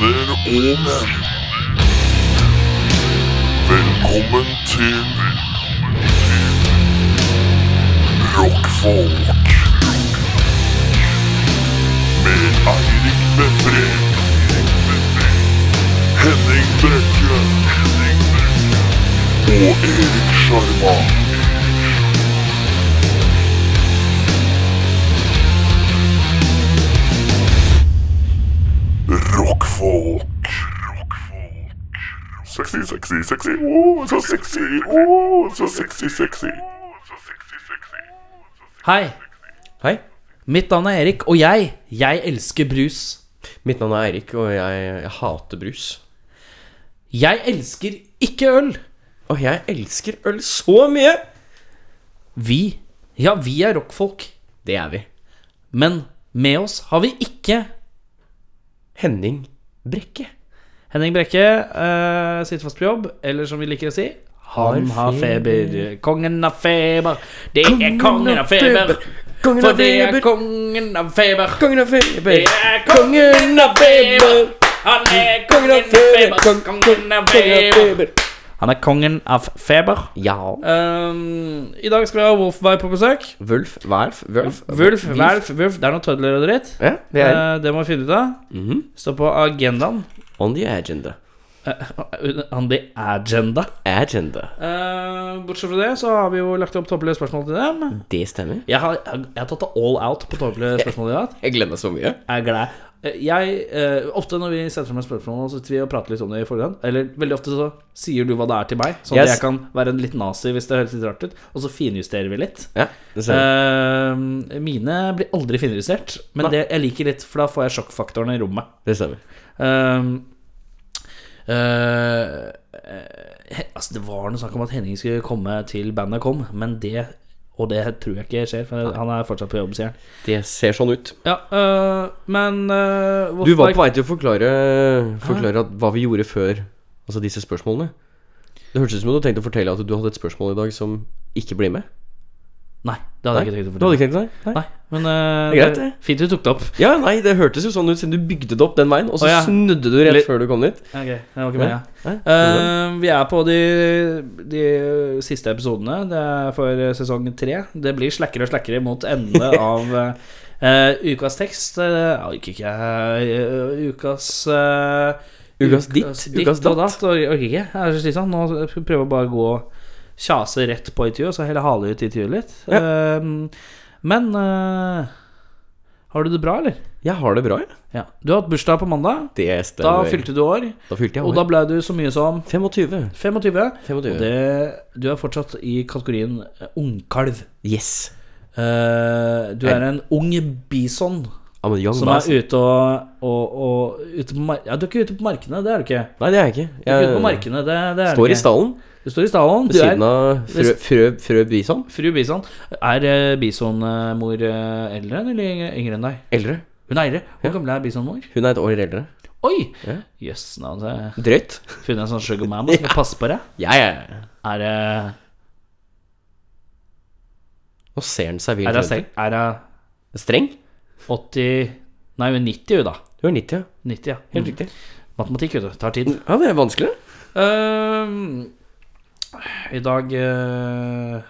Omen. Velkommen til Rockfolk. Med Eirik Befre. Henning Brekke. Og Erik Sjarma. Rockfolk. Sexy, sexy, sexy. Oh, så sexy. Oh, så sexy, sexy. Hei, Hei, mitt navn er Erik, og jeg, jeg elsker brus. mitt navn er Eirik, og jeg, jeg hater brus. Jeg elsker ikke øl. Og jeg elsker øl så mye! Vi, ja, vi er rockfolk, Det er vi. men med oss har vi ikke Henning Brekke. Henning Brekke, eh, sitter fast på jobb, eller som vi liker å si Han Har har feber. Kongen har feber. Det er kongen av feber. Kongen For av det er feber. kongen av feber. Kongen av feber. Det er kongen av feber. Han er kongen av feber. Kongen av feber. Han er kongen av feber. Ja. Ehm, I dag skal vi ha Wolfberg på besøk. Wulf, Werf, Wulf Wulf, Werf, Wulf. Det er noe tødler og dritt. Ja, det er Eh, det må vi finne ut av. Mhm. Stå på agendaen. On the agenda. Eh, On the agenda. Agenda. Eh, bortsett fra det så har vi jo lagt opp tåpelige spørsmål til dem. Det stemmer. Jeg har, jeg har tatt det all out på tåpelige spørsmål i dag. Jeg gleder meg så mye. Jeg er glad. Eh, Jeg, eh, ofte når vi setter frem et spørsmål, så sitter vi og prater litt om det i forhånd. Eller veldig ofte så sier du hva det er til meg, sånn at Yes. jeg kan være en litt nazi hvis det høres litt rart ut. Og så finjusterer vi litt. Ja, det stemmer. Eh, mine blir aldri finjustert, men Nei. det jeg liker litt, for da får jeg sjokkfaktoren i rommet. det stemmer. Ehm, eh, eh, altså det var noe snakk om at Henning skulle komme til bandet kom, men det Og det tror jeg ikke skjer, for han er fortsatt på jobb, sier han. Det ser sånn ut. Ja, eh, men eh, Du Wolfberg- var på vei til å forklare, forklare Ah. at hva vi gjorde før Altså disse spørsmålene. Det hørtes ut som om du tenkte å fortelle at du hadde et spørsmål i dag som ikke blir med. Nei, det hadde jeg ikke tenkt å Du hadde fortelle. ikke tenkt det? Nei. Nei, men eh, Det er greit, det det. fint du tok det opp. Ja, nei, det hørtes jo sånn ut siden du bygde det opp den veien, og så Å, ja. snudde du rett Litt- før du kom dit. Ok, det var ikke Nei, meningen. nei, hvordan? Eh, vi er på de, de siste episodene. Det er for sesong tre. Det blir slakkere og slakkere mot endene av eh, ukas tekst. Uh, orker ikke eh, Ukas eh, Ukas ditt, ukas og datt. datt. Orker orker ikke. Jeg er så slitsom. Nå prøver jeg bare å gå kjase rett på intervjuet, og så heller hale ut intervjuet litt. Ja. Eh, men eh, har du det bra, eller? Jeg har det bra, jeg. Ja. Du har hatt bursdag på mandag. Det Da stemmer. fylte du år, da fylte jeg og da år. ble du så mye som 25. 25. 25. Og det, du er fortsatt i kategorien eh, ungkalv. Yes. Eh, du er en ung bison I'm a young som er man. ute og, og, og ute på mar ja, Du er ikke ute på markene, det er du ikke. Nei, det er jeg ikke. Du er ikke ute på Jeg markene, det, det er du står i ikke. stallen Du står i stallen. ved Du er siden av frø, frø, frø bison. fru bison. Er eh, bisonmor eh, eldre enn eller yngre- yngre enn deg? Eldre. Hun er eldre. Hvor gammel er bisonmor? Hun er et år eldre. Oi! Ja. Jøss, nå har jeg Drøyt. funnet en sånn sugar mama som skal passe på deg. Ja, ja, ja. Er eh, det Nå ser han seg vilt Er det rundt. seng- er det Streng? 80 Nei, hun er 90, hun, da. Du er 90, ja. 90, ja. Mm. Helt riktig. Matematikk, vet du. Tar tid. Mm. Ja, det er vanskelig. Ehm, I dag eh,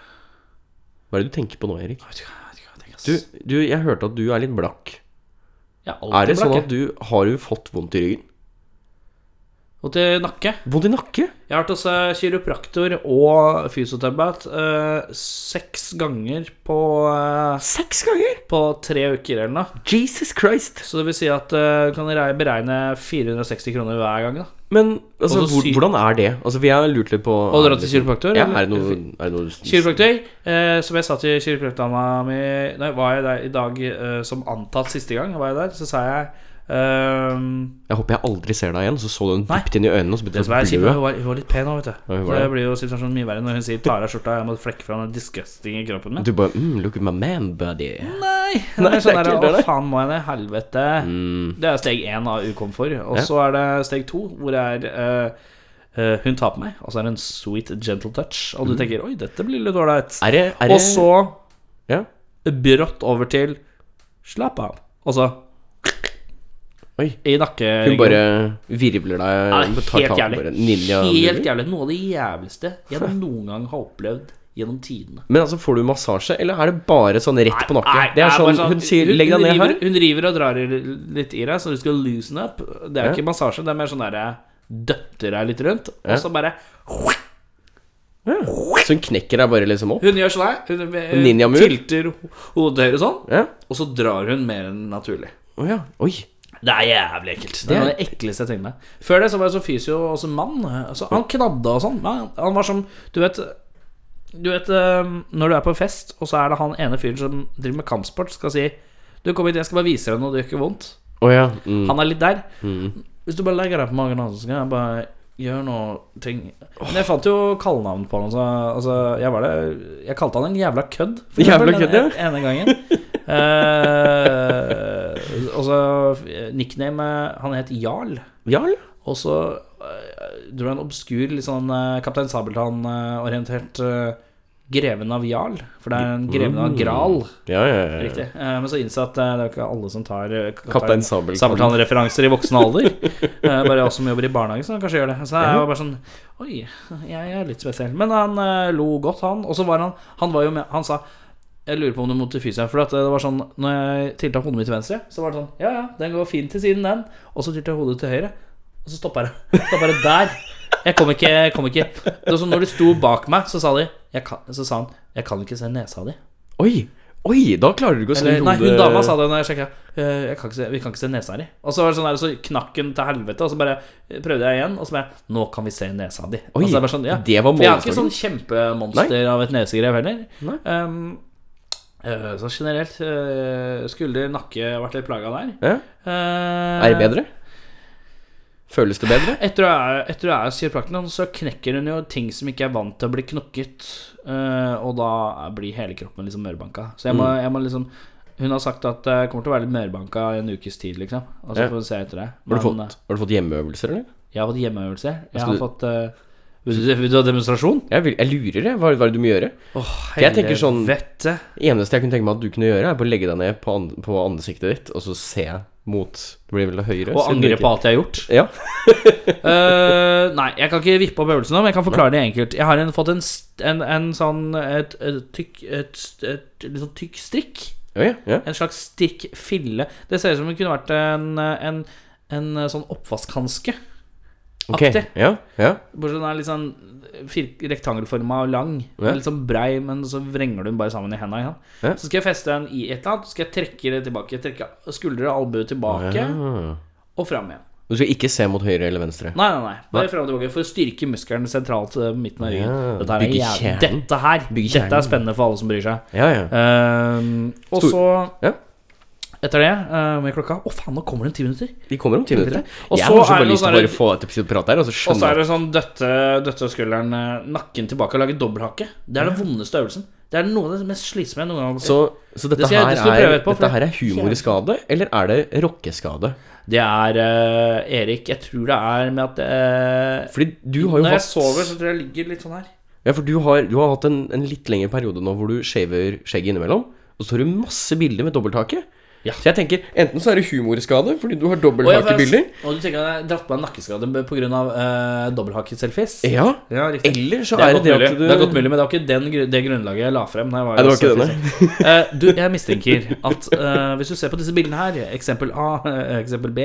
Hva er det du tenker på nå, Erik? Jeg vet ikke, jeg vet ikke hva jeg tenker, ass. Du, du, jeg hørte at du er litt blakk. Jeg er Er det alltid sånn blakk. at du har du fått vondt i ryggen? jeg. Og til nakke. Vondt i nakke? Jeg har vært hos eh, kiropraktor og fysioterapeut eh, seks ganger på, eh, Seks ganger! på tre uker eller noe. Jesus Christ! Så det vil si at eh, du kan re- beregne 460 kroner hver gang. da Men altså, Og så hvor, sy- hvordan er det? Altså, vi har lurt litt på Og dra til kiropraktor? Ja, eller? er det noe, er det noe Kiropraktor. Eh, som jeg sa til kiropraktorene mi Nei, var jeg der i dag eh, som antatt siste gang, var jeg der, så sa jeg eh, Jeg håper jeg aldri ser deg igjen. Så så du henne Nei. dypt inn i øynene, og så Det begynte som er hun kjipt, å men hun blø. var, hun var litt pen òg, vet du. Ja, Så hun var det blir jo situasjonen mye verre når hun sier 'tar av skjorta', jeg må flekke fra den disgusting i kroppen min. Du bare mm, Look at my man, buddy. Nei! Nei, det er sånn det er der, ikke det, Å, det. faen, må jeg ned? Helvete. Mm. Det er steg én av ukomfort. Og Ja. så er det steg to, hvor det er eh, eh, Hun tar på meg, og så er det en sweet gentle touch, og du tenker 'oi, dette blir litt ålreit'. Er det, Mm. er det Og så ja? brått over til 'slapp av', og så Oi. i nakke... Hun bare virvler deg ja, tar Helt tak i jævlig. bare ninja virvler. Helt jævlig. Noe av det jævligste jeg noen gang har opplevd gjennom tidene. Men altså, får du massasje, eller er det bare sånn rett på nakken? Nei, det er bare sånn, Hun sier 'legg deg ned river, her'. Hun river og drar i litt i deg, så du skal loosen up. Det er jo Ja. ikke massasje, det er mer sånn derre døtter deg litt rundt, og så bare Så hun knekker deg bare liksom opp? Hun gjør sånn her. Hun, hun Ninja-move. tilter ho- hodet høyre sånn, Ja. og så drar hun mer enn naturlig. Å ja. Oi. Det er jævlig ekkelt. Det er noe av det ekleste jeg tenker meg. Før det så var jeg så fysio og så mann. Altså, han knadda og sånn. Nei, Han var som Du vet Du vet eh, når du er på fest, og så er det han ene fyren som driver med kampsport, skal si Du, kom hit, jeg skal bare vise deg noe, det gjør ikke vondt. Å ja. Mm. Han er litt der. Hvis du bare legger deg på magen hans, så skal jeg bare gjøre noe ting Men jeg fant jo kallenavn på han. Så, altså, jeg, var det, jeg kalte han en jævla kødd. for Jævla eksempel, kødd, den ene gangen. Eh, og så nicknamet Han het Jarl. Jarl? Og så eh, dro jeg en obskur, litt sånn eh, Kaptein Sabeltann-orientert eh, Greven av Jarl. For det er en Greven Mm. av Gral. Ja, ja, ja. ja. Riktig. Eh, Men så innså jeg at eh, det er jo ikke alle som tar eh, Kaptein Sabeltann. Sabeltann-referanser i voksen alder. Eh, bare oss som jobber i barnehage, som kanskje gjør det. Så jeg var bare sånn Oi, jeg er litt spesiell. Men han eh, lo godt, han. Og så var han Han var jo med Han sa jeg lurer på om du måtte fyse deg. For at det var sånn Når jeg tilta hodet mitt til venstre, så var det sånn Ja, ja, den går fint til siden, den. Og så tilta jeg hodet til høyre, og så stoppa det. Stoppa det der. Jeg kom ikke, jeg kom ikke. Det var som når de sto bak meg, så sa de jeg kan, Så sa han Jeg kan ikke se nesa di. Oi. Oi, da klarer du ikke å snu Eller, nei, hun hodet- dama sa det når jeg sjekka. Jeg kan ikke se, vi kan ikke se nesa di. Og så var det sånn der, så knakk hun til helvete, og så bare eh, prøvde jeg igjen. Og så bare Nå kan vi se nesa di. Oi, altså, det, er bare sånn, ja. det var For Jeg er ikke målestokken. sånn kjempemonster av et nesegrev heller. Nei. Um, eh, så generelt eh, skulder, nakke har vært litt plaga der. Ja. Eh, Er det bedre? Føles det bedre? Etter å er, etter å er hos kiropraktoren, så knekker hun jo ting som ikke er vant til å bli knokket. eh, og da blir hele kroppen liksom mørbanka. Så jeg må, Mm. jeg må liksom Hun har sagt at jeg kommer til å være litt mørbanka i en ukes tid, liksom. Og så Ja. får vi se etter det. Har du Men, fått, har du fått hjemmeøvelser, eller? eh, Jeg har fått hjemmeøvelse. Jeg skal har du- fått eh, vil, du, vil du ha demonstrasjon? Jeg, vil, jeg lurer, jeg. Hva, hva er det du må gjøre? Åh, Jeg tenker sånn- helvete. Det eneste jeg kunne tenke meg at du kunne gjøre, er bare legge deg ned på, an på ansiktet ditt, og så se mot Det blir vel Og høyre? så det angre blir på alt jeg har gjort. ikke- Ja. Eh, nei, jeg kan ikke vippe opp øvelsen nå, men jeg kan forklare det enkelt. Jeg har en, fått en, st- en, en sånn et, et, tykk, et, st- et litt sånn tykk strikk. Ja, ja, ja. En slags stikkfille. Det ser ut som det kunne vært en, en, en sånn oppvaskhanske. Ok. Aktig. Ja, ja. Bortsett fra den er litt sånn fir- rektangelforma og lang. Ja. Litt sånn brei, men så vrenger du den bare sammen i henda. igjen. Ja. Så skal jeg feste den i et eller annet, så skal jeg trekke det tilbake. Trekke skuldre og albue tilbake, Ah. og fram igjen. Du skal ikke se mot høyre eller venstre? Nei, nei, nei. Bare fram og tilbake for å styrke muskelen sentralt eh, midten av ryggen. Ja, Dette, her er bygge jæv- kjernen. dette her Bygge Dette kjernen. er spennende for alle som bryr seg. Ja, ja. Ehm, og Stor- så, Ja. etter det, eh, med klokka Å, faen, nå kommer det om ti minutter! De kommer om ti minutter. Og jeg så er har så det bare lyst til å noe bare få et episode prat der, og så Og så skjønner er jeg det sånn døtte, døtte skulderen eh, nakken tilbake og lage dobbelthake. Det er den vondeste øvelsen. Det er noe av det mest slitsomme jeg noen gang har så, så dette, Det skal jeg- det skal jeg her, prøve er, etterpå, for dette her er det- humorskade, eller er det rockeskade? Det er eh, Erik, jeg tror det er med at eh, Fordi du har jo Når jeg hatt sover, så tror jeg jeg ligger litt sånn her. Ja, for du har, du har hatt en, en litt lengre periode nå hvor du shaver skjegget innimellom, og så har du masse bilder med dobbelthake. Ja. Så jeg tenker, enten så er det humorskade fordi du har Og, jeg, dobbelthakebilder, og du tenker at jeg har dratt på meg en nakkeskade pga. Uh, dobbelthakeselfies? ja, Ja, riktig. eller så Det er, er det godt det mulig, at du det er godt mulig, men det var ikke den, gru- det grunnlaget jeg la frem. Nei, Nei, det var ikke denne. Eh, du, jeg mistenker at eh, hvis du ser på disse bildene her, eksempel A, eh, eksempel B,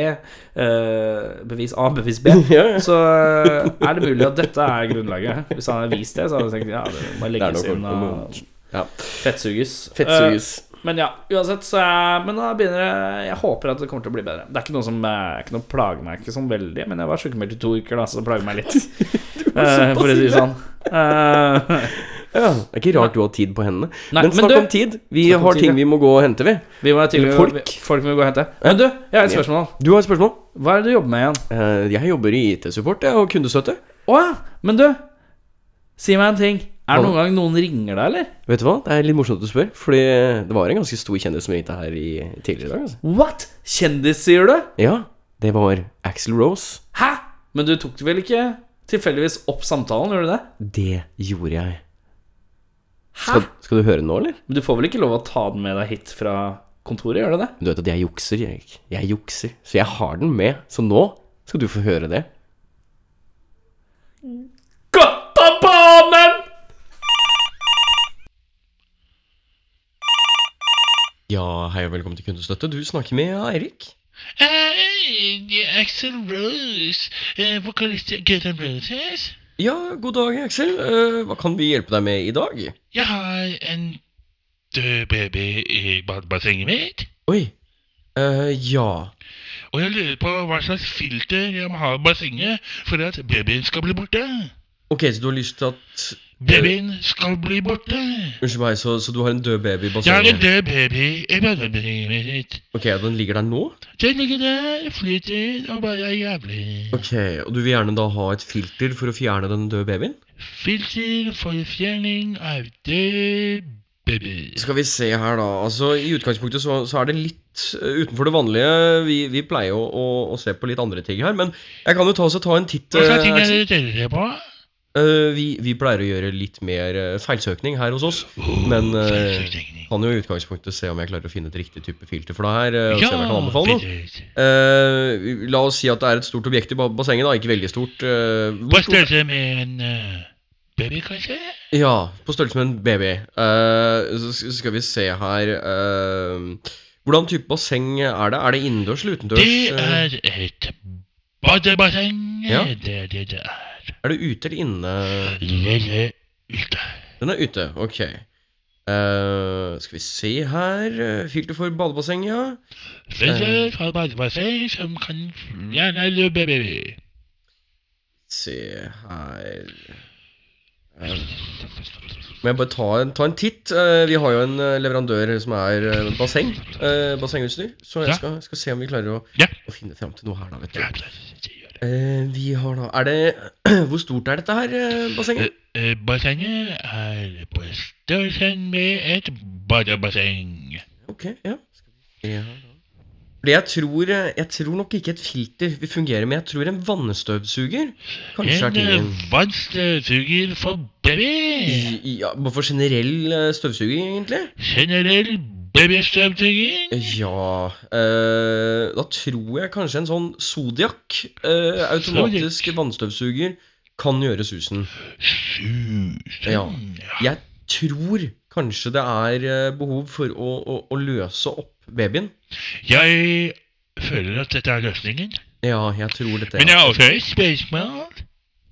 eh, bevis A, bevis B, Ja, ja. så eh, er det mulig at dette er grunnlaget. Hvis han hadde vist det, så hadde jeg tenkt ja, det må legges Det er nok inn og Ja. fettsuges. Fettsuges. Eh, men ja, uansett, så jeg, men da begynner jeg Jeg håper at det kommer til å bli bedre. Det er ikke noe som eh, ikke noe plager meg ikke sånn veldig, men jeg var sykemeldt i to uker, da, så det plager meg litt. Eh, for å si det sånn. Eh, Ja, det er ikke rart du har tid på hendene. Nei, men men snakk du- om tid. Vi Snakk om har tid, ting ja. vi må gå og hente, vi. vi må til Folk. folk. folk må gå og hente. Men du, jeg har et spørsmål. Du har et spørsmål? Hva er det du jobber med igjen? Eh, Jeg jobber i IT-support jeg, og kundestøtte. Å ja, men du Si meg en ting Er Hva det noen gang noen ringer deg, eller? Vet du hva, det er litt morsomt at du spør, fordi det var en ganske stor kjendis som ringte her i, tidligere i dag. Altså. What? Kjendis, sier du? Ja, det var Axel Rose. Hæ? Men du tok vel ikke tilfeldigvis opp samtalen, gjorde du det? Det gjorde jeg. Hæ? Skal, skal du høre den nå, eller? Men du får vel ikke lov å ta den med deg hit fra kontoret, gjør det det? Men Du vet at jeg jukser, Erik. Jeg jukser. Så jeg har den med. Så nå skal du få høre det. Kattabanen! Ja, hei og velkommen til Kundestøtte. Du snakker med Eirik. Hei, det er Axel Rose, eh, vokalist i Guns N' Roses. Ja, god dag, Aksel. Eh, hva kan vi hjelpe deg med i dag? Jeg har en død baby i badebassenget mitt. Oi. eh, ja. Og jeg lurer på hva slags filter jeg må ha i bassenget for at babyen skal bli borte. Ok, så du har lyst til at Babyen skal bli borte. Unnskyld meg, så, så du har en død baby i Jeg har en bassenget? død baby i badebassenget mitt. Ok, og den ligger der nå? Den ligger der, flyter og bare er jævlig. Ok, Og du vil gjerne da ha et filter for å fjerne den døde babyen? Filter for fjerning av død baby. Skal vi se her, da. Altså, I utgangspunktet så, så er det litt eh, utenfor det vanlige. Vi, vi pleier å, å, å se på litt andre ting her, men jeg kan jo ta, også ta en titt. Hva slags eh, ting er Aksel. det dere ser på? Eh, vi, vi pleier å gjøre litt mer eh, feilsøkning her hos oss, men eh, Filterteknikk. kan jo i utgangspunktet se om jeg klarer å finne et riktig type filter for deg her. eh, og se om jeg kan anbefale noe. precis. Eh, la oss si at det er et stort objekt i ba- bassenget, da. Ikke veldig stort. eh, hvor Hva stort- størrelse med en eh, baby, kanskje? Ja, på størrelse med en baby. Eh, så s- skal vi se her eh, Hvordan type basseng er det? Er det innendørs eller utendørs? Det Eh, er et badebasseng. Ja. Det er det det er. er det ute eller inne? Lille ute. Den er ute, ok. Eh, skal vi se her eh, Filter for badebasseng, ja. Eh. Filter fra badebasseng som kan fjerne alle baby. Se her Eh, Må jeg bare ta en, ta en titt? Eh, vi har jo en eh, leverandør som er eh, basseng. eh, bassengutstyr. Så jeg Ja. skal, skal se om vi klarer å, Ja. å finne fram til noe her, da, vet du. Ja, precis, det gjør det. Eh, vi har da Er det Hvor stort er dette her, eh, bassenget? Eh, Bassenget er på størrelse med et badebasseng. Ok, ja. Skal vi se her da. Fordi jeg tror, eh, jeg tror nok ikke et filter vil fungere, men jeg tror en vannstøvsuger kanskje er En eh, tingen. vannstøvsuger for baby. I- i- Ja, bare for generell eh, støvsuging, egentlig? Generell babystøvsuging. Ja eh, Da tror jeg kanskje en sånn Zodiac eh, automatisk vannstøvsuger kan gjøre susen. Susen. Ja. Jeg tror kanskje det er eh, behov for å, å, å løse opp babyen. Jeg føler at dette er løsningen. Ja, jeg tror dette Men er jeg har også et spørsmål.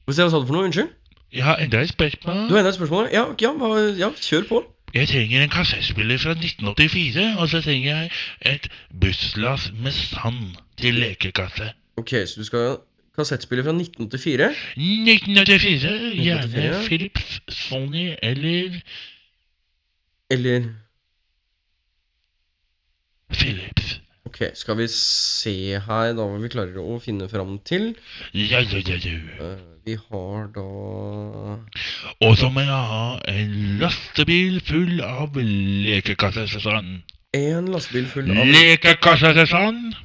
Hva sa du for noe? Unnskyld? Jeg har enda et Du har spørsmål. enda et spørsmål? Ja, ok, ja, hva- ja kjør på. Jeg trenger en kassettspiller fra 1984, og så trenger jeg et busslass med sand til lekekasse. Ok, så du skal ha kassettspiller fra 1984. 1984, Euh, gjerne 1984. Philips, Sony eller Eller Philips. Ok, skal vi se her da hva vi klarer å finne fram til. Ja, ja, ja, ja. Eh, vi har da Og så må jeg hein, ha en lastebil full av lekekasse til sand. En lastebil full av Lekekasse til sand.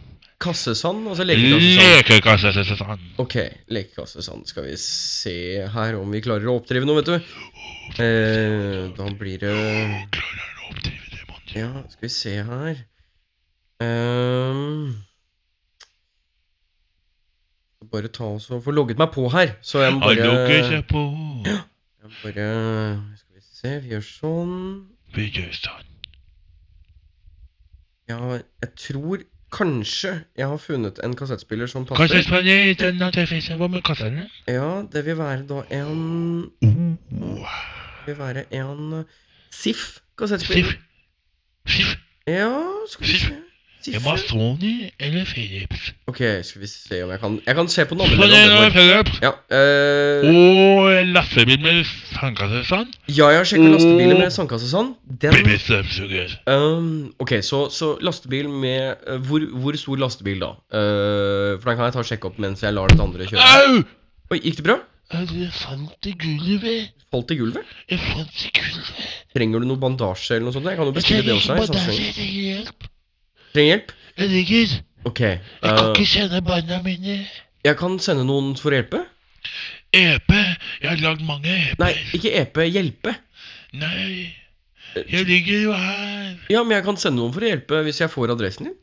kassesand, altså lekekassesand. Lekekasse til sand. Ok, lekekassesand. Skal vi se her om vi klarer å oppdrive noe, vet du. Eh, da blir det Klarer han å oppdrive demoner? Ja, skal vi se her Ehm, Bare ta oss og få logget meg på her. Så jeg må Han bare, lukker seg på jeg må bare Skal vi se, vi gjør sånn. ved Jøstan. Ja, jeg tror kanskje jeg har funnet en kassettspiller som passer. Kassettspiller, den har jeg finnes. Hva med kassene? Ja, det vil være da en Oh. Det vil være en eh, SIF Siff. kassettspiller. Siff. Ja, skal vi se. Jeg må ha SIF. Sony eller Philips. Ok, skal vi se om jeg kan Jeg kan se på den andre. Sony eller leverandøren vår. Philips. Ja, eh, Oh. Og lastebil med sandkassesand. Ja, jeg har sjekka lastebiler Oh. med sandkasse sånn. Den Babystøvsuger. Øhm, Ok, så, så lastebil med øh, hvor, hvor stor lastebil, da? Øh, for den kan jeg ta og sjekke opp mens jeg lar det andre kjøre. Au! Oi, gikk det bra? Au, Jeg fant i gulvet. Falt i gulvet? Jeg fant i gulvet. Trenger du noe bandasje eller noe sånt? Jeg kan jo Jeg bestille trenger det ikke også. her i bandasje, Samsung. jeg trenger hjelp. Trenger hjelp? Jeg ligger. Ok. Jeg kan øh, ikke kjenne barna mine. jeg kan sende noen for å hjelpe. EP. Jeg har lagd mange EP-er. E Nei, ikke EP. Hjelpe. Nei, Jeg ligger jo her. Ja, men jeg kan sende noen for å hjelpe hvis jeg får adressen din.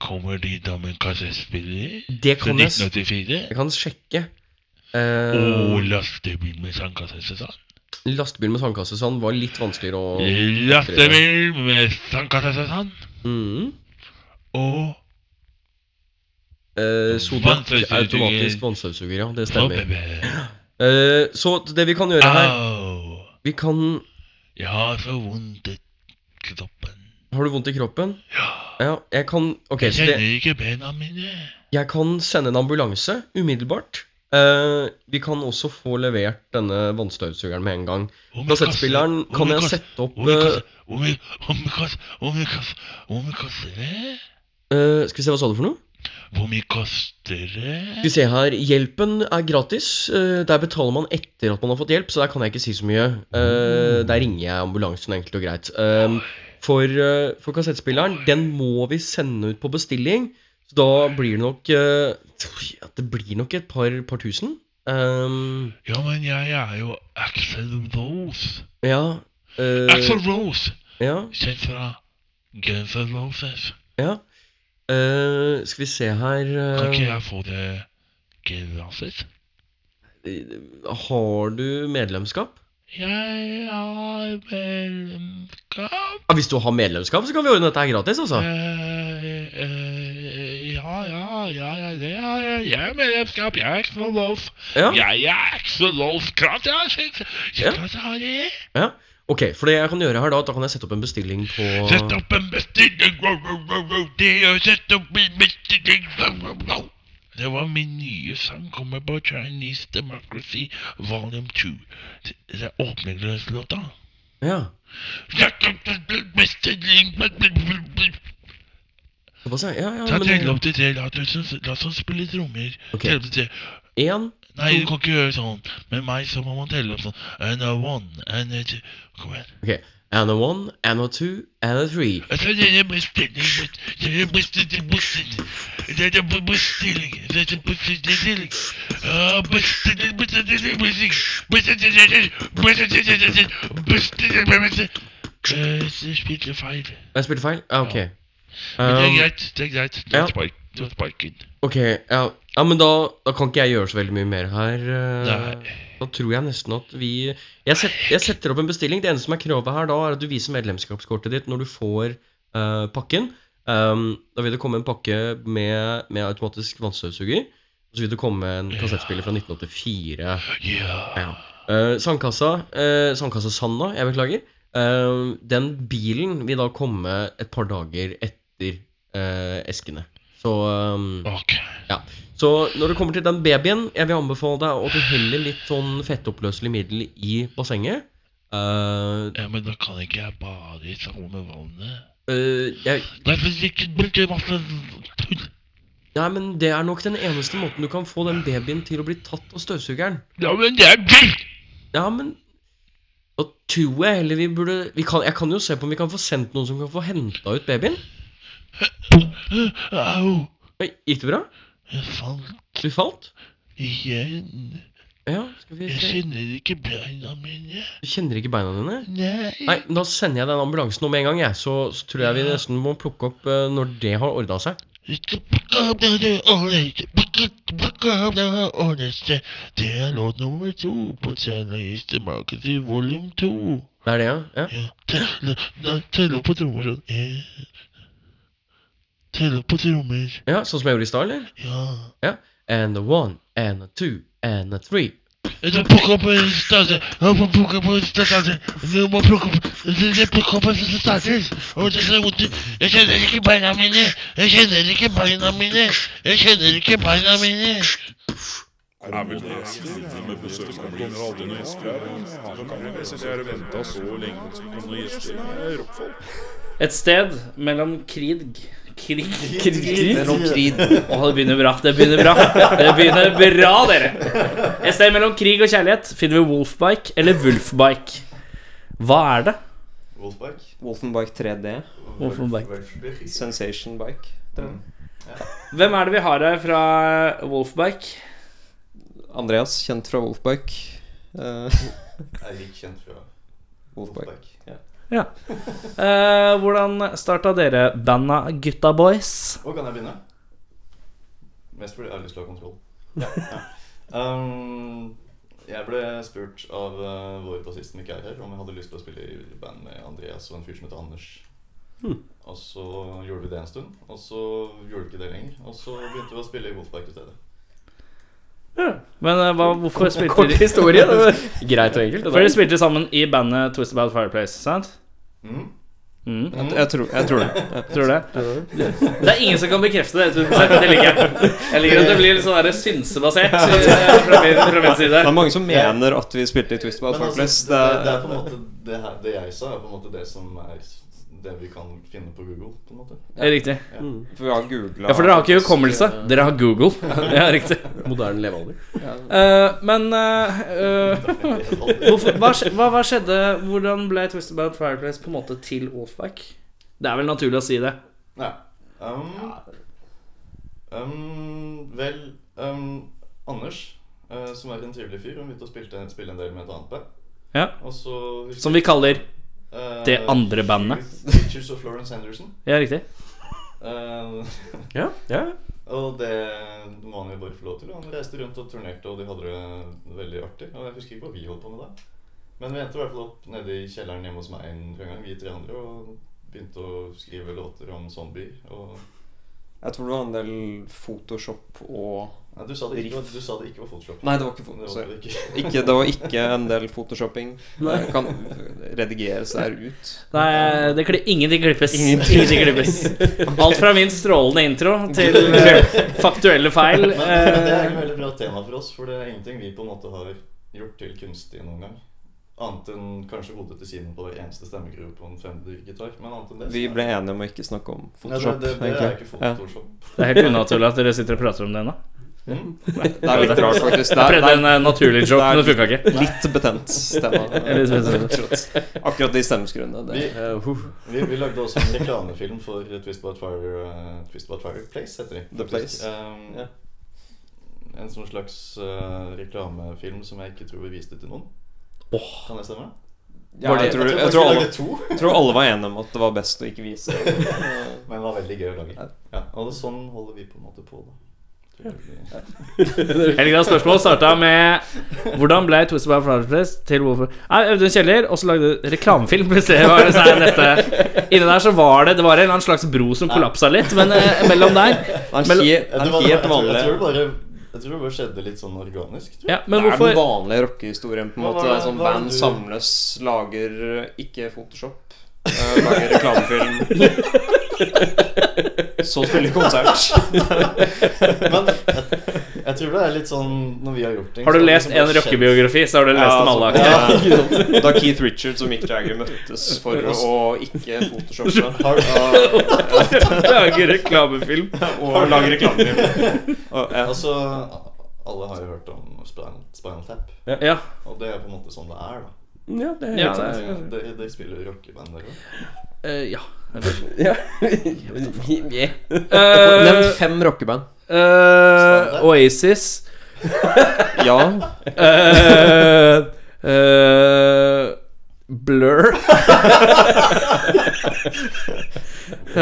Kommer de da med kassettspiller? Det Fra kan jeg, s- 1984? jeg kan sjekke. Og Oh. Uh, lastebil med sandkassesesong? lastebil med sandkassesand var litt vanskeligere å Lastebil med sandkassesesong? Mhm. Og Eh, Soda. Vannsausuger. Automatisk vannstøvsuger, ja. Det Nå, stemmer. baby. Eh, så det vi kan gjøre her Ah. Au. Vi kan Jeg har så vondt i kroppen. Har du vondt i kroppen? Ja. Ja, jeg kan Ok, Jeg så det, kjenner ikke bena mine. jeg kan sende en ambulanse umiddelbart. Eh, vi kan også få levert denne vannstøvsugeren med en gang. Hvor mye Kassettspilleren koster- hvor kan mye jeg koster- sette opp hvor mye eh, koster- Hvor mye hvor mye koster- hvor mye koster- hvor mye koster det? eh, Skal vi se, hva sa du for noe? Hvor mye koster Skal det? vi se her, Hjelpen er gratis. eh, der betaler man etter at man har fått hjelp, så der kan jeg ikke si så mye. Eh, der ringer jeg ambulansen, enkelt og greit. Eh, for, eh, for kassettspilleren, den må vi sende ut på bestilling. Så da blir det nok eh, ja, Det blir nok et par, par tusen. Eh, Ja, men jeg er jo Axel Rose. ja, eh, Axel Rose, ja. kjent fra Guns N' Roses. Ja. Eh, skal vi se her eh, Kan ikke jeg få det gratis? eh, Har du medlemskap? Jeg har medlemskap Ja, hvis du har medlemskap, så kan vi ordne dette her gratis, altså. Eh, eh, Ja, ja, ja, ja, det har jeg. Jeg har medlemskap. Jeg er Axel Rose. Ja. Jeg er Axel Rose. Klart jeg har sett. Ja. Jeg klart jeg har det. Ja, ok, for det jeg kan gjøre her da, da kan jeg sette opp en bestilling på Sett opp en bestilling. Wow, wow, wow, wow. Det å sette opp en bestilling. Wow, wow, wow. Det var min nye sang. Kommer på Chinese Democracy volume 2. Det det er åpningslåta. Ja, Sett opp en bestilling. såpass ja, ja, ja Ta telle men opp til tre. La oss- La oss spille trommer. Ok. Telle opp til tre. En, Nei, du kan ikke gjøre sånn. Med meg så må man telle opp sånn. And a one, and a two. Kom igjen. ok, and a one, and a two, and a three Altså, det er bestilling, det er bestilling, bestilling. Det er bestilling, det er bestilling. Ah, bestilling, bestilling, bestilling. Bestilling, bestilling, bestilling, bestilling. Eh, jeg spilte feil. Jeg spilte feil? Ja, ok Men det er Um, greit, det er greit. Det ja. var spark- det var sparken. Ok, ja, ja men da, da kan ikke jeg gjøre så veldig mye mer her eh, Nei. Da tror jeg nesten at vi jeg, set, jeg setter opp en bestilling Det eneste som er kravet her da er at du viser medlemskapskortet ditt Når du får eh, pakken um, Da vil det komme en pakke med, med automatisk vannstøvsuger Og så vil det komme en kassettspiller fra 1984 Ja. Ja. Eh, sandkassa, eh, sandkassa Sanna, jeg beklager. Eh, den bilen vil da komme et par dager etter eh, eskene. Så, ehm, Ok. så når det kommer til den babyen, jeg vil anbefale deg at du heller litt sånn fettoppløselig middel i bassenget. Eh, Ja, men da kan ikke jeg bade i sammen med vannet. eh, jeg, Derfor ikke bruke masse tull. nei, men det er nok den eneste måten du kan få den babyen til å bli tatt av støvsugeren. Ja, men det er gøy! Ja, men Da tror jeg heller vi burde vi kan, Jeg kan jo se på om vi kan få sendt noen som kan få henta ut babyen. Au! Oi, Gikk det bra? Jeg falt Du falt? igjen. Ja, skal vi Jeg se kjenner ikke beina mine. Du kjenner ikke beina dine? Nei. Nei, men da sender jeg den ambulansen nå med en gang, jeg. Så, så tror jeg vi nesten må plukke opp eh, når det har ordna seg. Ikke pakke opp det du ordner. Ikke pakke opp det du ordner. Det er låt nummer to på Chinese Democracy volum to. Det er det, ja? ja. Ja. Telle nei, telle opp på trommer sånn. En. Telle opp på trommer. Ja, Sånn som jeg gjorde i stad, eller? Ja. Ja. And a one, and a two, and a three. Jeg må plukke opp en stase. Jeg må plukke opp en stase. Jeg må plukke opp Jeg må plukke opp en stase. Og det er vondt. Jeg kjenner ikke beina mine. Jeg kjenner ikke beina mine. Jeg kjenner ikke beina mine. Et sted mellom krig Krig, krig, krig, krig. Å, det begynner bra. Det begynner bra, Det begynner bra, dere. Et sted mellom krig og kjærlighet finner vi Wolfbike eller Wulfbike. Hva er det? Wolfbike. Wolfenbike 3D. Wolfenbike. Sensation Bike. Den. Mm. Hvem er det vi har her fra Wolfbike? Andreas, kjent fra Wolfbike. Eh, Jeg er litt kjent fra Wolfbike. Wolfbike. Ja. Ja. Eh, hvordan starta dere banda Gutta Boys? Og kan jeg begynne? Mest fordi jeg har lyst til å ha kontroll. Ja. Um, jeg ble spurt av eh, vår bassist som ikke er her, om jeg hadde lyst til å spille i band med Andreas og en fyr som heter Anders. Og så gjorde vi det en stund, og så gjorde vi ikke det lenger. Og så begynte vi å spille i Wolfpark i stedet. Men eh, hva, hvorfor spilte Kort de historie. det var Greit og enkelt. det For der. dere spilte sammen i bandet Twist About Fireplace, sant? Mhm. Mm, Jeg, jeg, tror, jeg tror det. tror du det? Det er ingen som kan bekrefte det. 100%. Det liker jeg. Jeg liker at det blir litt sånn der synsebasert eh, fra min, fra min side. Det er mange som mener at vi spilte i Twist About Men Fireplace. altså, det, det, det er på en måte det, her, det jeg sa, er på en måte det som er det vi kan finne på Google, på en måte. Riktig. For vi har googla Ja, for dere har ikke hukommelse. Dere har Google. Ja, riktig. Moderne levealder. Eh, men eh, eh, hvorfor, hva, skj- hva, hva skjedde Hvordan ble Twist About Fireplace på en måte til Wolfpack? Det er vel naturlig å si det. Nei. Um, um, vel um, Anders, eh, som er en trivelig fyr, hun begynte å spille, spille en del med et annet band. Ja. Og så Som vi kaller eh, det andre bandet. Pictures of Florence Henderson. Ja, riktig. Eh, Ja, ja. og det må han jo bare få lov til. og Han reiste rundt og turnerte, og de hadde det veldig artig. Og jeg husker ikke hva vi holdt på med da. Men vi endte i hvert fall opp nede i kjelleren hjemme hos meg en gang, vi tre andre, og begynte å skrive låter om zombier. Og Jeg tror det var en del Photoshop og Nei, du sa det ikke, var- du sa det ikke var Photoshop. Nei, det var ikke Det Photoshop. var sorry. det ikke. Ikke, det var ikke en del photoshopping. Det kan redigeres der ut. Nei, det kli, ingenting klippes. Ingenting. Ingenting klippes. Alt fra min strålende intro til eh, faktuelle feil. Men det er et eh, veldig bra tema for oss, for det er ingenting vi på en måte har gjort til kunstig noen gang. Annet enn kanskje hodet til Simen på hver eneste stemmegruve på en femdergitar. Men annet enn det så Vi er- ble enige om å ikke snakke om Nei, det, Photoshop. det, det er ikke egentlig. Ja. Photoshop. Mm. det er helt unaturlig at dere sitter og prater om det ennå. Det er litt rart, faktisk. Det Jeg prøvde er, en eh, naturlig joke, men det funka det ikke. er litt betent tema. Eller så- Akkurat de stemmeskruene. Vi, Det. Eh, huh. vi, vi lagde også en reklamefilm for Twist About Fire eh, Twist About Fire Place, heter de. The Place. Um, Ja. En sånn slags eh, reklamefilm som jeg ikke tror vi viste til noen. Kan det stemme? Ja, jeg, tror, jeg, tror faktisk vi alle, lagde to. jeg tror alle var enige om at det var best å ikke vise. Men det var veldig gøy å lage. Ja. Ja, og det, sånn holder vi på en måte på, da. Jeg liker at spørsmålet starta med Hvordan ble Twist About Fireplace til hvorfor Nei, Audun Kjeller, og så lagde du reklamefilm. Plutselig var det så er neste Inni der så var det Det var en eller annen slags bro som kollapsa litt, men eh, mellom der Det er Men- en he- Ja, det det er var- en jeg helt tror- Jeg tror vanlig det bare jeg tror det bare skjedde litt sånn organisk. Tror jeg. Ja, men det er den hvorfor vanlige rockehistorien. på en Hva måte var Det det- er sånn hva var Band det du- samles, lager eh, ikke Photoshop. eh, lager reklamefilm. Så spiller konsert. Men jeg, jeg tror det er litt sånn når vi har gjort ting Har så du har det lest liksom en bare skjedd. rockebiografi, så har du lest dem alle. Ja, altså, ja. Da Keith Richards og Mick Jagger møttes for å ikke photoshoppe Har, ja, Lager reklamefilm. og lage reklamefilm. Og, ja. altså, alle har jo hørt om Spinal, spinal Tap, Ja. og det er på en måte sånn det er, da. Ja, det er Ja, helt sant. Dere de, spiller jo rockeband, dere òg. Eh, ja. Ja. Eh, Nevn fem rockeband. Eh, Oasis. Ja. Eh, eh, blur. Eh,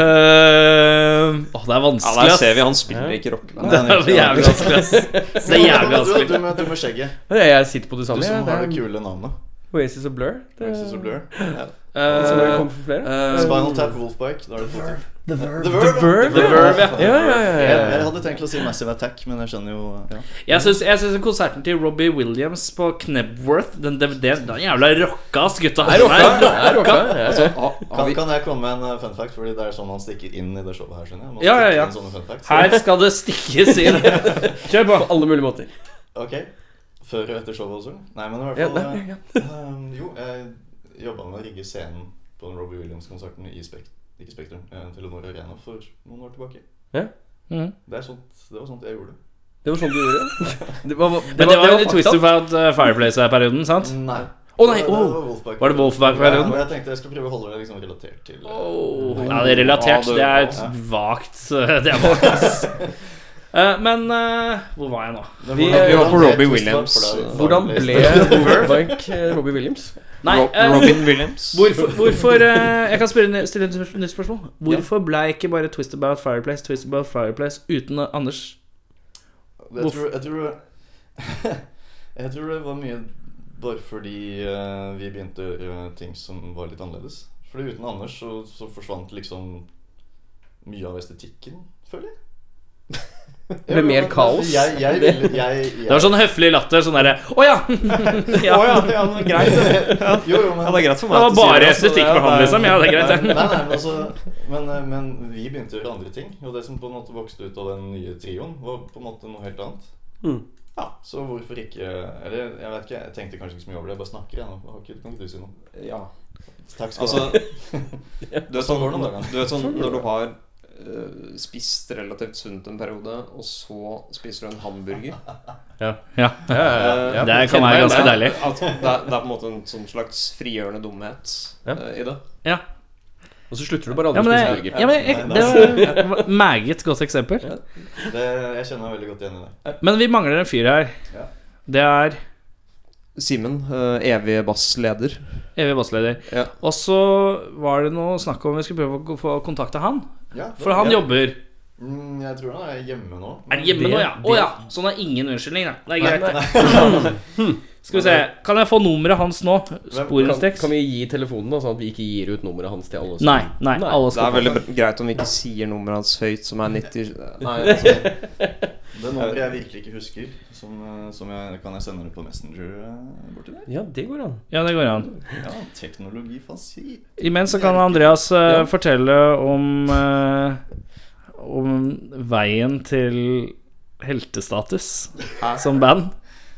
Åh, det er ja, vanskelig, der ass. ser vi han spiller ikke rockeband. Det er jævlig vanskelig, ass. Det er jævlig Du, du, vanskelig. med- du med skjegget. Jeg sitter på det Du samme. som ja. har det er kule navnet. Oasis og Blur. Det er- Oasis og Blur. Som dere Eh, kom for flere. eh, Spinal Tap, Wolfbike. Da er det Photoshop. The The Verve. The Verve, ja. Ja, ja, ja, Jeg, ja. jeg hadde tenkt å si Massive Attack, men jeg skjønner jo ja. Jeg syns, jeg syns konserten til Robbie Williams på Knebworth Den, den, den, den jævla rocka, ass, gutta. Det er rocka. Det er rocka. ja. Kan, kan jeg komme med en eh, fun fact? Fordi det er sånn man stikker inn i det showet her, skjønner jeg. Man Ja, ja, stikker ja. inn sånne fun facts. Her skal det stikkes inn. Kjør på. På alle mulige måter. Ok. Før og etter showet også? Nei, men i hvert Ja, fall nei, ja. eh, ehm, Jo, jeg jobba med å rigge scenen på den Robbie Williams-konserten i Spek ikke Spektrum, eh, Telenor Arena for noen år tilbake. Ja. Mhm. Det, er sånt, det var sånt jeg gjorde. Det var sånn du gjorde det. Det var, det Men det var jo fakta. Twist About eh, Fireplace-perioden, sant? Nei. Å nei, det var- det oh. var Wolfpack. Var det Wolfpack-perioden? Ja, og jeg tenkte jeg skulle prøve å holde det liksom relatert til eh, Ja, det er relatert. Det er et vagt Det er vagt, ass. Eh, Men eh, hvor var jeg nå? Men Vi- hvordan- vi var på hvordan ble Robbie Twist Up Williams. for deg? Hvordan ble Overbank eh, Robbie Williams? Nei, Ro- eh, Robin Williams. Hvorfor, hvorfor eh, Jeg kan spørre, stille et spørs- nytt spørsmål. Hvorfor ble ikke bare Twist About Fireplace Twist About Fireplace uten Anders? Jeg tror, jeg, tror, jeg tror det var mye bare fordi eh, vi begynte å gjøre ting som var litt annerledes. Fordi uten Anders så, så forsvant liksom mye av estetikken, føler jeg. Det ble mer kaos. Jeg, jeg, ville- jeg, jeg, Det var sånn høflig latter. Sånn derre Å ja! Å ja, ja, men greit. Ja. Jo, jo, men, Ja, det er greit for meg. Det var at du sier bare altså, det er- estetikkbehandling, liksom. Ja, det er greit, Nei, det. nei, men, altså, men, men vi begynte å gjøre andre ting. Og det som på en måte vokste ut av den nye trioen, var på en måte noe helt annet. Mm. Ja, Så hvorfor ikke Eller jeg vet ikke, jeg tenkte kanskje ikke så mye over det. Jeg bare snakker, jeg nå. Har ikke- Kan ikke du si noe? Ja. Takk skal du ha. Altså, du vet Sånn går det om dagen. sånn, du vet sånn når du har eh, spist relativt sunt en periode, og så spiser du en hamburger Ja. Eh, Det kan være ganske det er- deilig. At det, er, det er på en måte en sånn slags frigjørende dumhet Ja. eh, i det. Ja. Og så slutter du bare Ja, aldri men, å spise det, burger. ja, men jeg, det var et meget godt eksempel. Det, jeg kjenner meg veldig godt igjen i det. Men vi mangler en fyr her. Ja. Det er Simen, eh, evig bassleder. evig bassleder. Ja. Og så var det noe snakk om vi skulle prøve å få kontakta han. Ja, For han jobber. Mm, Jeg tror han er hjemme nå. Er han hjemme Det- nå, ja? Å det- ja. Så han har ingen unnskyldning, da. Det er greit. det. Skal vi se. Kan jeg få nummeret hans nå? kan, Sporenstreks? kan vi gi telefonen, da, sånn at vi ikke gir ut nummeret hans til alle? som- Nei. Nei, alle Det er skal veldig bra- greit om vi ikke sier nummeret hans høyt, som er 90 Nei, altså, Det nummeret jeg virkelig ikke husker, som, eh, som jeg, kan jeg sende det på Messenger eh, borti der? Ja, det går an. Ja, det går an. Ja, teknologi fasi. Imens så kan Andreas eh, fortelle om eh, Om veien til heltestatus som band.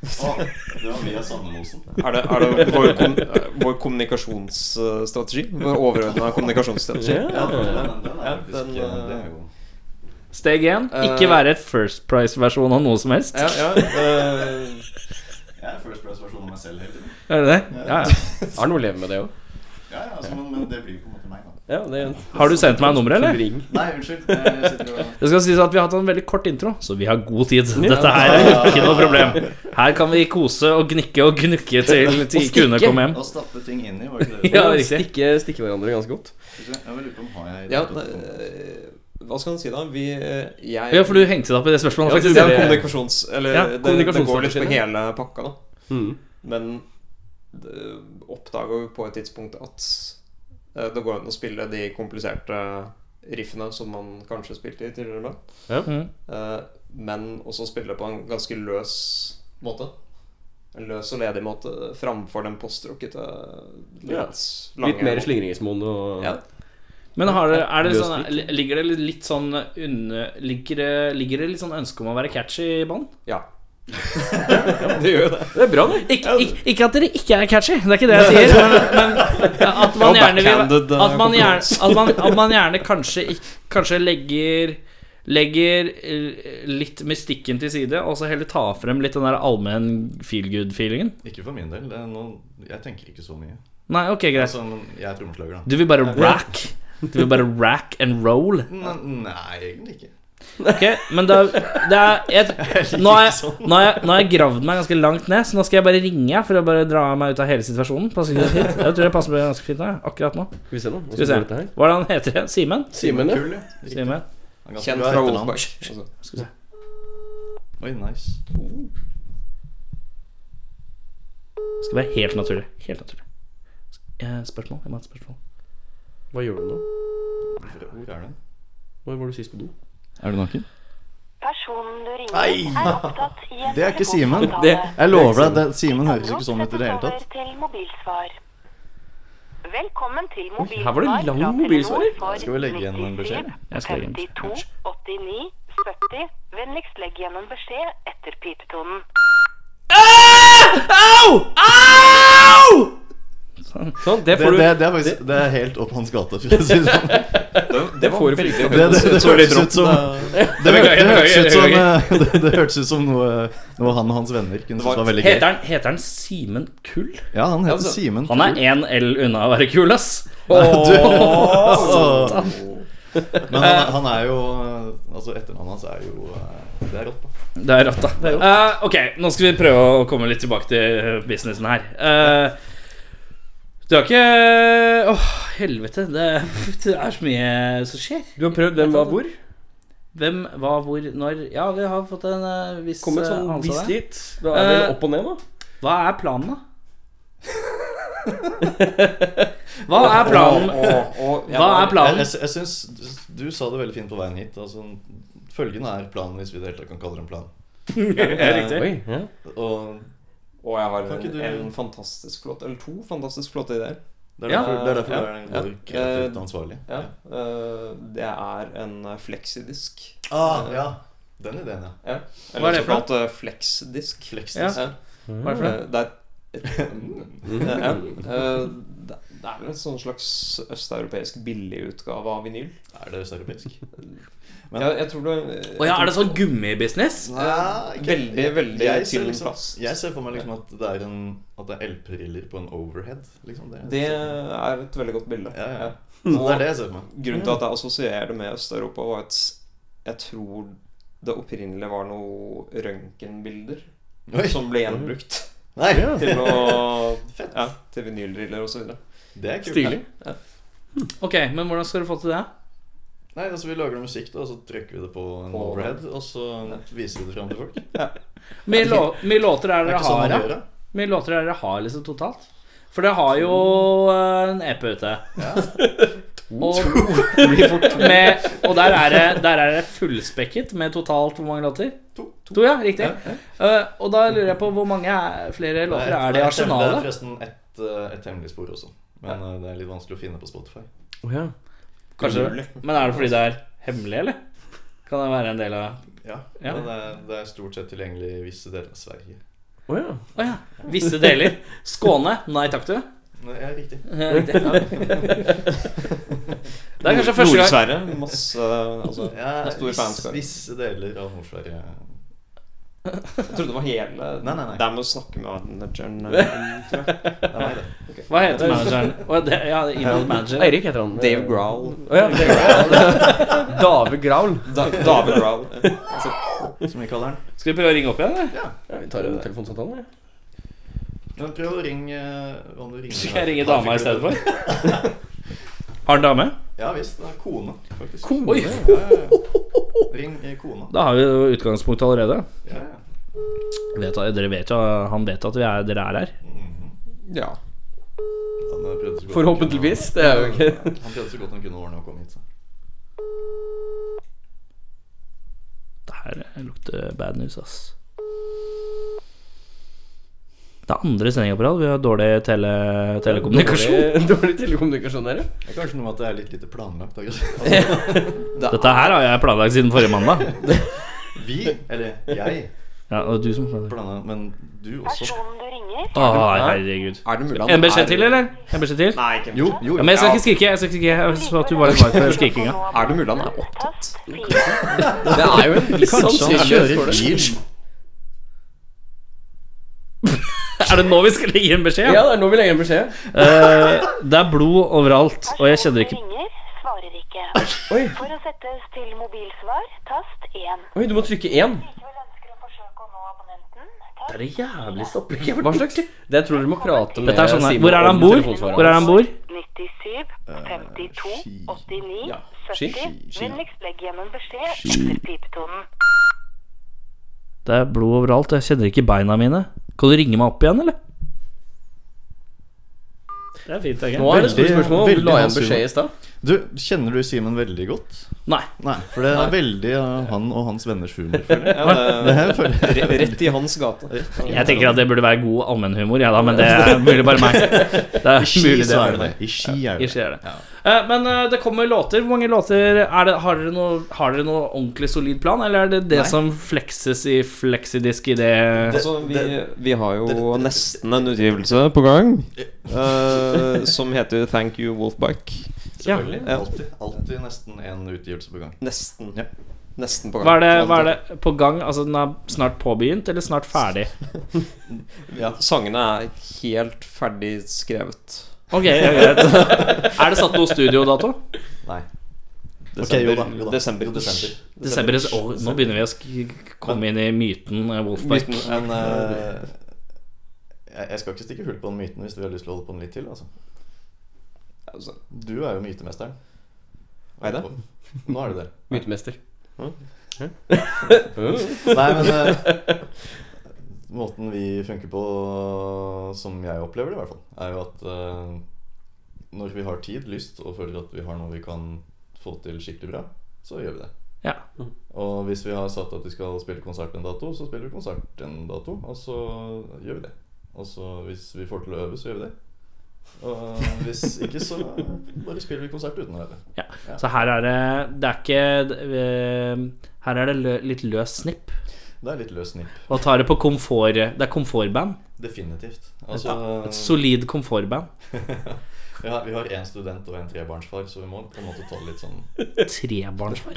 Å, det var via Sandemosen. er det, er det vår, kom, eh, vår kommunikasjonsstrategi? Vår overordna kommunikasjonsstrategi? Ja, den, den, den er faktisk den, eh, det eh, er jo Steg én Eh, ikke være et First Price-versjon av noe som helst. Ja, ja, eh, Jeg er first place-versjon av meg selv hele tiden. Er det det? Ja, ja. Er det noe å leve med, det òg? Ja, ja, altså, men, men det blir jo på en måte meg, da. Ja, det er Har du sendt meg nummeret, eller? Ring. Nei, unnskyld. Jeg sitter og Det skal sies at Vi har hatt en veldig kort intro, så vi har god tid. Dette her er ikke noe problem. Her kan vi kose og gnikke og gnukke til til stikke. kundene kommer hjem. og stapper ting inni. Var ikke det? Ja, Ja, riktig. stikke, stikke hverandre ganske godt. Jeg lurer på om har jeg ja eh, Hva skal en si, da? Vi eh, jeg, Ja, for du hengte deg opp i det spørsmålet. Ja, faktisk. det er kommunikasjons... Eller Ja, det, det går litt på kommunikasjonsstrategien. hele pakka, da. Mm. Men det- oppdaga jo på et tidspunkt at eh, det går an å spille de kompliserte riffene som man kanskje spilte i tidligere band, Mm. eh, men også spille på en ganske løs måte. En løs og ledig måte framfor den postrockete litt Ja. lange Litt mer måten. slingringsmonn og Ja. Men har det, er det sånn, Løsning. ligger det litt sånn unne, ligger, det, ligger det litt sånn ønske om å være catchy i bånn? Ja. det gjør jo det. Det er bra, det. Ikke, ikke, ikke at dere ikke er catchy, det er ikke det jeg sier. Men, men at man Det var gjerne vil backhanded, eh, At man gjerne, kompliment. at man, at man gjerne kanskje, ikk- kanskje legger Legger eh, litt mystikken til side, og så heller ta frem litt den der allmenn feel good-feelingen. Ikke for min del. det er noe- jeg tenker ikke så mye. Nei, ok, greit. Altså, men jeg er trommeslager, da. Du vil bare rack. Du vil bare rack and roll. Nei, nei, egentlig ikke. Ok, men da det er, jeg, nå, har jeg, sånn. nå, har jeg, nå har jeg gravd meg ganske langt ned, så nå skal jeg bare ringe jeg, for å bare dra meg ut av hele situasjonen. Passer ikke det fint? Jeg tror det passer meg ganske fint nå, jeg, akkurat nå. Skal vi se, nå. Skal vi se. Hva er det han heter igjen? Simen? Simen, ja. Kul, ja. Simen. Han er ganske Kjent bra fra etternavn. Wolfbach. Altså. Skal vi se. Oi, nice. Skal være helt naturlig. Helt naturlig. Eh, Spørsmål? Jeg må ha et spørsmål. Hva gjør du nå? Hvor hvor er den? Når var du sist på do? Er du naken? Personen du ringer Nei! er opptatt i en Det er ikke Simen. telefonsamtale. Jeg lover deg, det- Simen høres ikke sånn ut i det hele Anrop tatt. settes over til mobilsvar. Velkommen til mobilsvar. her var det lang fra Telenor mobilsvarer. for Skal vi legge igjen en beskjed? 93, Jeg skal legge igjen en beskjed. 52, 89, 70. Vennligst legg igjen en beskjed etter pipetonen. Au! Au! Sånn, det Det, får du. det, det er faktisk det er helt opp hans gate, for å si det sånn. Det, det får du veldig fryktelig Det, det, det, høyt. Så litt hørtes ut som rått. det, det, det hørtes ut som, eh, det, det hørtes ut som noe, noe han og hans venner kunne synes var veldig gøy. Heter han, heter han Simen Kull? Ja, han heter Altså, Simen. Han er én L unna å være kul, ass. Du- Altså, Men han, han er jo Altså etternavnet hans er jo eh, Det er rått, da. Det er rått, da. Eh, ok, nå skal vi prøve å komme litt tilbake til eh, businessen her. Eh, Du har ikke Åh, helvete. Det, det er så mye som skjer. Du har prøvd den hva hvor? Hvem, hva, hvor, når Ja, vi har fått en eh, viss Kommet eh, sånn anelse av visst det. dit. Da er det Eh, opp og ned, da. Hva er planen, da? Hva er planen? Hva er planen? Jeg, jeg, jeg syns du sa det veldig fint på veien hit. Altså, følgende er planen, hvis vi i det hele tatt kan kalle det en plan. riktig. Oi, ja. Og Og jeg har Kan ikke en, du- en fantastisk flott Eller to fantastisk flotte ideer. det er Ja. derfor, det er Ja. derfor du er en god Ja. kreativt ansvarlig. Ja. eh, det er en eh, fleksidisk. Ah, ja. Den ideen, ja. Ja. Hva er Eller det for noe? såkalt eh, fleksdisk. Fleksdisk. Ja. Hva er det for noe? Eh, Det er Eh, ja. Eh, det det er vel en sånn slags østeuropeisk billigutgave av vinyl. Er det østeuropeisk? Men- Jeg, jeg tror det Å ja, er det sånn gummibusiness? Ja, ikke- Veldig, jeg- veldig jeg ser til liksom, plast. Jeg ser for meg liksom at det er en At det er LP-briller på en overhead. Liksom det, Det er et veldig godt bilde. ja, ja. Ja. Så det er det jeg ser for meg. Grunnen til at jeg assosierer det med Øst-Europa, var at jeg tror det opprinnelig var noe røntgenbilder Oi. som ble gjenbrukt Nei, til, å, Fett. ja, til vinylriller osv. det er kult. Stilig. Ok, men hvordan skal du få til det? Nei, altså Vi lager noe musikk, da, og så trykker vi det på en På- overhead. Og så viser vi det fram til folk. Det Hvor mye lå- hvor mye låter er er det ikke dere sånn har, man da? gjør det. Hvor mye låter er det dere har liksom totalt? For dere har jo eh, en EP ute. Og, med, og der, er det, der er det fullspekket med totalt hvor mange låter? To. To, ja, riktig. Eh, og da lurer jeg på hvor mange er, flere låter er det i Nei, Det er arsenalet? forresten et, eh, et hemmelig spor også. Men eh, det er litt vanskelig å finne på Spotify. Å, ja. Kanskje, men er det fordi det er hemmelig, eller? Kan det være en del av Ja, Ja. Men det er, det er stort sett tilgjengelig i visse deler av Sverige. Å, ja. Å ja. Visse deler. Skåne. Nei takk, du. Nei, ja, riktig. Eh, riktig. Det er kanskje første gang Nord-Sverige. Masse altså, Ja, Det er stor fanskare. visse deler av Nord-Sverige. Jeg trodde det var hele Nei, nei, nei. Det er med å snakke med manageren. eh, tror jeg. Det er meg, det. Hva heter manageren? Å, det- Ja, innhold manager. Eirik heter han. Dave Growl. Å, ja. Dave Growl. Dave Growl. Da, David Growl. Eh, Altså, som vi kaller den. Skal vi prøve å ringe opp igjen, eller? Ja, vi tar en telefonsamtale, ja. Men prøv å ringe eh, om du ringer Skal jeg ringe dama i stedet for? Har han dame? Ja visst. Det er kone, faktisk. Oi, Ja, ja, ja. Ring eh, kona. da har vi jo utgangspunktet allerede. Ja, ja. Vet, dere vet jo, Han vet at vi er, dere er her. ja. Han eh, prøvde så godt Forhåpentligvis. Det er jo ikke Han kunne- han prøvde så godt han kunne ordne å komme hit. Så. Det her lukter bad news, ass. Det er andre sendinga på rad. Vi har dårlig tele, telekommunikasjon. Dårlig, dårlig telekommunikasjon, dere. Det er kanskje noe med at det er litt lite planlagt. da, kanskje. Altså, Dette her har jeg planlagt siden forrige mandag. Vi, eller jeg, Ja, og du som planlegger. planla, men du også. Personen du ringer, Å, herregud. Er det mulig han En beskjed er- til, eller? En beskjed til? Nei, ikke en Jo, beskjed. jo. Ja, men jeg skal ikke skrike. Jeg skal ikke skrike Jeg så at du var litt vei for skrikinga. Er det mulig han er opptatt? tast fire. Det er jo en viss sannsynlighet for det. bil. Er det nå vi skal gi en beskjed? Ja, det er nå vi legger en beskjed. Eh, det er blod overalt, og jeg kjenner ikke Personen du ringer, svarer ikke. Oi, For å settes til mobilsvar, tast 1. oi du må trykke én. Likevel ønsker å forsøke å nå abonnenten, tast det jævligste opplegget Hva slags? Det tror jeg du må prate med Dette er sånn her. Simon Hvor er det han om bor? telefonsvareren. Hvor er det han bor? 97 52 ski. 89 Eh, ski. 70. Vennligst legg igjen en beskjed etter pipetonen. Det er blod overalt, og jeg kjenner ikke beina mine. Kan du ringe meg opp igjen, eller? Det er fint, Nå er det stort Veldig- spørsmål. om Du veldig la igjen vanskelig. beskjed i stad. Du, Kjenner du Simen veldig godt? Nei. Nei, for det er veldig eh, han og hans venners humor. føler jeg. Ja, det, Jeg føler- re- rett i hans gate. Jeg tenker at det burde være god allmennhumor, ja da, men det er mulig bare meg. Det er mulig det så er er det. det. I ski er det. Ikke skjer det. Eh, Men eh, det kommer låter. Hvor mange låter er det, har, dere noe, har dere noe ordentlig solid plan, eller er det det som flekses i fleksidisk i det Altså, vi, vi har jo nesten en utgivelse på gang eh, som heter Thank You Wolfbike. Selvfølgelig. Ja. Alltid. Alltid nesten en utgivelse på gang. Nesten. Ja. Nesten på gang. hva er det, hva er det på gang? Altså den er snart påbegynt, eller snart ferdig? Ja, sangene er helt ferdig skrevet. Ok, ja, greit. Er det satt noe studiodato? Nei. Desember. Ok, jo da, jo da. Desember. Jo, desember. Desember Åh, Nå begynner vi å sk komme inn i myten eh, Wolfberg. Myten. Men eh, jeg jeg skal ikke stikke hull på den myten hvis vi har lyst til å holde på den litt til. Altså. altså, Du er jo mytemesteren. Er jeg det? Nå er du det. Mytemester. Nei, men eh, Måten vi funker på, som jeg opplever det i hvert fall, er jo at eh, når vi har tid, lyst og føler at vi har noe vi kan få til skikkelig bra, så gjør vi det. Ja. Og hvis vi har satt at vi skal spille konsert en dato, så spiller vi konsert en dato, og så gjør vi det. Og så hvis vi får til å øve, så gjør vi det. Og hvis ikke, så bare spiller vi konsert uten å øve. Ja. Så her er det Det er ikke eh, Her er det lø, litt løs snipp. Det er litt løs snipp. Og tar det på komfort Det er komfortband. Definitivt. Altså, Et solid komfortband. Ja, vi har én student og en trebarnsfar, så vi må på en måte ta det litt sånn Trebarnsfar.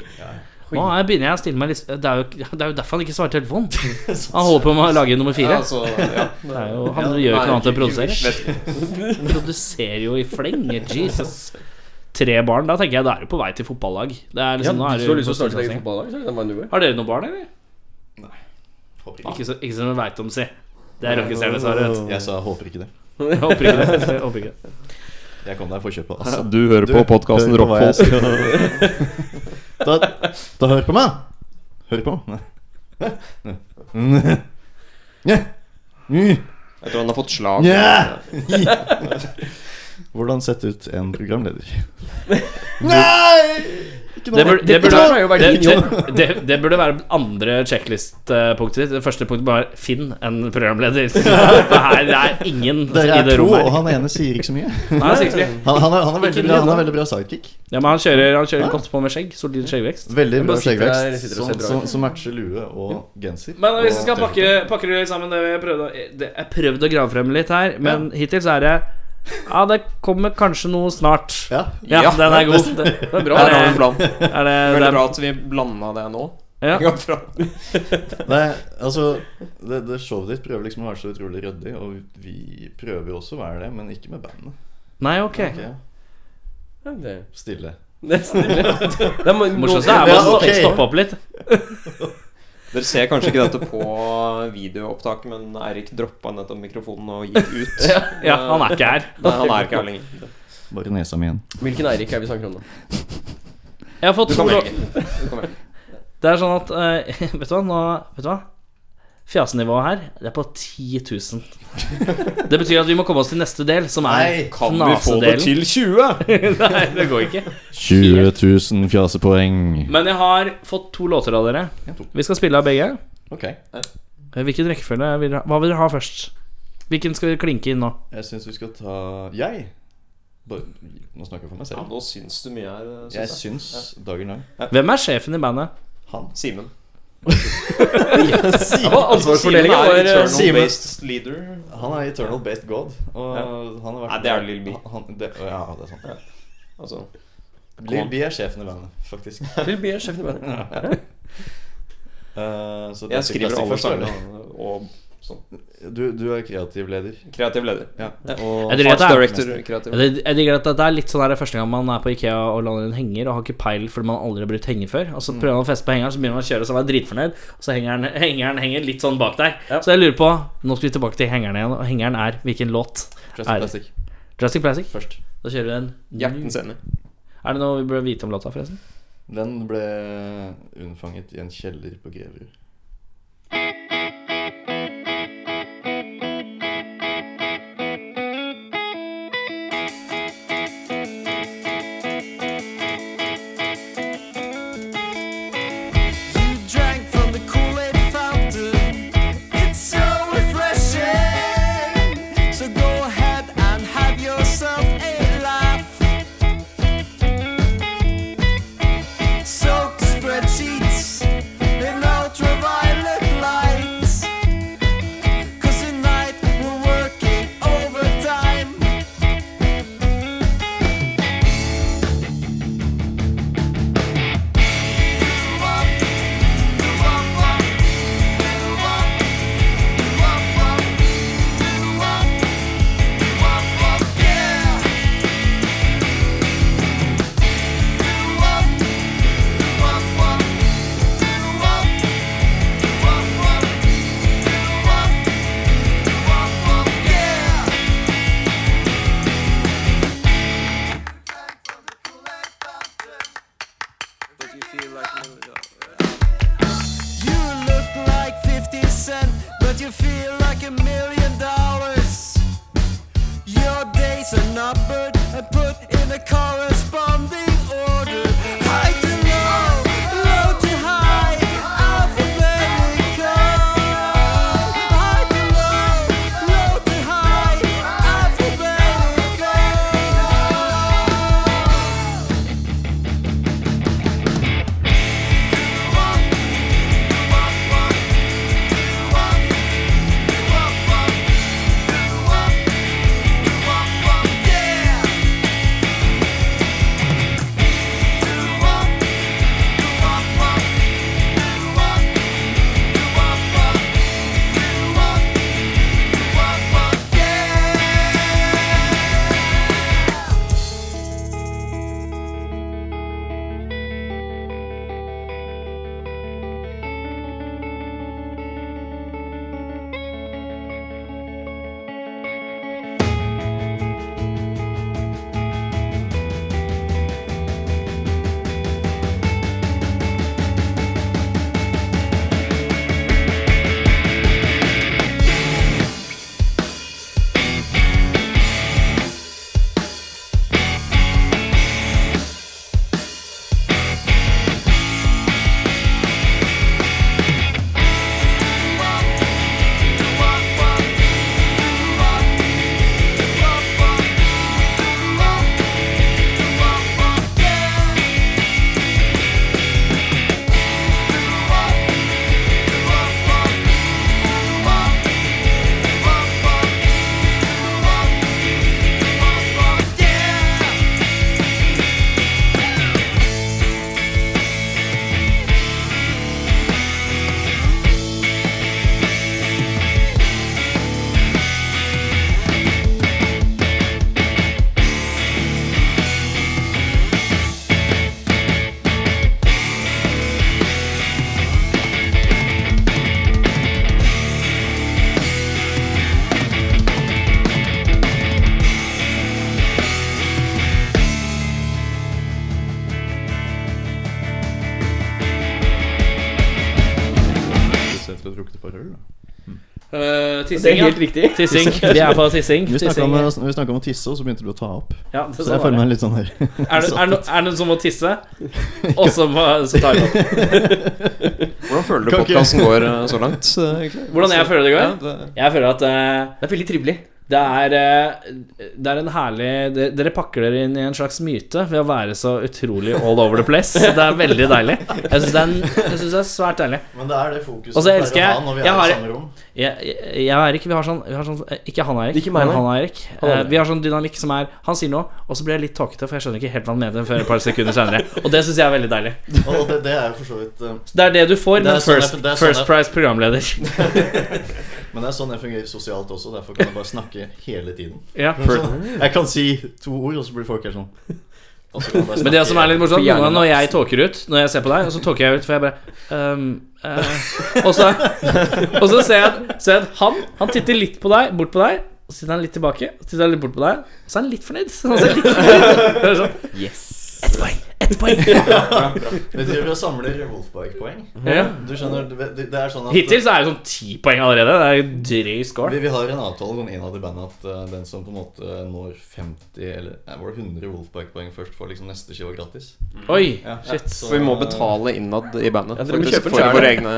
Nå er- begynner jeg å stille meg litt Det er jo, det er jo derfor han ikke svarte telefonen. sånn- Han holder på med å lage nummer fire. ja, altså, ja. Det er jo, han gjør jo ikke noe annet enn å produsere. Vet ikke. Han produserer jo i fleng. Jesus. Tre barn. Da tenker jeg da er du på vei til fotballag. Det er Ja, liksom, nå er hvis du har lyst til å starte ditt eget fotballag. fotballag, så er det den veien du går. Har dere noen barn, eller? Håper ikke. Ikke, så, ikke som jeg veit om, si. Det er rockestjerne, sa du. Jeg sa håper ikke det. Jeg håper ikke det. Jeg håper ikke det. Jeg kom der for kjøpet, altså. Du hører på podkasten hør på hva jeg Rockfolk. sier. da, da hør på meg! Hør på meg. Jeg tror han har fått slag. Nja! Hvordan sette ut en programleder? Nei! Ikke Det burde, det, burde, er jo det, verdien, det, det, det burde være det andre checklist-punktet ditt. Det første punktet bare finn en programleder. For her det er ingen Dere i er det to, og rommet. her. han ene sier ikke så mye. Nei, det er sikkert ikke. Han, han, er, han, er, veldig Ikke bra, han leder. er veldig bra sidekick. Ja, men han kjører, han kjører godt på med skjegg. Solid skjeggvekst. Veldig Jeg bra bare sitter der, skjeggvekst jeg sitter og som, ser bra som, ut. som matcher lue og genser. Men hvis og vi skal tørke. pakke, pakke det sammen det jeg prøvde, å- det, Jeg prøvde å grave frem litt her, men hittil så er det Ja, det kommer kanskje noe snart. Ja. Ja, den er god. Det, det er bra. Der har vi Er det, planen. er det, det Veldig er, bra at vi blanda det nå. Ja. Ja, fra- Nei, altså det, det Showet ditt prøver liksom å være så utrolig ryddig, og vi prøver jo også å være det, men ikke med bandet. Nei, ok. Ok, Ja, det, Stille. det er stille. Det er Morsomst er bare å Ja, ok. stoppe- stoppe opp litt. Dere ser kanskje ikke dette på videoopptaket, men Eirik droppa nettopp mikrofonen og gikk ut. Ja, han er ikke her. Nei, han er ikke her lenger. Bare nesa mi igjen. Hvilken Eirik er vi snakker om, da? Jeg har fått Du kan to velge. Du kan velge. Det er sånn at eh, Vet du hva? Nå, vet du hva? Fjasenivået her, det er på 10 000. Det betyr at vi må komme oss til neste del, som er Kan vi få det knasedelen. til 20? Nei, det går ikke. 20 000 fjasepoeng. Men jeg har fått to låter av dere. Vi skal spille av begge. Ok. Eh, Hvilken rekkefølge vil dere ha? Hva vil dere ha først? Hvilken skal vi klinke inn nå? Jeg syns vi skal ta Jeg. Bare, nå snakker jeg for meg Ja, selv. nå syns du mye her, syns Jeg jeg. syns dagen lang Hvem er sjefen i bandet? han Simen. Ansvarsfordelinga eh, Simen er var internal Simen. based leader. Han er eternal based god. Og han har vært Nei, det er Lil B. Han, det, ja, det er sant. Altså, Lil B er sjefen i bandet, faktisk. Vil bli sjefen i bandet. Eh, så det er jeg skriver plastikk alle først, sangene. eller? Og sånn. Du, du er kreativ leder. Kreativ leder. Ja. Og Jeg digger at Arts det er- director. Kreativ. jeg jeg digger at det er litt sånn her første gang man er på Ikea og lander en henger og har ikke peil fordi man aldri har brukt henger før. Og så prøver man å feste på hengeren, så begynner man å kjøre og så er man dritfornøyd. Og så hengeren, hengeren henger litt sånn bak der. Så jeg lurer på Nå skal vi tilbake til hengeren igjen, og hengeren er hvilken låt? Jurassic Plastic Drastic Plastic? først. Da kjører vi den. Hjertens enig. Er det noe vi bør vite om låta, forresten? Den ble unnfanget i en kjeller på Greverud. Soaked spreadsheets in ultraviolet light. feel like a million dollars. Your days are numbered and put in a corresponding order. High to low, low to high, alphabetical. High to low, low to high, alphabetical. Se til å drukne på et øl, da. Eh, Det tissing, er ja. helt riktig. Tissing. Vi er på tissing. Vi snakka Tissing. om, vi snakket om å tisse, og så begynte du å ta opp. Ja, det Så sånn jeg er føler det. meg litt sånn her. Er det, er, det, er det noen som må tisse, og så, må- så tar vi opp? Hvordan føler du Kan ikke- podkasten går eh, så langt? eh, egentlig? Hvordan jeg føler det går? Ja, det- Jeg føler at eh, Det er veldig trivelig. det er, eh, det er en herlig de- Dere pakker dere inn i en slags myte ved å være så utrolig all over the place. Det er veldig deilig. Jeg syns det, er en- jeg synes det er svært deilig. Men det er det fokuset Og så vi elsker jeg- pleier å ha når vi jeg er har- i samme rom. Jeg, jeg, jeg og Eirik, vi har sånn, vi har sånn eh, Ikke han Eirik, Ikke meg, men nei. han og Eirik. Han og Eh, Eirik. vi har sånn dynamikk som er Han sier noe, og så blir jeg litt tåkete, for jeg skjønner ikke helt hva han mener før et par sekunder senere. Og det syns jeg er veldig deilig. Og det, det er jo for så vidt eh, Så det er det du får Det er med sånn jeg- First, det er sånn first jeg- Price-programleder. Men det er sånn jeg fungerer sosialt også. Derfor kan jeg bare snakke hele tiden. Ja. Sånn, jeg kan si to ord, og så blir folk helt sånn. Og så kan jeg bare Men det snakke- som er litt morsomt, For noen ganger hjernen når jeg tåker ut Når jeg ser på deg, og så tåker jeg ut, for jeg bare ehm, eh, og, så, og så ser jeg at, ser jeg at han, han titter litt på deg, bort på deg, og så titter han litt tilbake, og så titter han litt bort på deg, og så er han litt fornøyd. Så han ser litt fornøyd. Det er sånn, Ett poeng, ett poeng. Vi driver og samler Wolfbike-poeng. Ja. Du skjønner, det, det- det er sånn at Hittil så er det sånn ti poeng allerede. Det er jo drøy score. vi, vi har en avtale sånn innad i bandet at eh, den som på en måte når 50 eller nei, var det 100 Wolfbike-poeng først, får liksom neste skiva gratis. Oi, Ja, shit. så- For vi må betale innad i bandet. Ja, dere må faktisk, kjøpe den for selv, vår ja. egne,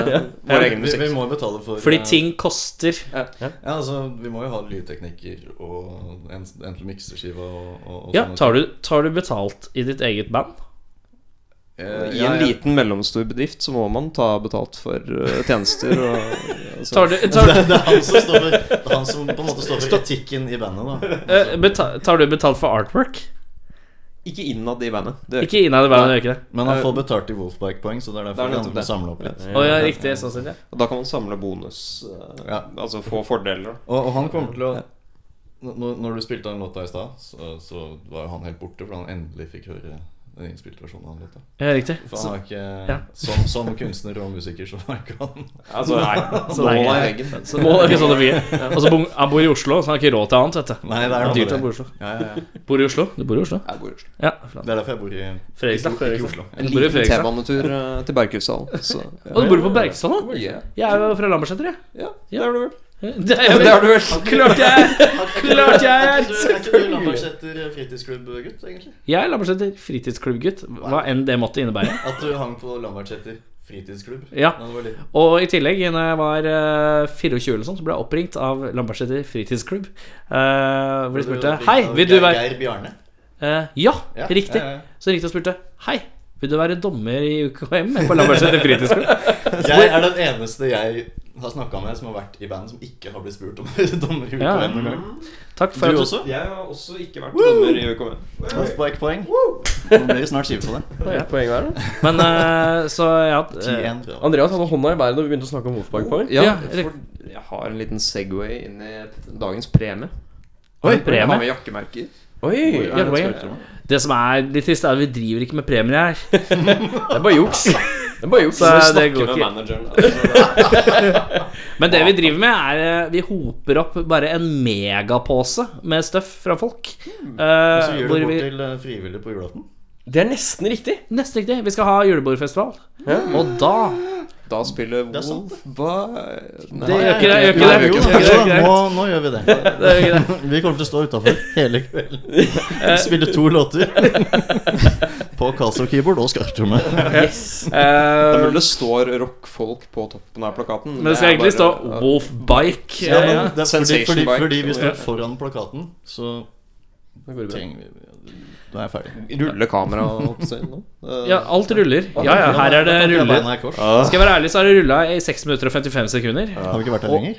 vår egen Vi, vi musikk. må jo betale for Fordi eh, ting koster. Ja, altså, Vi må jo ha lydteknikker og en, en til mikseskive og, og, og Ja, sånne tar ting. du, tar du betalt i ditt eget band? Eh, I ja, en ja. liten mellomstor bedrift så må man ta betalt for eh, tjenester og altså, Tar du, tar, Det er han som, står for, det er han som på en måte står for etikken i bandet. da eh, beta- tar du betalt for artwork? Ikke innad i bandet. Det gjør ikke Ikke innad i bandet, gjør ikke det? Men han får betalt i Wolfbike-poeng, så det er Det derfor er vi nettopp andre må det. samle opp litt. Å ja, riktig. Sånn sett, ja. Og Da kan man samle bonus. eh, Ja. Altså få fordeler. Og, og han kommer til å Når, når du spilte den låta i stad, så, så var jo han helt borte, for han endelig fikk høre den innspilte versjonen av den låta. ja riktig. For han var ikke ja. som, som kunstner og musiker, så var ikke han Altså, nei, Så målet lenge- er veggen. Så må det ikke sånn det blir. Og så bor han bor i Oslo, så han har ikke råd til annet, vet du. Nei, det er Det er dyrt å bo i det. Oslo. Ja, ja, ja. Bor i Oslo? Du bor i Oslo? Jeg bor i Oslo. Ja. faen. Det er derfor jeg bor i Fredrikstad. Ikke- ikke Oslo. Du bor En i liten Fredrikstad. T-banetur eh, til Berghugshallen. så- Og du bor på Bergstad nå? Ja. Jeg er jo fra Lambertseter, jeg. Ja, det er det vel. Det er jeg vel- Klart jeg Klart jeg er selvfølgelig. Lambertseter eh, fritidsklubb-gutt, egentlig? Jeg er Lambertseter fritidsklubbgutt, hva enn det måtte innebære. At du hang på Lambertseter fritidsklubb? Ja. da du var liten. Og i tillegg, når jeg var eh, 24 eller sånn, så ble jeg oppringt av Lambertseter fritidsklubb. eh, hvor de Ble du spurte oppringt Hei, av vil du Geir- være Geir Bjarne? Eh, ja, Ja, riktig. ja, ja. Så ringte jeg og spurte Hei, vil du være dommer i UKM på Lambertseter fritidsklubb? Jeg er den eneste jeg har snakka med som har vært i band, som ikke har blitt spurt om å være dommer i Ja. UKM noen gang. Takk for at du du- også. Jeg har også ikke vært Woo! dommer i UKM. Halfbike-poeng. Nå blir det snart skive på deg. Det er et poeng hver, da. Men eh, så ja, eh, 10-1, tror jeg. Andreas hadde hånda i været da vi begynte å snakke om Wolfgang Poeng. Ja, Ja, for jeg har en liten Segway inn i dagens premie. Oi, Jeg har premie. med jakkemerker. Oi, Ja, det var gøy. Det som er litt trist, er at vi driver ikke med premier her. det er bare juks. Det er bare juks. Så Så det snakker går med ikke. manageren. Altså, Men det vi driver med, er eh, Vi hoper opp bare en megapose med støff fra folk. Og Eh, så gjør hvor du bort vi til eh, frivillige på julaften. Det er nesten riktig. Nesten riktig. Vi skal ha julebordfestival. Og da da spiller er sant, Wolf Bye. Det gjør ikke det. Gjør Nei, ikke det. Gjør jo, kanskje ikke da. det. Nå, nå gjør vi det. Det gjør ikke det. Vi kommer til å stå utafor hele kvelden. Eh. Spille to låter. På Casio Keyboard og skarptromme. Det er Eh, mulig det står rockfolk på toppen av plakaten. Men det skal egentlig stå Wolf. Wolf Bike. Ja, men det er fordi, Sensation fordi, bike. fordi vi står foran plakaten, så Det går bra. trenger vi Da er jeg ferdig. Rulle kamera og alt sånt. Ja, alt ruller. Ja, ja, her er det Da Eh, kan jeg ruller. beina i kors. Skal jeg være ærlig, så har det rulla i 6 minutter og 55 sekunder. Har vi ikke vært der lenger?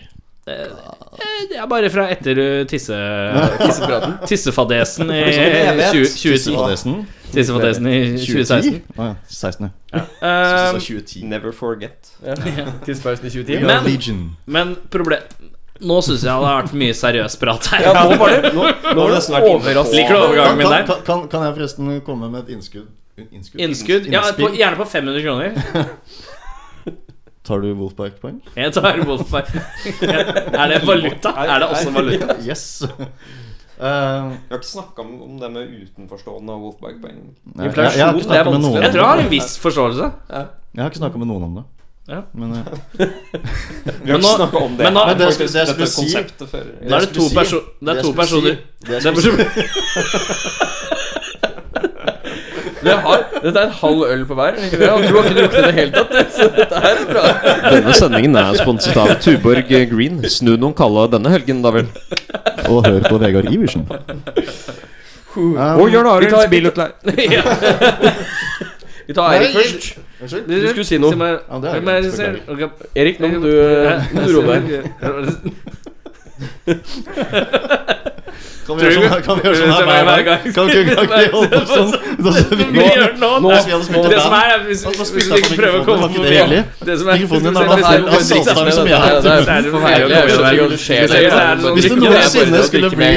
Eh, Det er bare fra etter uh, tisse, tissepraten. Tissefadesen i 20, 2010. Tissepadesen. Tissefadesen i 2016. 2010? Å ja, 16. Eh, Så 2010. Never forget. Tidspausen i 20 Men- timer. Legion. men problem Nå syns jeg det har vært for mye seriøs prat her. Ja, nå var det Nå, nå var det nesten vært inne på- overraskende. Liker du Kan, overgangen min kan, der? kan- kan, kan jeg forresten komme med et innskudd? Innskudd? Innskudd? Ja, på, Innspill. gjerne på 500 kroner. Tar du Wolfpark-poeng? Jeg tar Wolf Bike. Er det valuta? Er det også valuta? Yes. Eh, Vi har ikke snakka om om det med utenforstående og Wolfberg-poeng. Nei, jeg- Inflasjon, jeg har ikke det er snakket med noen om vanskelig. Jeg tror jeg har en viss forståelse. Jeg har ikke snakket med noen om det. Ja. Men eh, Vi Men nå- har ikke snakka om det. men nå- Men det jeg skulle- faktisk, det jeg dette skulle si- konseptet før. Da er det to, skulle si- perso det er jeg to skulle personer si- det det er jeg person Dere har, dette er en halv øl på hver. ikke det? Du har ikke drukket i det hele tatt. Så dette her er bra. Denne sendingen er sponset av Tuborg Green. Snu noen kalde denne helgen, da vel. Og hør på Vegard Iversen. Og Jørn Vi tar- Arilds bilutleie. Ja. Vi tar Eirik først. Unnskyld? Du skulle si noe. Ja, det er Men- greit, Erik, nå må du, nå må du roe deg. Kan vi gjøre sånn, kan vi gjøre sånn her hver Hver gang? gang. Kan vi kan vi holde på sånn? Da så vi Vi gjør det nå. Nå skal vi ha det spilt i Det som band. er, er hvis, Og så hvis spytter du jeg på ikke prøver å komme mikrofonen, var ikke på det heldig? Det som er Mikrofonen din hvis- er hvis- da feil. hvis- Det er saltstang som jeg har. Det er- det er forferdelig. Jeg skjønner ikke hva som skjer. Hvis det- Hvis det noensinne skulle bli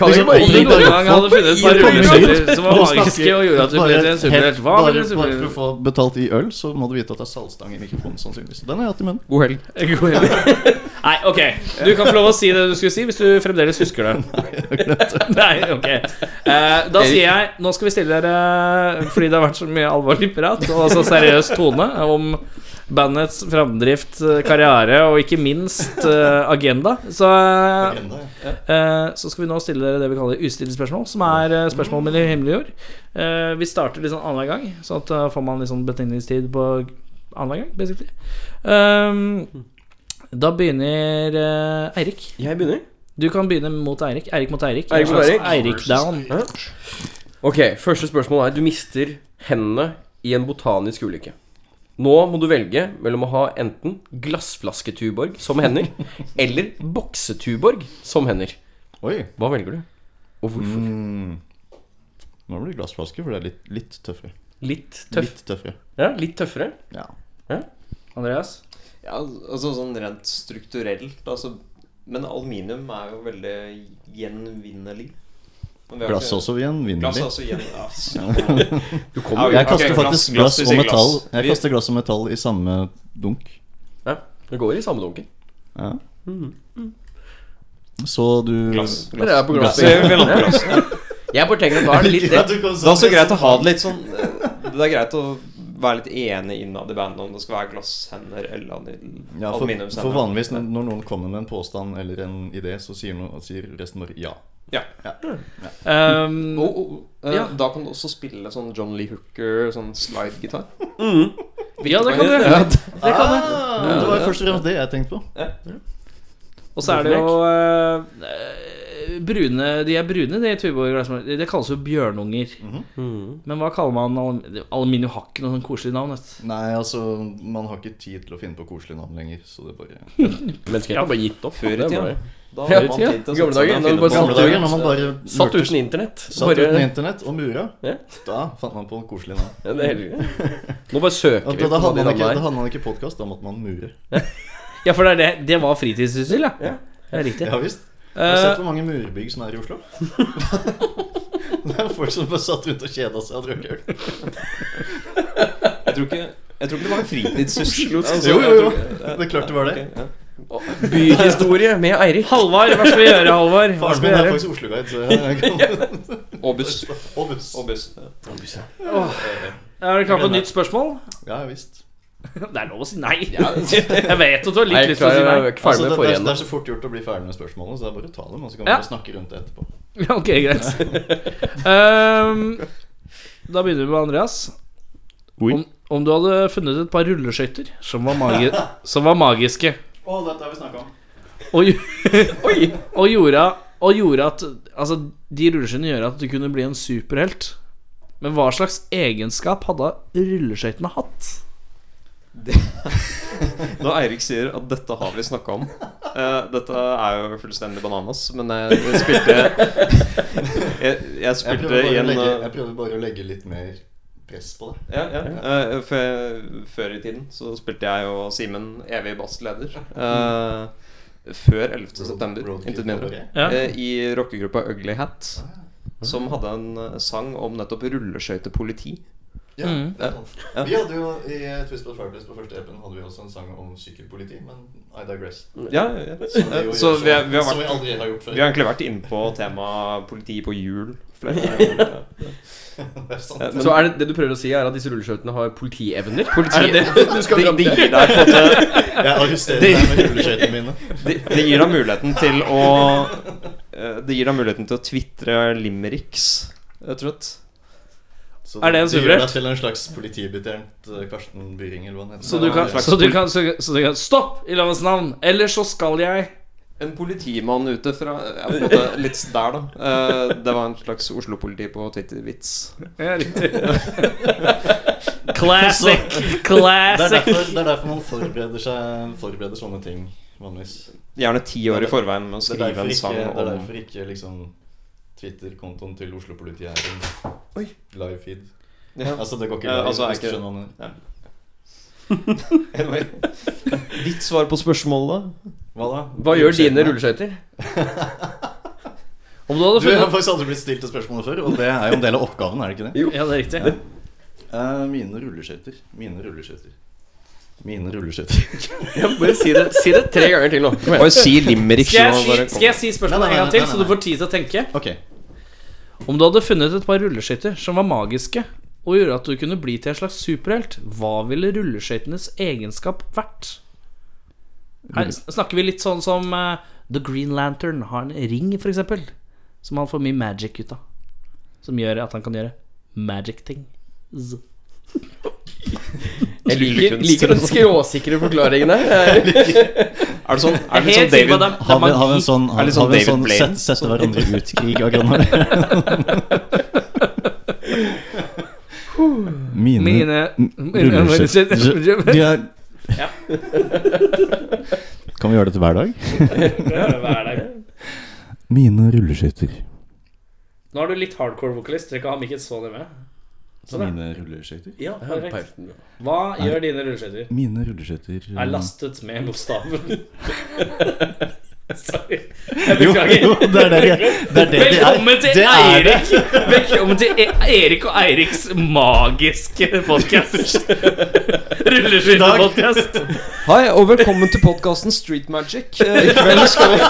Kan vi Liksom, bare Om du gi noen det? gang hadde funnet et par Kom hit. rulleskøyter som var Nå magiske snakker- og gjorde at du ble bare til en superhelt, helt- hva bare- ville du Bare for å superhelt? få betalt i øl, så må du vite at det er saltstang i mikrofonen, sannsynligvis. Den har jeg hatt i munnen. God helg. Nei, ok. Du kan få lov å si det du skulle si, hvis du fremdeles husker det. Nei, ok Eh, Da sier jeg Nå skal vi stille dere Fordi det har vært så mye alvorlig prat Og så seriøs tone Om bandets framdrift, eh, karriere Og ikke minst eh, agenda så, eh, så skal vi nå stille dere det vi kaller ustilte spørsmål Som er eh, spørsmål mellom himmel og jord Eh, Vi starter liksom annen gang Sånn at da får man liksom betingningstid på annen gang, basically Ehm, Da begynner eh, Eirik Jeg begynner. du kan begynne mot Eirik. Eirik mot Eirik. Eirik mot Eirik. Eirik down. Ok, Første spørsmål er Du mister hendene i en botanisk ulykke. Nå må du velge mellom å ha enten glassflasketuborg som hender, eller boksetuborg som hender. Oi. Hva velger du? Og hvorfor? Nå blir det glassflaske, for det er litt, litt tøffere. Litt tøff. Litt tøffere. Ja, litt tøffere. Ja. Andreas? Ja, altså sånn rent strukturelt, altså Men aluminium er jo veldig gjenvinnelig. Men vi har Glass ikke- også gjenvinnelig. Glass er også gjen... Ja, Du kommer Jeg Ok, kaster glass, faktisk glass, glass, vi og sier metall glass. Jeg Vi- kaster glass og metall i samme dunk. Ja, det går i samme dunken. Ja. Så du glass. Dere er på glasset. Så vi lander på glass. Jeg bare tenker at da er det litt det. Det er også greit å ha det litt sånn eh, Det er greit å være litt enig innad i bandet om det skal være glasshender eller aluminium- Ja, for, aluminiumshender. for vanligvis når når noen kommer med en påstand eller en idé, så sier, noen, sier resten bare ja. Ja. Um, Oh, oh, oh. Eh, Ja. Da kan du også spille sånn John Lee Hooker, sånn slide-gitar. ja, det kan du. Det kan du. Ah! det var jo først og fremst det jeg tenkte på. Og så er det jo eh, brune De er brune, de Tuborg glassmaler. Det kalles jo bjørnunger. Mhm. Mm. Men hva kaller man alum- aluminium? Har ikke noe sånn koselig navn. Vet. du. Nei, altså, man har ikke tid til å finne på koselige navn lenger, så det bare Menneskeheten har bare gitt opp. Før i Det er tida. bare- Da Ja, har man ja. tid til å Gamle sette seg dager, da ned og finne var det på I gamle Satt dager, ut- når man bare Satt lurte- uten internett. satt Bare- uten internett og mura, Ja. da fant man på koselige navn. Ja, det er helt greit. Nå bare søker Og vi da, på da, hadde de man ikke, da navnene her. hadde man ikke podkast, da måtte man mure. Ja, for det, er det, det var fritidssyssel, ja. ja. Det er riktig. Ja visst. Har du Eh, sett hvor mange murbygg som er i Oslo? det er folk som bare satt rundt og kjeda seg og drakk øl. Jeg tror ikke, jeg tror ikke det var en fritidssyssel. Jo, jo, jo. Det er klart det var det. Byhistorie med Eirik. Halvard, hva skal vi gjøre, Halvard? Hva Faren skal min vi er gjøre? faktisk Oslo-guide, så jeg kan Og buss. Og buss. Og buss. Er du klar for et nytt spørsmål? Ja visst. Det er lov å si nei. Jeg vet at du har litt lyst til å si jeg nei. er ikke Altså, ferdig med det, det, er, det forrige er så fort gjort å bli ferdig med spørsmålene, så det er bare å ta dem, og så kan vi Ja. bare snakke rundt det etterpå. Ja, ok, greit. Ehm, da begynner vi med Andreas. Oi. Om, om du hadde funnet et par rulleskøyter som, var magi- som var magiske, Å, dette har vi snakka om. og, gj- og, gjorde, og gjorde at Altså, de rulleskøytene gjør at du kunne bli en superhelt. Men hva slags egenskap hadde rulleskøytene hatt? Når Eirik sier at 'dette har vi snakka om' eh, Dette er jo fullstendig bananas, men jeg, jeg spilte Jeg, jeg Jeg spilte i prøvde, bare å en legge, eh, jeg prøvde bare å legge litt mer press på det. Ja, ja. Eh, før, jeg- før i tiden så spilte jeg og Simen evig bassleder. Eh, før 11. september, roadkill intet mindre. Ja. Eh, I rockegruppa Ugly Hat. Som hadde en eh, sang om nettopp rulleskøytepoliti. Ja, Mm. Mhm. det er sant. Vi hadde jo i eh, Twist but Fireplace på første appen hadde vi også en sang om sykkelpoliti, men I digress. Ja, ja. Som vi jo Eh, Så gjør vi, har- som- vi, har som vi vært, aldri har gjort før. vi har egentlig vært inne på temaet politi på hjul flere ganger. Det er sant. Eh, gang. men- Så er det, det du prøver å si, er at disse rulleskøytene har politievner? Er det det du skal det, fram det, til? gir deg på en måte Jeg arresterer deg med rulleskøytene mine. det, det gir deg muligheten til å eh, Det gir deg muligheten til å tvitre limericks, eh, rett og slett. Så Er det en du gjør superhelt? deg til en slags politibetjent eh, Karsten Byring, eller hva han heter. Så du kan, Ja, så du kan, så, så du kan Stopp i lovens navn! Eller så skal jeg En politimann ute fra ja, på en måte Litt der, da. Eh, det var en slags Oslo-politi på Twitter-vits. Ja, riktig. Classic! Classic! Det er, derfor, det er derfor man forbereder, seg, forbereder sånne ting vanligvis. Gjerne ti år i forveien med å Det er skrive derfor en ikke, sang det er om derfor ikke liksom Twitter-kontoen til Oslo-politiet er en live-feed. ja. Altså, det går ikke Ja, live. altså, er hvis du ikke- skjønner hva jeg mener. anyway. Ditt svar på spørsmålet? Hva da? Hva gjør dine rulleskøyter? Om du hadde Du jeg har funnet faktisk aldri blitt stilt det spørsmålet før, og det er jo en del av oppgaven, er det ikke det? Ja, det er riktig. Eh, mine rulleskøyter. Mine rulleskøyter. Mine rulleskøyter. Ja, bare si det, si det tre ganger til nå. Kom igjen. Bare si limericks. Skal jeg, nå, bare si, kom. skal jeg si spørsmålet Nei, nei, en gang nei, til, nei, så nei. du får tid til å tenke? Ok. Om du hadde funnet et par rulleskøyter som var magiske, og gjorde at du kunne bli til en slags superhelt, hva ville rulleskøytenes egenskap vært? Her s- snakker vi litt sånn som eh, The Green Lantern har en ring, f.eks., som han får mye magic ut av. Som gjør at han kan gjøre magic ting. Z. Jeg liker, liker den skråsikre forklaringen her. Er det sånn, er det Jeg er litt helt sikker på sånn at det David er- det er magi. sånn, Er det sånn har vi en David sånn Blaine? Sånn- sett- sette hverandre ut-krig akkurat nå? Mine, Mine rulleskøyter De er Kan vi gjøre dette hver dag? Mine rulleskøyter. Nå er du litt hardcore vokalist, trenger ikke å ha mikken så nærme. Sånn, ja. Mine rulleskøyter? Ja, perfekt. Hva gjør dine rulleskøyter? Mine rulleskøyter er lastet med bokstaven. Sorry. Jeg Jo, beklager. jo, det er det de er. Det er det de er. Velkommen til Det er det. Eirik Velkommen til E- Erik og Eiriks magiske podcast Rulleskøytepodkast. Hei, og velkommen til podkasten Street Magic. Eh, I kveld skal vi,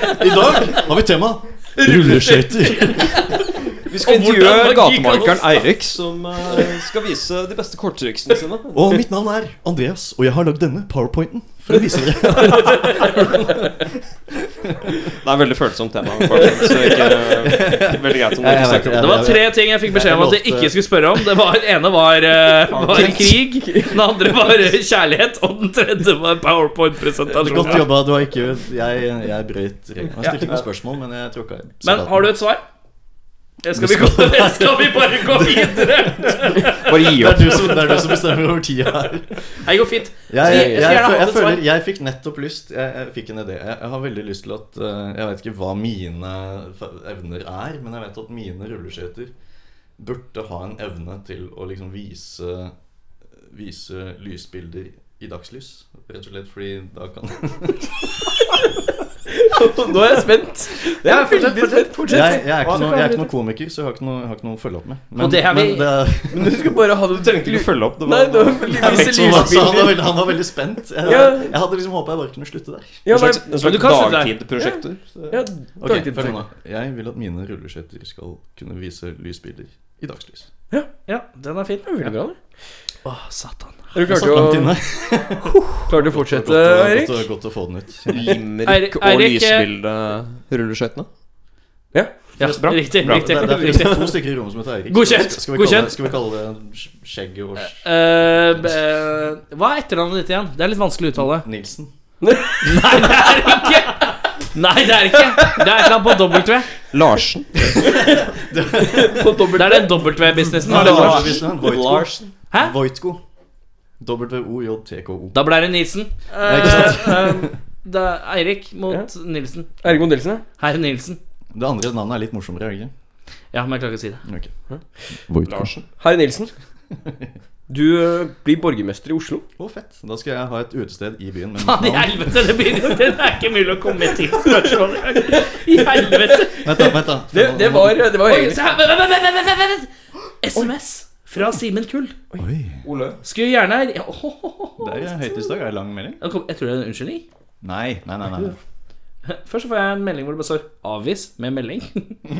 I dag har vi tema rulleskøyter. vi Og hvordan skal intervjue magi kan gatemarkeren oppstå. Eirik, som eh, skal vise de beste korttriksene sine. Og mitt navn er Andreas, og jeg har lagd denne powerpointen for å vise dere. Det er veldig følsomt tema. Korttriks, Så ikke, veldig greit om du ikke snakker om Det var tre ting jeg fikk beskjed om at jeg ikke skulle spørre om. Det var, ene var, eh, var krig, den andre var eh, kjærlighet, og den tredje var Godt powerpoint-presentasjon. jobba. Det var ikke Jeg, jeg brøyt reglene. Jeg stilte ikke noe spørsmål, men jeg tråkka i. Men har du et svar? Eh, Skal vi, gå, skal vi bare gå videre? Bare gi det opp. er, du som, det er du som bestemmer over tida her. Jeg, Nei, det går fint. jeg, jeg, jeg skulle gjerne hatt et føler, svar. jeg fikk nettopp lyst Jeg, jeg fikk en idé. Jeg, jeg har veldig lyst til at eh, Jeg vet ikke hva mine fa- evner er, men jeg vet at mine rulleskøyter burde ha en evne til å liksom vise Vise lysbilder i dagslys. Rett og slett fordi da kan Nå er jeg spent. Ja, fortsett, fortsett, Jeg, jeg, er ikke noe, jeg er ikke noen komiker, så jeg har ikke noe, jeg har ikke noe å følge opp med. Men, Og det er vi- men det, Men du skulle bare ha det, du trengte ikke å følge opp. Det Nei, var, det var veldig Jeg visse fikk sånn, altså, han, var lysbilder. veldig, han var veldig spent. Jeg, Ja. jeg hadde liksom håpa jeg bare kunne slutte der. Ja, en slags, men- en men du slags kan sette deg. dagtidprosjekter. Ja, Ok, dagtid- følg med nå. Jeg vil at mine rulleskøyter skal kunne vise lysbilder i dagslys. ja, den er fin. Veldig bra, det. Å, satan. Du Jeg klarte satt å, langt inne. klarte å Godt, fortsette, å- Erik. godt, å- godt å få den ut. Limerick og Eirik, eh, lysbilderulleskøytene. Ja, riktig. Bra. Det, riktig, er- det er riktig. faktisk to stykker i rommet som heter Eirik. Godkjent, Skal vi, kalle, godkjent. det- skal vi kalle det sk- skjegget og sk- Eh, b- eh, hva er etternavnet ditt igjen? Det er litt vanskelig å uttale. Nilsen? Nei, det er det ikke! Nei, det er det ikke. Det er et eller annet på W. Larsen. Det er den W-businessen. Nei, var det det var- bra. hvis det er en Voitko. Hæ? Voitko. W-O-J-T-K-O. Da ble det Nilsen. Ja, ikke sant? Det er Eirik mot Nilsen. Erik Mondelsen, ja. Herr Nilsen. Det andre navnet er litt morsommere, er det ikke? Ja, men jeg klarer ikke å si det. Ok. Herre Nilsen. Du eh, blir borgermester i Oslo. Å, fett. Da skal jeg ha et utested i byen med mitt Faen i navn. helvete, det, blir, det er ikke mulig å komme til spørsmålet. I helvete. Vent, da. vent da Det, det var, det var Oi, egentlig se her. Vent, vent, vent, vent, vent, vent. SMS fra Simen Kull. Oi. Ole. Skulle gjerne ja, oh, oh, oh, oh. Det er høytidsdag. Er det lang melding? Jeg kom- jeg tror det er en unnskyldning. Nei. Nei, nei, nei. nei. Først så får jeg en melding hvor det bare står 'avvis' med melding.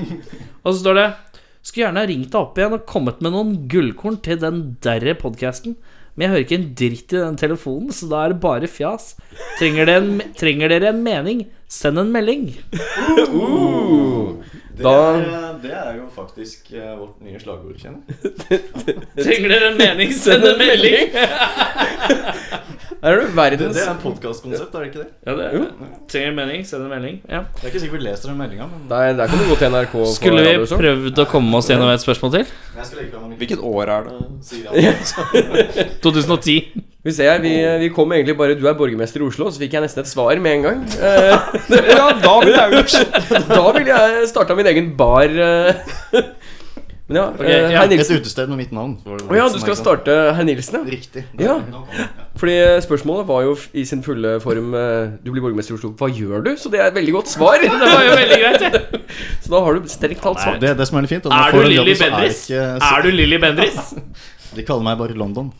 og så står det 'Skulle gjerne ha ringt deg opp igjen og kommet med noen gullkorn til den derre podkasten', men jeg hører ikke en dritt i den telefonen, så da er det bare fjas. Trenger, det en, trenger dere en mening, send en melding. Det, Da- er, eh, det er jo faktisk eh, vårt nye slagord, kjenner jeg. Trenger dere en mening, send en melding. Der er du Det, verdens det er podkastkonsept, er det ikke det? Ja, det er, trenger en mening, send en melding. Ja. Jeg er ikke sikker vi leser den meldinga, men Der, der kan du gå til NRK. på Skulle radio vi og sånn. prøvd å komme oss gjennom et spørsmål til? jeg skal legge fram en Hvilket år er det? Sier 2010. Vi ser her, vi, eh, vi kom egentlig bare Du er borgermester i Oslo, så fikk jeg nesten et svar med en gang. Eh, ja, da ville jeg jo Da ville jeg starta min egen bar. eh. Men ja, eh, ja, Herr Et Nilsen. utested med mitt navn. Å Å ja, du skal starte Herr Nilsen, ja. Riktig. Ja. Nå kommer den, ja. Fordi eh, spørsmålet var jo f- i sin fulle form eh, Du blir borgermester i Oslo, hva gjør du? Så det er et veldig godt svar. Det var jo veldig greit. det. Så da har du strengt talt Så svar. det, det som er litt fint, at når Er jeg du får den Lilly jobben, så Bendriss? er jeg ikke, Er du Lilly Bendriss? så, de kaller meg bare London.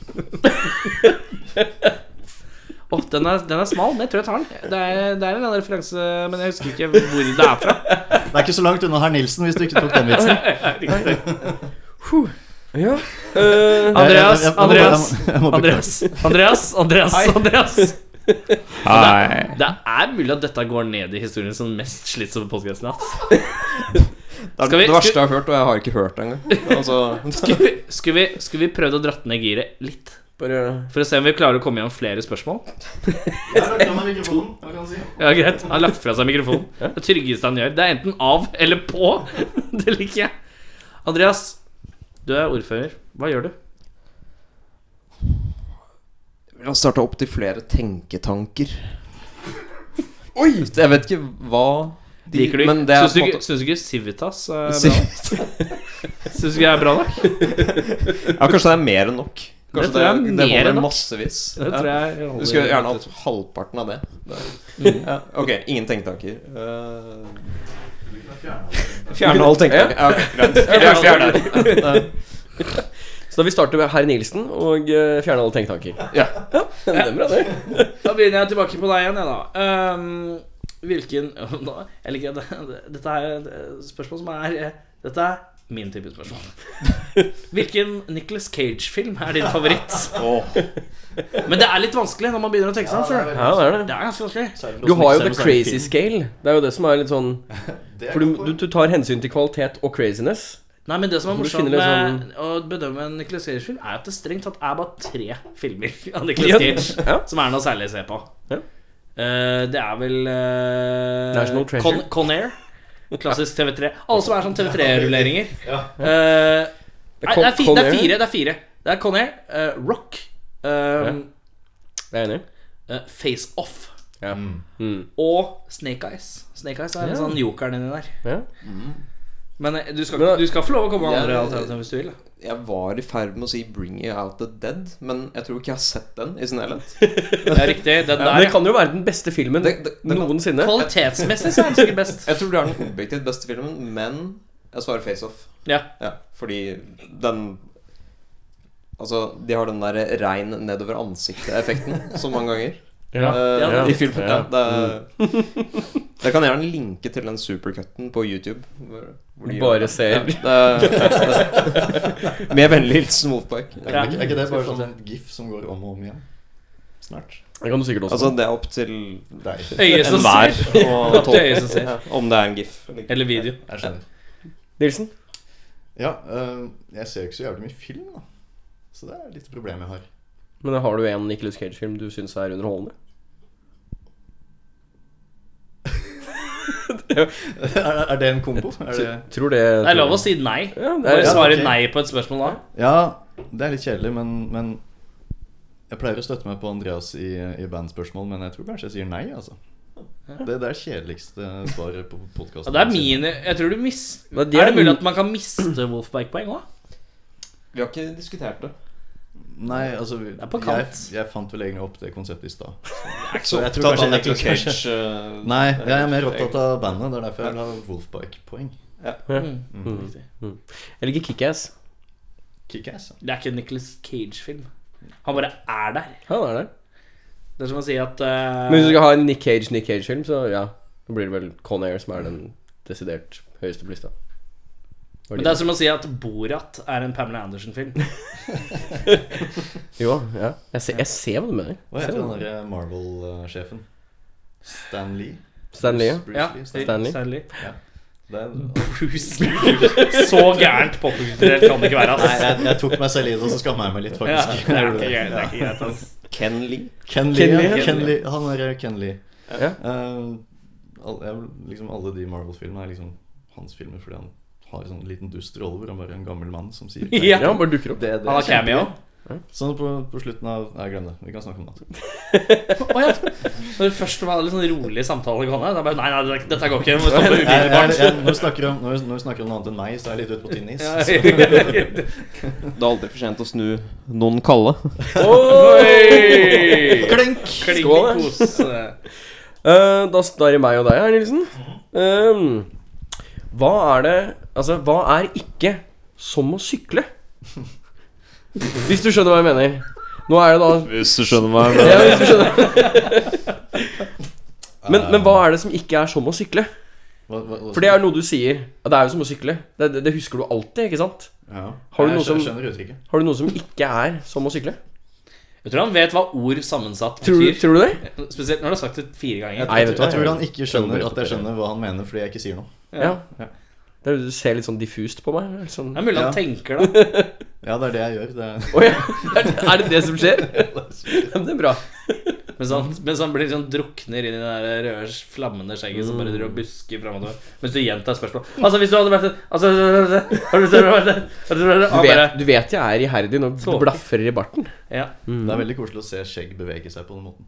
Åh, den, er, den er smal, men jeg tror jeg tar den. Det er, det er en eller annen referanse, men jeg husker ikke hvor det er fra. Det er ikke så langt unna herr Nilsen, hvis du ikke tok den vitsen. Ja. eh, Andreas, Jeg- jeg- jeg må- Andreas, jeg må- jeg må beklage. Andreas, Andreas, Andreas, Andreas. Altså, Nei. Det er mulig at dette går ned i historien som den mest slitsomme podkasten jeg har hatt. Det er Skal vi- det verste skal- jeg har hørt, og jeg har ikke hørt det engang. Altså, Skulle vi- Skulle vi, skulle vi prøvd å dratt ned giret litt? bare For å se om vi klarer å komme gjennom flere spørsmål? Jeg har lagt av meg mikrofonen, hva kan jeg si? Ja, greit. Han har lagt fra seg mikrofonen. Det tryggeste han gjør. Det er enten av eller på. Det liker jeg. Andreas, du er ordfører. Hva gjør du? La oss starte opp til flere tenketanker. Oi! Jeg vet ikke hva de, Liker du ikke? Men det er Syns du, på en ikke- måte syns du ikke Civitas er bra? ja, Syns du ikke det er bra nok? Kanskje det er mer enn nok. Kanskje Det tror jeg er det mer enn holder nok. massevis. Det Ja. tror jeg holder. Du skulle gjerne hatt halvparten av det. Ja, ok, ingen tenketanker. Uh, Fjerne all tenketanker. Ja, greit. Jeg fjerner det. Så da vil vi starte med herr Nilsen og eh, fjerne alle tenketanker. Ja. Det er bra, det. Da begynner jeg tilbake på deg igjen, jeg, da. Ehm, hvilken nå, Jeg liker at det- Dette er et spørsmål som er eh, Dette er Min type spørsmål. Hvilken Nicholas Cage-film er din favoritt? Men det er litt vanskelig når man begynner å tenke seg om. skjønner du? Ja, det er det. Det er ganske vanskelig. Du har jo the crazy sånn scale. Det er jo det som er litt sånn Det er For du, godt du, poeng. du tar hensyn til kvalitet og craziness. Nei, men Det som er Hvor du morsomt finner liksom- litt med å bedømme en Nicolas Cage-film, er at det strengt tatt er bare tre filmer av Nicolas Ja, Cage ja. som er noe særlig å se på. Ja. Eh, det er vel eh, National Con, Treasure. Con Air. Klassisk TV3. Alle som er sånn TV3-rulleringer. Det Eh, nei, er det er, fi, det er Con Air. fire. Det er fire Det er Con Air, eh, Rock, eh, Det er jeg enig i. eh, Face Off Ja. Mm. og Snake Eyes. Snake Eyes er en sånn jokeren inni der. Ja. Men eh, du skal, Men da- du skal få lov å komme med andre Ja, det- alternativer hvis du vil. da. Jeg var i ferd med å si 'Bring You Out The Dead', men jeg tror ikke jeg har sett den i sin helhet. Det er riktig. Den Men der det kan jo være den beste filmen Det- det- det kan- noensinne. Kvalitetsmessig så er den sikkert best. Jeg tror det er den objektivt beste filmen, men jeg svarer Face Off. Ja. Ja, fordi den Altså, de har den der rein nedover ansiktet-effekten så mange ganger. Eh, Ja, I filmen. Ja, det, Mm. er, jeg kan gjerne linke til den supercutten på YouTube. Hvor, hvor de gjør Bare det. ser. Ja, det, er- med vennlig hilsen Wolfpark. Ja. Er ikke- er ikke det bare sånn gif som går om og om igjen? Snart. Det kan du sikkert også. Altså, det er opp til deg Øyet som Enhver. ser. å Opp til tolke øyet som ser. ja, om det er en gif. eller ikke. Eller video. Jeg skjønner. Nilsen? Ja, eh, jeg ser jo ikke så jævlig mye film, da. Så det er litt problem jeg har. Men har du en Nicolas Cage-film du syns er underholdende? er, er det en kombo? Er det... Tror det Det er lov å si nei. Ja, det er, Bare svare ok. nei på et spørsmål da. Ja, det er litt kjedelig, men, men Jeg pleier å støtte meg på Andreas i, i bandspørsmål, men jeg tror kanskje jeg sier nei, altså. Det, det er kjedeligste svaret på Ja, podkasten. det er mine Jeg tror du mis... Ja, Er de er det mulig min- at man kan miste Wolfberg-poeng òg? Vi har ikke diskutert det. Nei, altså det er på jeg, kant. jeg fant vel egentlig opp det konseptet i stad. Så jeg tror opptatt kanskje av Nicolas Nicolas Cage. eh, Nei, jeg er mer opptatt av bandet. Det er derfor jeg vil ha Wolfbike-poeng. Jeg liker Kickass. Kickass. ja. Det er ikke en Nicolas Cage-film. Han bare er der. Ja, det er det. Det er som å si at eh, Men hvis du skal ha en Nick Cage, Nick Cage-film, så ja. Da blir det vel Con Air som er den desidert høyeste på lista. men det er som å si at Borat er en Pamela Andersen-film. Jo, ja. Jeg ser, jeg ser hva du mener. Hva Jeg ser hva heter den du mener. derre Marvel-sjefen? Stan Lee? Stan Lee, ja. Bruce Ja, Lee, Stan Stanley. Stanley. Det er, Bruce Lee. Så gærent popkulturelt kan det ikke være. nei, ass. jeg, jeg tok meg selv i det, og så skammer jeg meg Ja, litt, faktisk. det er ikke greit. Det er ikke greit ass. Ken Lee. Ken Lee, Ken Lee, ja. ja. Ken Lee. Han er Ken Lee. Ja. Eh, alle, jeg, vil- liksom alle de Marvel-filmene er liksom hans filmer fordi han har en sånn liten dustrolle hvor han bare er en gammel mann som sier Ja. Ja, han bare dukker opp. Det, det Han er har cameo. kjempegøy. Sånn på, på slutten av Nei, glem det. Vi kan snakke om det. Å ja. Når det først var litt sånn rolig samtale gående, da bare Nei, nei, det- dette går ikke. Vi må stoppe Jeg, jeg, jeg, umiddelbart. når, du snakker om, når, du- når du snakker om noe annet enn meg, så er jeg litt ute på tynn is. Ja, Så- Det er aldri for sent å snu noen kalde. Oi! Klink! Kling Skål, da. kos. Eh, da står det meg og deg her, Nilsen. Eh, hva er det Altså, hva er ikke som å sykle? Hvis du skjønner hva jeg mener. Nå er det da Hvis du skjønner meg. ja, hvis du skjønner. men, men hva er det som ikke er som å sykle? Hva- hva- hva- For det er noe du sier. Ja, det er jo som å sykle. Det, det, det husker du alltid, ikke sant? ja. Har du Jeg noe som- skjø- skjønner uttrykket. Har du noe som ikke er som å sykle? Jeg tror han vet hva ord sammensatt Tror, du- betyr. tror du det? Spesielt når du har sagt det fire ganger. Nei, vet du hva. Jeg tror han ikke skjønner at jeg skjønner hva han mener fordi jeg ikke sier noe. Ja. Det er, du ser litt sånn diffust på meg. eller Sånn. Det er mulig han Ja. tenker, da. Ja, det er det jeg gjør. Det Å ja. Er det- er det det som skjer? Ja, men det er bra. Mens han, mens han blir sånn drukner inn i det der røde, flammende skjegget som bare driver og busker fram og tilbake. Mens du gjentar spørsmål. Altså, hvis du hadde vært en- Altså har du- har du- har du- har du- Du Han vet, bare du vet jeg er iherdig når du Tåke. blafrer i barten. Ja. Det er veldig koselig å se skjegg bevege seg på den måten.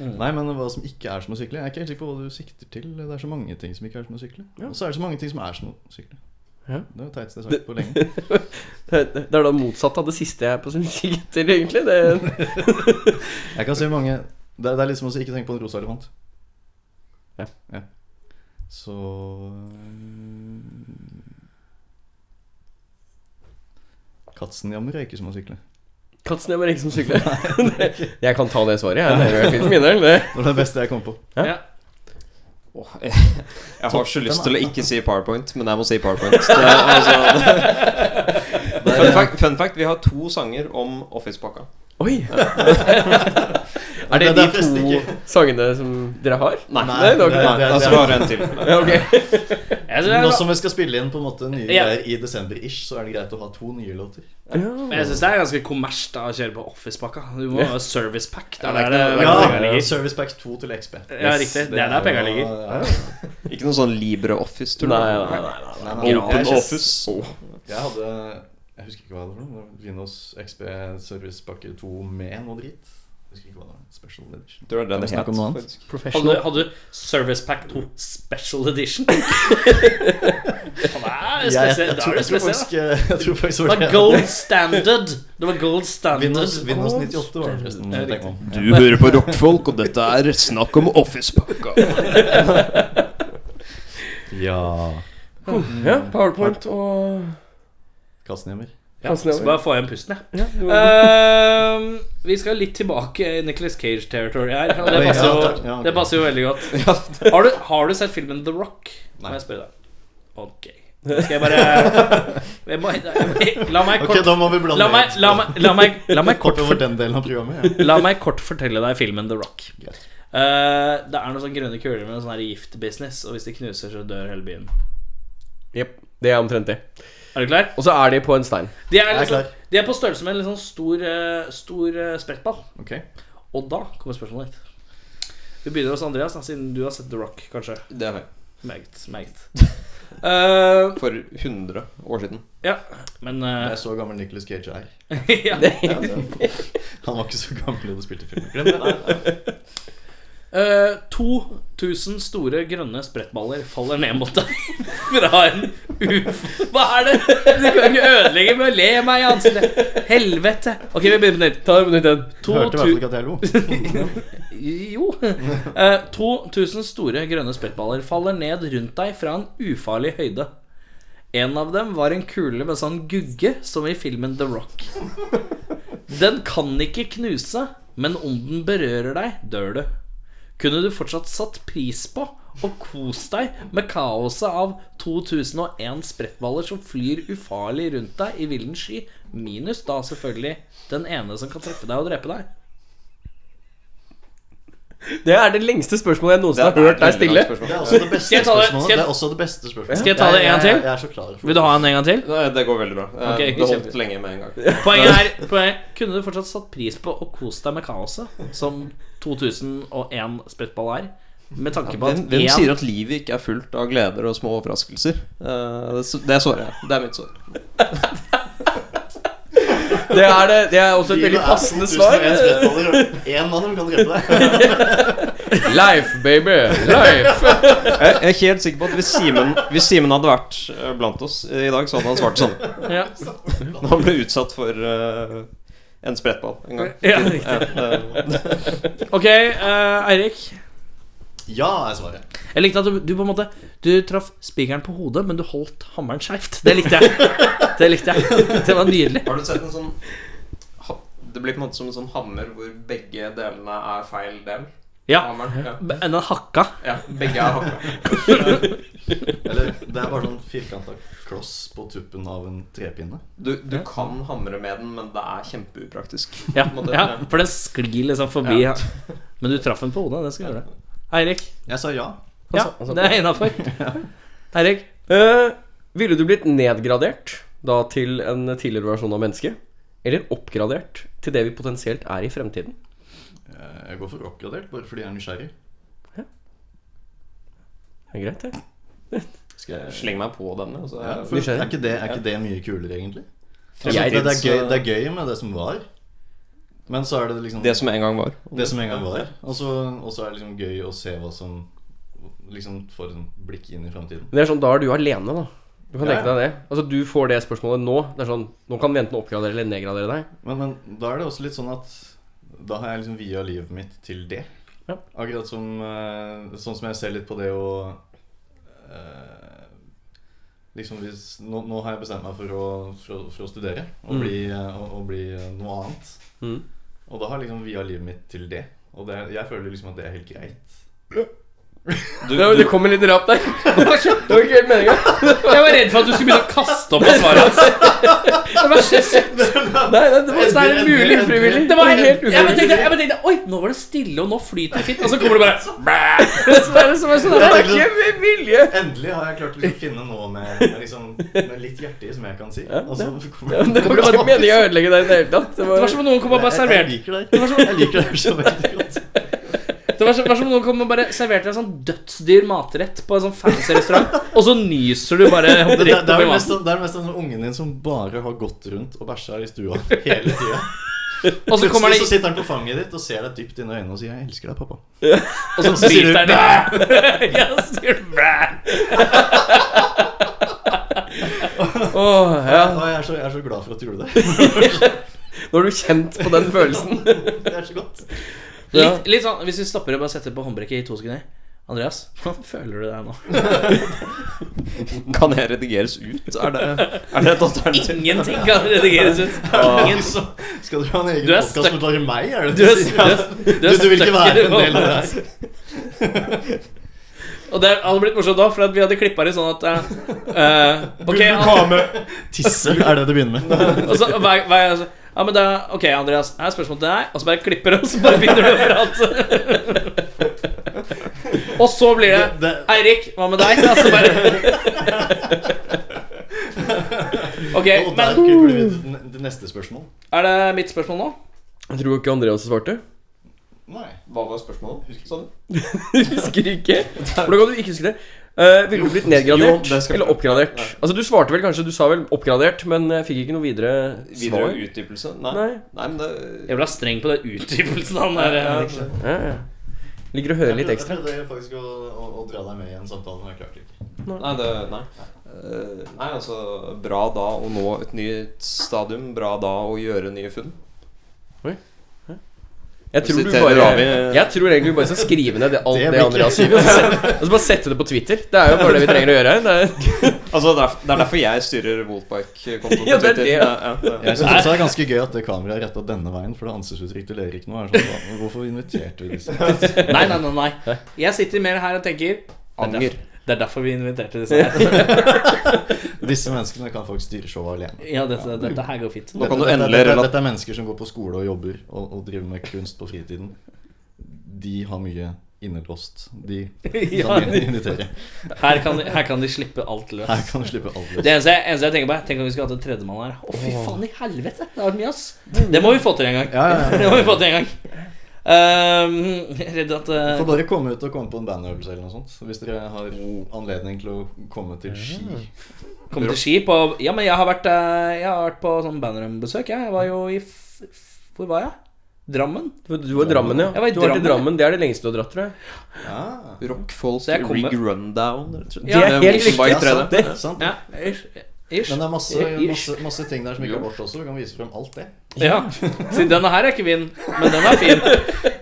Nei, men hva som ikke er som å sykle Jeg er ikke helt sikker på hva du sikter til. Det er så mange ting som ikke er som å sykle. Og så er det så mange ting som er som å sykle. Ja. Det er det teiteste jeg har sagt på lenge. Det det er da motsatt av det siste jeg er på som kikk til, egentlig. Det, Jeg kan se mange Det er, det er liksom å ikke tenke på en rosa elefant. Ja. Så eh, Katzenjammer er ikke som å sykle. Katsen jeg bare ikke som sykler. Det- Jeg kan ta det svaret, jeg. Det er jo helt fint for min del. Det. Det var det beste jeg kom på. Ja. Åh, jeg, jeg har så lyst til å ikke si PowerPoint, men jeg må si PowerPoint. Det, er altså, fun, fact, fun fact, vi har to sanger om Office-pakka. Oi! er det det de er forresten to ikke- sangene som dere har? Nei. det er det- ikke det- Altså det- bare en til. Ja, ok. Jeg synes det er Nå bra. som vi skal spille inn på en måte nye Ja. greier i desember-ish, så er det greit å ha to nye låter. Men jeg syns det er ganske kommersielt da å kjøre på Office-pakka. Du må ha service pack. Det er der det- Ja, der det ligger. Service Pack 2 til XP. Ja, riktig. Det er der pengene ligger. Ja, ja. Ikke noe sånn LibreOffice-turné. Nei, nei, nei. Nei, men Open jeg- jeg- Office. Jeg hadde Jeg husker ikke hva jeg hadde for noe. det var Windows XP Service Pakke 2 med noe dritt. Jeg husker ikke hva det var. Special Edition. Tror jeg den vi snakke om het, noe annet? faktisk. Hadde, du- hadde du Service Pack 2 Special Edition? Faen, det er spesiell- jeg, da er du tror, jeg, tror spesiell, faktisk, da. jeg tror faktisk Det var gold standard. Det var gold standard. Windows, Windows 98 var det forresten. Ja, tenk om. Du hører på rockfolk, og dette er snakk om Office-pakka. Ja Ja, PowerPoint og Kassenhjemmer. Ja, så bare få igjen pusten, jeg. ja, du- Ehm, vi skal litt tilbake i Nicholas Cage-territory her. Og det, Oi, passer ja, jo, takk. Ja, ok. det passer jo veldig godt. Ja, det- Har du, har du sett filmen The Rock? Må Nei. jeg spørre deg. Ok. Skal jeg bare jeg må, jeg må, La meg Ok, kort da må vi blande La meg, litt. la meg, la meg, la meg kort Kort over den delen av programmet. Ja. La meg kort fortelle deg filmen The Rock. Greit. Eh, det er noen sånne grønne kuler med noe sånn her giftbusiness, og hvis de knuser, så dør hele byen. Jep, det er omtrent det. Er du klar? Og så er de på en stein. De er, er liksom, klar. de er på størrelse med en litt sånn stor, eh, stor eh, sprettball. Ok Og da kommer spørsmålet ditt. Vi begynner hos Andreas, da, siden du har sett The Rock, kanskje. Det har jeg. Meget. meget Eh, For 100 år siden. Ja, men eh, Jeg så gammel Nicholas Cage er. ja. Han var ikke så gammel da du spilte filmen. Glem det. Eh, 2000 store grønne sprettballer faller ned mot deg fra en uf... Hva er det? Du kan ikke ødelegge med å le meg i ansiktet. Helvete. Ok, vi begynner på nytt. Ta det på nytt igjen. To Hørte i hvert fall ikke at jeg lo. Jo. Eh, 2000 store grønne sprettballer faller ned rundt deg fra en ufarlig høyde. En av dem var en kule med sånn gugge som i filmen The Rock. Den kan ikke knuse, men om den berører deg, dør du. Kunne du fortsatt satt pris på og kost deg med kaoset av 2001 sprettballer som flyr ufarlig rundt deg i villen sky, minus da selvfølgelig den ene som kan treffe deg og drepe deg? Det er det lengste spørsmålet jeg noensinne har Det er hørt deg et veldig stille. langt spørsmål. Det er også det beste Skal jeg ta det- spørsmålet. skal jeg- Det er også det beste spørsmålet. Skal jeg ta det Jeg- en til? Jeg, jeg er så klar for Vil du ha en en gang til? Nei, det går veldig bra. Eh, Ok, det kjempe. holdt lenge med en gang. Poenget er poenget, Kunne du fortsatt satt pris på å kose deg med kaoset, som 2001 sprettball er? Med tanke på at Hvem, hvem én- sier at livet ikke er fullt av gleder og små overraskelser? Eh, det s- det svarer jeg. Det er mitt svar. Det er, det, det er også et Livet veldig er passende 2001 svar. sprettballer, og Én av dem kan drepe deg. Life, baby. Life. Jeg jeg er helt sikker på at hvis Simen, hvis Simen hadde vært eh, blant oss i dag, så hadde han svart sånn. ja. Når han ble utsatt for eh, en sprettball en gang. ja, riktig. Eh, Ok, eh, Eirik. Ja, er svaret. Jeg likte at du, du på en måte Du traff spikeren på hodet, men du holdt hammeren skeivt. Det likte jeg. Det likte jeg Det var nydelig. har du sett en sånn ha- Det blir på en måte som en sånn hammer hvor begge delene er feil del? Ja. Hammeren, ja. B- Den hakka. ja begge er hakka. Eller det er bare sånn firkanta kloss på tuppen av en trepinne. Du, du kan hamre med den, men det er kjempeupraktisk. Ja, På en måte, ja, ja. for den sklir liksom forbi. Ja. Men du traff den på hodet. Det skal gjøre. Eirik. Jeg sa ja. Ja, det er innafor. Eirik. Eh, ville du blitt nedgradert da til en tidligere versjon av menneske? Eller oppgradert til det vi potensielt er i fremtiden? Eh, Jeg går for oppgradert, bare fordi jeg er nysgjerrig. Det er greit, det. Skal jeg... Sleng meg på denne. og Så, Ja, for Nysgjerrig. er, ikke det, er ikke det mye kulere, egentlig? Jeg- det, det, er gøy, det er gøy med det som var, men så er det liksom Det som en gang var. det som en gang var. Og så og så er det liksom gøy å se hva som Liksom får en blikk inn i framtiden. Det er sånn, Da er du alene, da. Du kan Ja, tenke deg det. Altså, Du får det spørsmålet nå. Det er sånn, Nå kan vi enten oppgradere eller nedgradere deg. Men, men da er det også litt sånn at da har jeg liksom via livet mitt til det. Ja. Akkurat som eh, sånn som jeg ser litt på det å eh, Liksom hvis nå, nå har jeg bestemt meg for å, for, å- for å studere og, Mm. bli, eh, og, og bli eh, noe annet. Mm. Og da har jeg liksom via livet mitt til det. Og det, jeg føler liksom at det er helt greit. Det var- det kom en liten rap der. Det var ikke, det var ikke helt meninga. Jeg var redd for at du skulle begynne å kaste opp på svaret hans. Det var så søtt. Nei, nei, det var, det er en mulig frivillig. Det var helt ufrivillig. jeg bare tenkte, jeg bare tenkte Oi, nå var det stille, og nå flyter det fint. Og så kommer det bare bæ. Så er det som er sånn, det er ikke med vilje. Endelig har jeg klart å liksom finne noe med, med, liksom, med litt hjerte i, som jeg kan si. Ja, Og så kommer- Ja, men det var ikke meninga å ødelegge deg i det hele tatt. Det Det var som om noen kom og bare Jeg- jeg serverte liker det. Jeg liker det så veldig godt. Det var, som- var som om noen kom og bare serverte deg en sånn dødsdyr matrett på en sånn fancy restaurant, og så nyser du bare Det, det, rett det, opp er i vel mest, maten. sånn- det er mest sånn ungen din som bare har gått rundt og bæsja i stua hele tida. Og så kommer Plutselig det- så sitter han på fanget ditt og ser deg dypt inn i øynene og sier 'Jeg elsker deg, pappa'. Og så Så sier du, driter den i Ja, så sier du bæ. Åh, Å, ja. jeg, er så, jeg er så glad for at du gjorde det. Nå har du kjent på den følelsen. Det er så godt. Ja. Litt, litt sånn, Hvis vi stopper og bare setter på håndbrekket i to sekunder Andreas, hvordan føler du deg nå? Kan jeg redigeres ut? Er det, er det et alternativ? Ingenting kan redigeres ut. Ingen. Så skal du ha en egen Du er podkast med stuck. bare meg? Er det Du det er- du, sier? du er- du er du, du vil ikke stuck i være det en del av det her? Og det hadde blitt morsomt da, for at vi hadde klippa det sånn at eh, eh, Ok, Vil du An- komme? Tisse er det det begynner med. og så, hver, hver, altså, ja, men da, Ok, Andreas, her er spørsmålet til deg, og så bare klipper du, og så bare begynner du å prate. og så blir det, Det- det- Eirik, hva med deg? Altså, Og så bare Ok, Og der men klipper du ut n- det neste spørsmål. er det mitt spørsmål nå? Jeg tror ikke Andreas svarte. Nei. Hva var spørsmålet? sa du? Husker ikke. Hvordan kan du ikke huske det? Eh, ville du blitt Jo, nedgradert det skal jeg eller prøve. oppgradert? Nei. Altså Du svarte vel kanskje, du sa vel oppgradert, men jeg fikk ikke noe videre Videre svar. utdypelse? Nei. Nei. Nei. men det Jeg ble streng på den utdypelsen han der. eh, Ja, ja. Liker å høre litt Jeg ekstra. prøvde jeg prøvde faktisk å, å, å dra deg med i en samtale, men jeg klarte ikke. Nei, det, nei. Eh, nei, altså Bra da å nå et nytt stadium. Bra da å gjøre nye funn. Jeg tror, du Siterer bare, Ravi. jeg tror egentlig du bare skal skrive ned det, alt Det det, blir ikke- Andreas sier. Og så bare sette det på Twitter. Det er jo bare det vi trenger å gjøre. Det er, Altså, det er, det er derfor jeg styrer Wolfbike-kontoen på Ja, det er Twitter. det. ja, ja. Jeg synes også det er ganske gøy at det kameraet er retta denne veien, for det ansiktsuttrykk til Erik nå er sånn "Hva- Hvorfor inviterte vi disse? Nei, nei, nei, nei. Jeg sitter mer her og tenker Anger. Det er derfor vi inviterte disse her. Disse menneskene kan faktisk styre showet alene. Ja, dette, dette her går fint. Nå kan du Dette- endelig dette, dette, relate- dette er mennesker som går på skole og jobber og, og driver med kunst på fritiden. De har mye innelåst. De Ja, kan vi invitere. Her kan, her kan de slippe alt løs. Her kan du slippe alt Det eneste, eneste jeg tenker på, er Tenk om vi skulle hatt en tredjemann her. Å, fy faen i helvete! Det har vært mye, ass. Det må vi få til en gang. Ja, ja, ja. Det må vi få til en gang. Ehm, jeg er redd at eh, Får bare komme ut og komme på en bandøvelse eller noe sånt. Hvis dere har anledning til å komme til Ski. Komme til Ski på Ja, men jeg har vært, eh, jeg har vært på sånn bandrom-besøk, jeg. Jeg var jo i f f Hvor var jeg? Drammen? du var i Drammen, ja. Jeg var i du har vært i Drammen. Drammen, Det er det lengste du har dratt, tror jeg. Ja. Rock, folk, Så jeg kommer- rig, rundown rett og slett. Ja, altså. Det er helt riktig, Wolfbike 3D. Ja, sant det. Sant det. Ja, ish. ish. Men det er masse, Ish. masse, masse ting der som ikke er borte også. Du kan vise frem alt det. Ja. Så denne her er ikke min, men den er fin.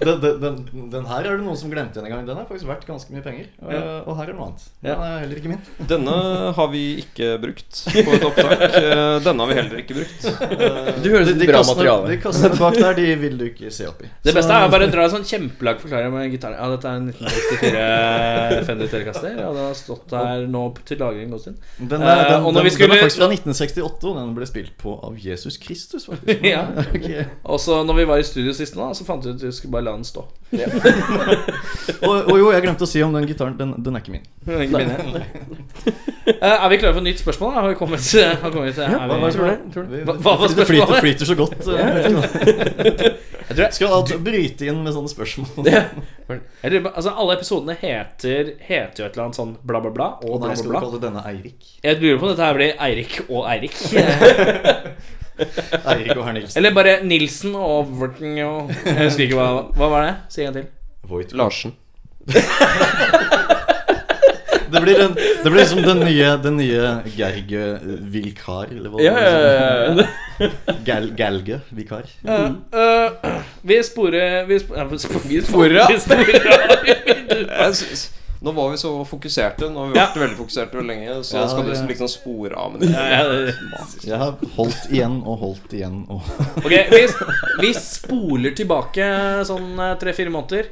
Den, den, den, den her er det noen som glemte en gang. Den er faktisk verdt ganske mye penger. Og, og her er noe annet. Den er heller ikke min. Eh, Denne har vi ikke brukt på et opptak. Eh, Denne har vi heller ikke brukt. Du høres ut som bra kassene- materiale. Eh, de kassene bak der, de vil du ikke se oppi. Det beste er å bare dra en sånn kjempelag forklaring med gitaren. Ja, dette er en 1964 Fender Telecaster, og den har stått der nå til lagring en god stund. Den er, Eh, den, og den, når vi den, skulle- er faktisk fra 1968, og den ble spilt på av Jesus Kristus, faktisk. Ja. Ok. Og så når vi var i studio sist nå, så fant vi ut at vi skulle bare la den stå. Og, og jo, jeg glemte å si om den gitaren. Den, den er ikke min. Det er Ikke min, ja. Eh, er vi klare for et nytt spørsmål? da? Har vi kommet, har vi kommet er vi, Tror du det? Tror du det? Vi- Hva- hva var Det flyter, spørsmålet? flyter så godt. eh, Jeg tror jeg, Skal alt bryte inn med sånne spørsmål? Ja. jeg lurer på, altså, alle episodene heter, heter jo et eller annet sånn bla, bla, bla og Og bla, nei, skal du bla, bla. kalle denne Eirik? Jeg lurer på om dette her blir Eirik og Eirik. Eirik og herr Nilsen. Eller bare Nilsen og Overton og Jeg husker ikke hva Hva var det? Si en gang til. Voigt Larsen. Det blir, en, det blir liksom den nye, den nye Gerge Vilkar, eller hva det Ja, ja, ja, ja. heter. Gal, Galge Vikar. Eh, eh, vi sporer Vi, sp ja, vi, sp vi sporer. Vi sporer. Jeg synes- Nå var vi så fokuserte. Nå har vi vært veldig fokuserte veldig lenge. Så Ja, skal du det- liksom spore av med det. Ja, ja, det- Jeg har holdt igjen og holdt igjen og eh, Mm. ok, vi, vi spoler tilbake sånn tre-fire måneder.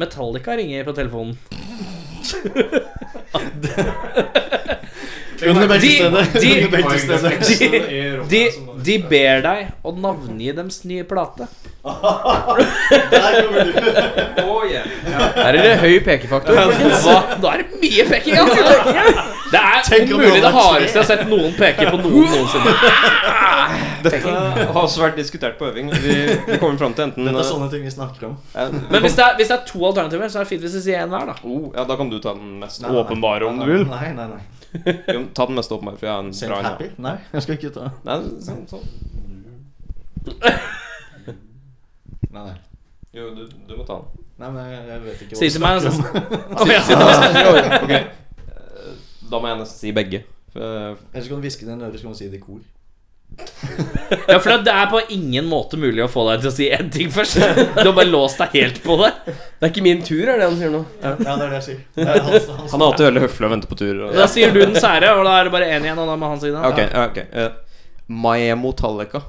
Metallica ringer på telefonen. Det kunne vært de, stedet. de, Det kunne vært stedet. de, de, de ber deg å navngi deres nye plate. Der kommer du. Oh, yeah. Her er det høy pekefaktor. Hva? Da er det mye peking! altså. Det er Tenk om det om mulig det hadde vært tre. hardeste jeg har sett noen peke på noen noensinne. Dette har også vært diskutert på øving. Vi, vi kommer fram til enten eh, Dette er sånn. sånne ting vi snakker om. Ja, Men hvis det, er, hvis det er to alternativer, så er det fint hvis vi sier én hver, da. Oh, ja, da kan du ta den mest Nei, nei, åpenbare, om nei, du vil. nei, nei, Jo, ta den mest åpenbare, for jeg har en Sint bra en. happy? Nei, jeg skal ikke ta Nei, sånn, sånn. Nei, nei. Jo, du, du må ta den. Nei, men jeg, jeg vet ikke Si til meg, om. så- Å, ja. Å, ja. Ok. Eh, Da må jeg nesten si begge. Ellers kan du hviske det i en øre, så kan du si det i kor. Ja, for det er på ingen måte mulig å få deg til å si én ting først. Du har bare låst deg helt på det. Det er ikke min tur, er det han sier nå. Ja, det er det jeg sier. Det er hans- hans- Han er alltid veldig høflig og venter på tur. og- Da sier du den sære, og da er det bare én igjen, og da må han si den. Ok, ja, ok eh, Maemo Tallica.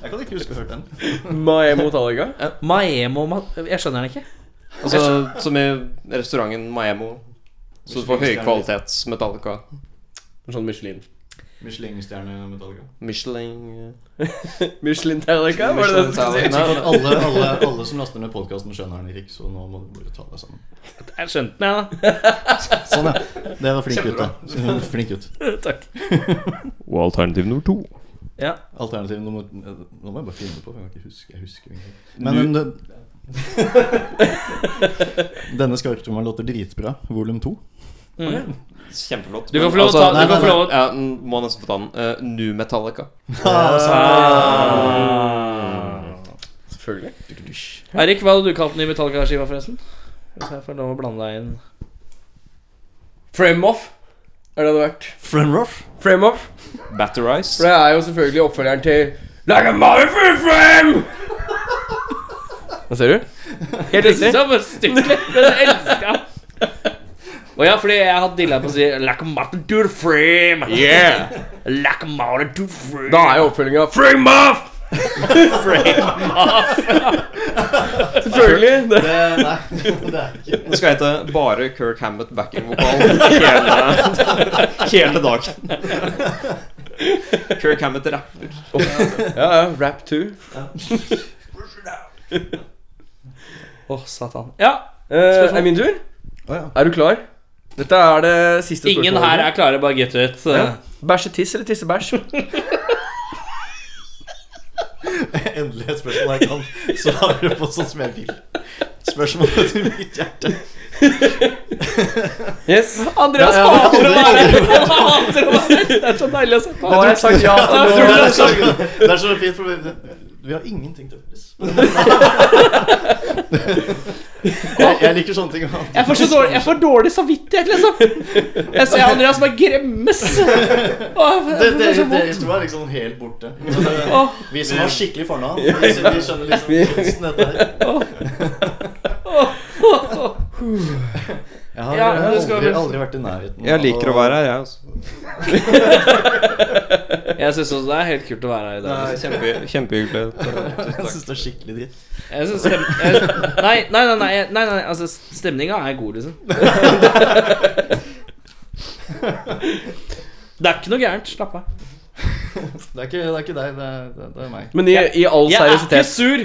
Jeg kan ikke huske å ha hørt den. Maemo Talliga. Maemo Ma- Jeg skjønner den ikke. Altså, som i restauranten Maemo. Så du får høykvalitets Metallica. Sånn Michelin. Michelin-stjerne Metallica. Michelin eh, Michelin Tallica, var det det du skulle Nei, si? men alle, alle, alle som laster ned podkasten, skjønner den, Erik, så nå må du bare ta deg sammen. Jeg skjønte den, jeg, da. Sånn, ja. Dere var flink gutt, da. Flink gutt. Takk. Og alternativ nummer to. Ja. Alternativ nummer Nå må jeg bare finne på, for jeg kan ikke huske. Jeg husker jo ingenting. Men um, Du- den- Denne skarptrommelen låter dritbra. Volum to. Mm. Kjempeflott. Du kan få lov å Altså, ta- du kan få lov å- Altså, ja, n- Må nesten få ta den. Eh, nu Metallica. altså, Ah. Ah. Mm. Selvfølgelig. Eirik, hva hadde du kalt den nye Metallica-skiva, forresten? Hvis jeg får lov å blande deg inn. Frame off er det det hadde vært. Frame off? Frame off. Batterize. For det er jo selvfølgelig oppfølgeren til Like a motherfucking frame! Hva ser du? Helt riktig. Det var styggelig, men jeg elsker han. Og ja, fordi jeg hadde dilla på å si Lack of mutton to the frame. Yeah. Lack of mutton to the frame. Da er jo oppfølginga Frame off! frame off. Selvfølgelig. Det- Den skal hete bare Kirk Hammett backing-vokal hele, hele dagen. Kirk Hammett rapper. Ja, ja. Rap 2. Å, satan. Ja. Eh, Spørsmål? er min tur? Å, ja. Er du klar? Dette er det siste spørsmålet. Ingen her er klare, bare get it. ja. Bæsjetiss eller tissebæsj? Endelig et spørsmål jeg kan svare på sånn som jeg vil. Spørsmålet til mitt hjerte. Yes. Andreas Ja, ja, det hater å være hadde jeg her! Han hater å være her! Det er så deilig altså. å se på. Nå har jeg sagt ja til Jeg tror Det det er sånn. så- er så, det er så fint, for vi, vi har ingenting til felles. Jeg, jeg liker sånne ting. Jeg får så dårlig, jeg får dårlig samvittighet, liksom. Jeg ser Andreas bare gremmes. Åh, Det, det det, er så dere vondt. to er liksom helt borte. Åh. Vi som har skikkelig fornavn, vi, vi skjønner liksom kunsten dette her. Jeg har, Ja, jeg har det skal aldri, vi- aldri vært i nærheten. Jeg liker å være her, jeg altså. også. Jeg syns også det er helt kult å være her i dag. Nei, liksom. kjempe, kjempehyggelig. Jeg syns det er skikkelig dritt. Jeg synes stem... jeg... nei, nei, nei, nei, nei, nei, nei, altså stemninga er god, liksom. Det er ikke noe gærent. Slapp av. Det er ikke, det er ikke deg, det er, det, er- det er meg. Men i, i all Jeg er ikke seriøsitet sur!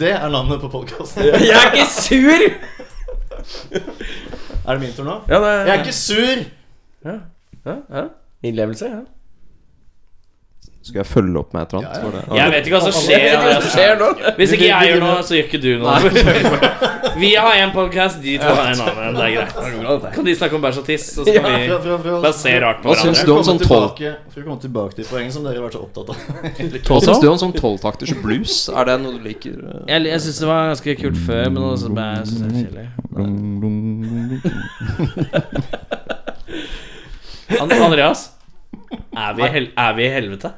Det er navnet på podkasten. Er Jeg er ikke sur! det min tur nå? ja, det, Jeg er ikke sur! ja, ja. Innlevelse, ja. Skal jeg følge opp med et eller annet? Var det- Jeg vet ikke hva som skjer. Det Andreas. skjer nå. Hvis ikke jeg gjør noe, så gjør ikke du noe. Vi har én podkast, de to har en annen. Det er greit. Kan de snakke om bæsj og tiss, så skal vi For- for- for- bare se rart på Hva syns hverandre. du om sånn tolv tilbake- For å komme tilbake til poenget som dere har vært så opptatt av. Hva syns du om sånn tolvtakters blues? Er det noe du liker? eh? Jeg, jeg syns det var ganske kult før, men nå syns jeg synes det er kjedelig. An- Andreas, er vi, i hel er vi i helvete?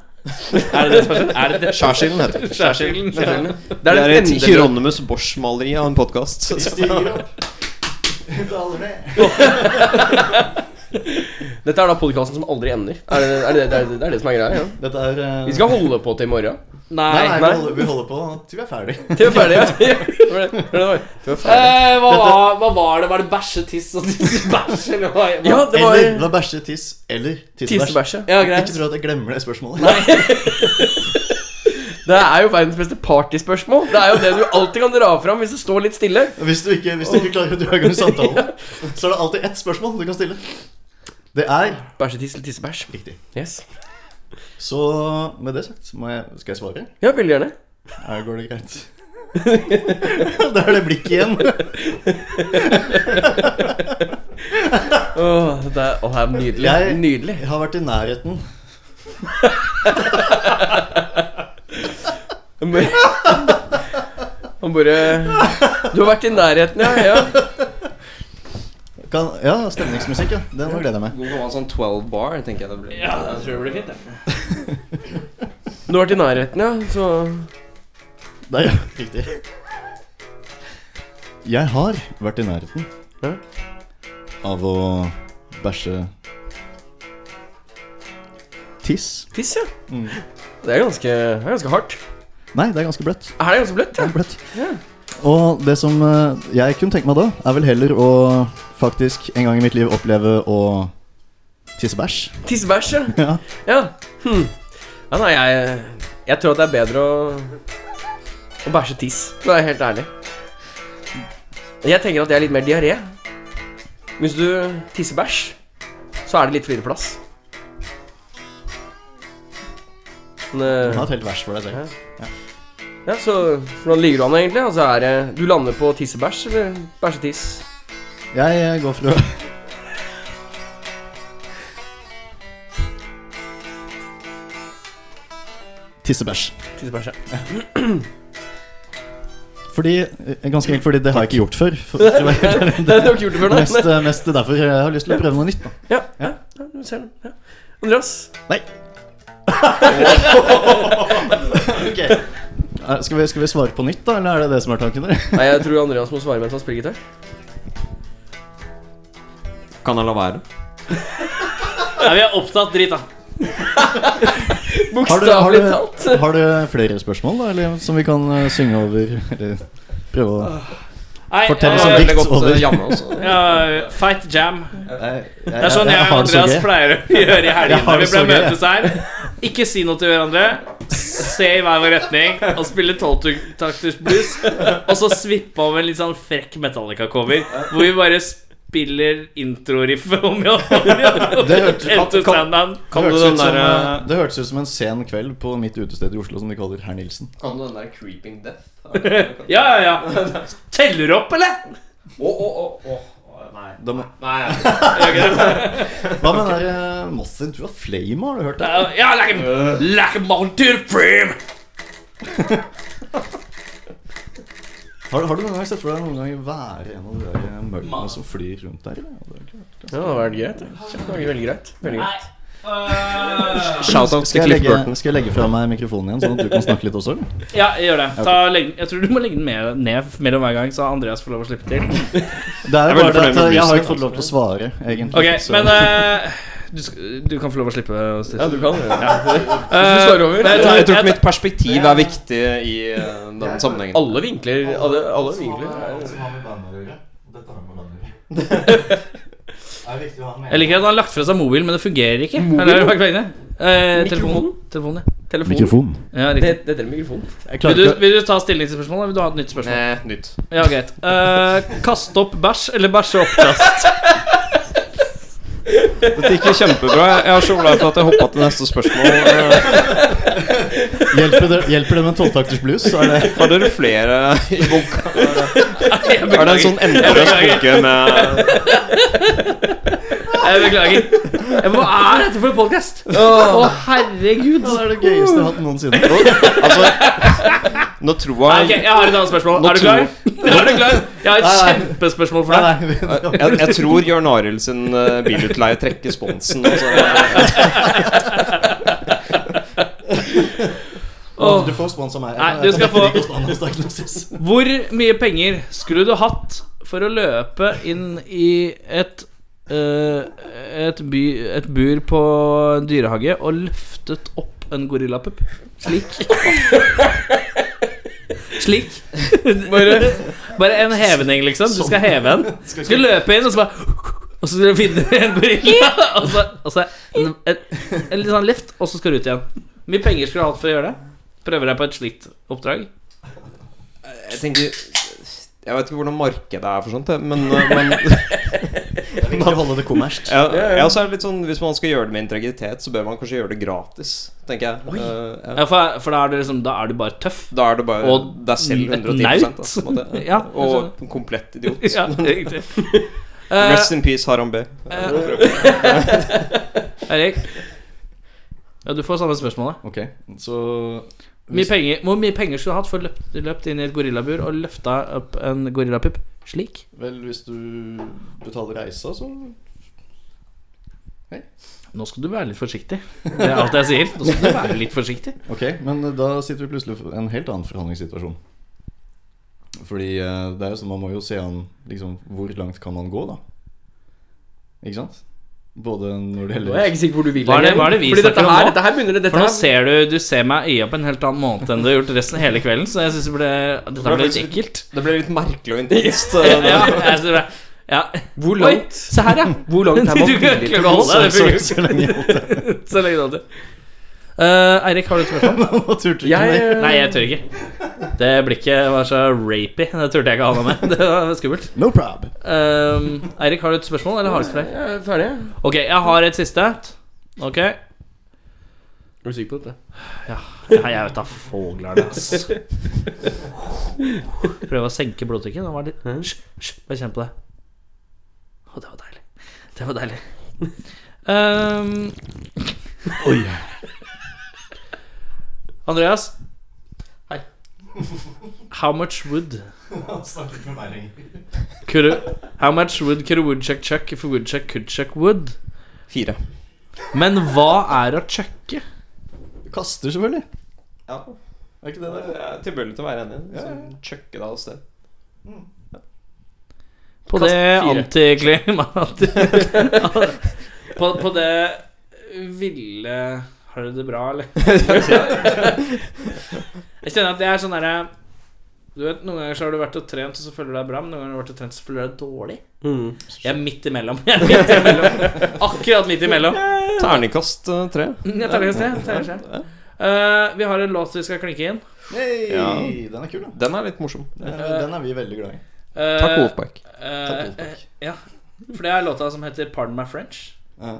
Er det det som er skjedd? Er det det? Skjærsilden heter det. Skjærsilden. Det Det er er den et endelige Hieronymus Bosch-maleri av en podkast. Vi stiger opp. Daler ned. Dette er da podkasten som aldri ender. Er det er det, det, er det, det, er det som er greia? Ja. Dette er eh, Vi skal holde på til i morgen. Nei. nei, Vi, holder, vi holder på til vi er ferdig. Til vi er ferdig, ja. Ja, det var det. Det var det. Til vi er ferdig. Eh, hva, var, hva var det? Var det bæsje, tiss og tiss, bæsj? Eller hva? hva- Ja, det var... Eller la bæsje, tiss eller tissebæsj. Tissebæsje. Ja, greit. Ikke tro at jeg glemmer det spørsmålet. Nei. Det er jo verdens beste partyspørsmål. Det er jo det du alltid kan dra fram hvis det står litt stille. Hvis du ikke, hvis du ikke klarer å dra i gang samtalen, så er det alltid ett spørsmål du kan stille. Det er Bæsjetiss eller tissebæsj. Riktig. Yes. Så med det sagt, må jeg, skal jeg svare? Ja, veldig gjerne. Ja, går det greit? da er det blikket igjen. Åh, det er, åh, det er nydelig. Jeg nydelig. har vært i nærheten. Han bare, han bare Du har vært i nærheten, ja. ja. Kan, ja, stemningsmusikk, ja. Den gleder jeg meg. God gammel sånn 12 bar, tenker jeg det blir. Ja, jeg tror det blir fint, det. Du har vært i nærheten, ja. Så Der, ja. Riktig. Jeg har vært i nærheten av å bæsje tiss. Tiss, ja. Det er ganske, det er ganske hardt. Nei, det er ganske bløtt. Er det ganske bløtt, ja? Bløtt. Og det som eh, jeg kunne tenke meg da, er vel heller å faktisk en gang i mitt liv oppleve å tisse bæsj. Tissebæsj, ja. Ja. ja. Hm. ja nei, jeg, jeg tror at det er bedre å, å bæsje tiss, for å være helt ærlig. Jeg tenker at det er litt mer diaré. Hvis du tisser bæsj, så er det litt for lite plass. Men, eh, Du har et helt vers for deg selv. ja, så hvordan ligger du an egentlig? Altså, er det, du lander på tissebæsj eller bæsjetiss? Jeg eh, går for å Tissebæsj. Tissebæsj, ja. Fordi, eh, ganske enkelt fordi det har jeg ikke gjort før. For, det var helt ærlig. Det har du ikke gjort det før, nei. mest, eh, mest derfor jeg har lyst til å prøve noe nytt. Da. Ja, ja, ja du ser det. Ja. Andreas? Nei. Ok. Eh, Skal vi, skal vi svare på nytt, da? Eller er det det som er tanken? der? Nei, jeg tror Andreas må svare mens han spiller gitar. Kan jeg la være? Ja, vi er opptatt dritt, da. Har du, har, Bokstavelig talt. du, har du flere spørsmål da, eller, som vi kan eh, synge over? Eller prøve å Nei, Fortell eh, oss om Veldig dikt godt over. eh, jamme også. ja, Fight jam. Det er er sånn jeg og Andreas pleier å gjøre i Jeg helgene. Vi har det ble så gøy, jeg. møtes her. Ikke si noe til hverandre. Se i hver vår retning og spille tolvtakters blues. Og så svippe av en litt sånn frekk Metallica-cover hvor vi bare spiller introriffet om ja, Det hørtes- Into Sandman. Kan du den det, hørtes ut som, der, eh, det hørtes ut som en sen kveld på mitt utested i Oslo som de kaller Herr Nilsen. Kan du den der Creeping Death? Ja, ja, ja. Teller opp, eller? Å, å, å, å. Nei. Da må- Nei, jeg gjør ikke det. Hva med den der uh, Moth into a Flame? Har du hørt det? Ja, like a, like a mountain frame. Har, har du noen gang sett for deg noen gang være en av de der eh, møllene som flyr rundt der? eller? Det er ikke- Ja, det hadde vært greit. ja. Kjempe- Veldig greit. Veldig greit. Shoutout til Skal jeg, Cliff legge, Burton. skal jeg legge fra meg mikrofonen igjen, sånn at du kan snakke litt også? eller? Ja, jeg gjør det. Ta, legg, jeg tror du må legge den med, ned mellom hver gang, så Andreas får lov å slippe til. Jeg er Det er veldig jo bare det fornøyd med at eh, jeg har opplysningen, ikke fått lov til å svare, egentlig. Ok, så- men eh, du, sk- du kan få lov å slippe. Ja, du kan gjøre det. Eh, slår men over. jeg tar- Jeg tror jeg ikke mitt perspektiv er viktig i eh, den sammenhengen. Alle vinkler Alle, alle vinkler er- har med bandet å gjøre. Dette har med bandet å gjøre. Det er viktig å ha med. tar- Jeg liker at han har lagt fra seg mobil, men det fungerer ikke. Mobil? Eller, hva er poenget? Eh, telefonen. Mikrofonen? telefonen ja. Telefon. Mikrofon. Ja, Det, riktig. det heter mikrofon. Jeg Vil klarer du, ikke vil du ta stilling til spørsmålet? eller Vil du ha et nytt spørsmål? Eh, nytt. Ja, greit. Eh, kaste opp bæsj eller bæsje oppkast? Dette gikk jo kjempebra. Jeg er så glad for at jeg hoppa til neste spørsmål. Eh, å- Hjelper det, hjelper det med en tolvtakters blues? så Er det Har dere flere i bunka? Jeg Er det en beklager. sånn endeløs bunke med Jeg beklager. Eh, Hva er dette for en podkast? Å, herregud. Ja, det er det gøyeste jeg har hatt noensinne. Altså, nå tror Nei, ok, jeg jeg har et annet spørsmål. Nå Er du klar? Er du klar? Jeg har et Nei, nei. kjempespørsmål for Nei, deg. nei, vi- jeg, jeg tror Jørn Arild sin eh, bilutleie trekker sponsen. Altså. Åh. Du får sponsa meg. Nei, du skal Jeg kan få- ikke stå hos Diagnosis. Hvor mye penger skulle du hatt for å løpe inn i et eh, et, by, et bur på en dyrehage og løftet opp en gorillapupp. Slik. Slik. Bare- Bare en hevning, liksom. Du skal heve en. Du Skal skal løpe inn, og så bare Og så skal du finne en gorilla, og så, og så en, en, en litt sånn lift, og så skal du ut igjen. Hvor mye penger skulle du hatt for å gjøre det? Prøver deg på et slikt oppdrag? Jeg tenker Jeg vet ikke hvordan markedet er for sånt, jeg, men, eh, men Bare holde det kommersielt. Ja, Ja, ja. ja, så er det litt sånn Hvis man skal gjøre det med integritet, så bør man kanskje gjøre det gratis, tenker jeg. Eh, Ja, for, for da, er du liksom, da er du bare tøff. Da er du bare Og deg selv et 110 da, altså, på en naut. måte. Ja, Og en komplett idiot. Ja, riktig. Rest Eh, in peace, Haram B. eh, Erik, ja, du får samme spørsmålet. Ok, så Mye penger, hvor mye penger skulle du hatt for å løpt, løpt inn i et gorillabur og løfta opp en gorillapupp slik? Vel, hvis du betaler reisa, så Nå skal du være litt forsiktig. Det er alt jeg sier. Nå skal du være litt forsiktig. Ok, men da sitter vi plutselig i en helt annen forhandlingssituasjon. Fordi eh, det er jo sånn, man må jo se an liksom, hvor langt kan man gå, da. Ikke sant? Både når det Nå gjelder er jeg ikke sikker hvor du vil Hva er det, hva er det vi Fordi dette snakker om her- nå? dette her begynner det- dette For nå her- ser du Du ser meg i øya på en helt annen måte enn du har gjort resten av hele kvelden, så jeg syns det ble Dette ble litt ekkelt. Det ble litt merkelig og intenst. Ja, ja, jeg synes det- ja. Hvor Oi, langt- se her, ja. Hvor langt er man Du kan villig ikke til å holde gå? deg, Så- det så- funker. så lenge jeg holdt det. Så lenge du holdt det. Eh, Eirik, har du et spørsmål? Nå turte ikke Jeg, mer. eh, Nei, jeg tør ikke. Det blikket var så rapy. Det turte jeg ikke ha noe med. Det var skummelt. No prob. Eh, Eirik, har du et spørsmål, eller har du ikke flere? Jeg er ferdig. Ok, jeg har et siste. Ok. Er du sikker på dette? Ja, jeg jeg vet da foglerne, ass. Prøv å senke blodtrykket. Nå var det Hysj, hysj, bare kjenn på det. Å, det var deilig. Det var deilig. Ehm. Oi. Andreas. Hei. How much wood Han snakker ikke med meg lenger. could a, How much wood could a woodchuck chuck if a woodchuck could chuck wood? Fire. Men hva er å chucke? Kaster, selvfølgelig. Ja. Er ikke det det? Jeg er tilbøyelig til å være enig. Liksom, Chucke deg av sted. På Kast det fire. antiklimatet på, på det ville Har du det bra, eller? Jeg kjenner at det er sånn derre Du vet, Noen ganger så har du vært og trent, og så føler du deg bra. Men noen ganger har du vært og trent, så føler du deg dårlig. Mm. Jeg er midt imellom. Jeg er midt imellom. Akkurat midt imellom. Terningkast eh, tre. Mm, Jeg tar det sted. Jeg tar det sted. Eh, vi har en låt vi skal klinke inn. Hey, Ja. Den er kul, da. Den er litt morsom. Den er, den er vi veldig glad i. Mm. Eh, Takk, Wolfpack. eh, Takk, Wolfpack. eh, ja. For det er låta som heter 'Pardon My French'. Ja.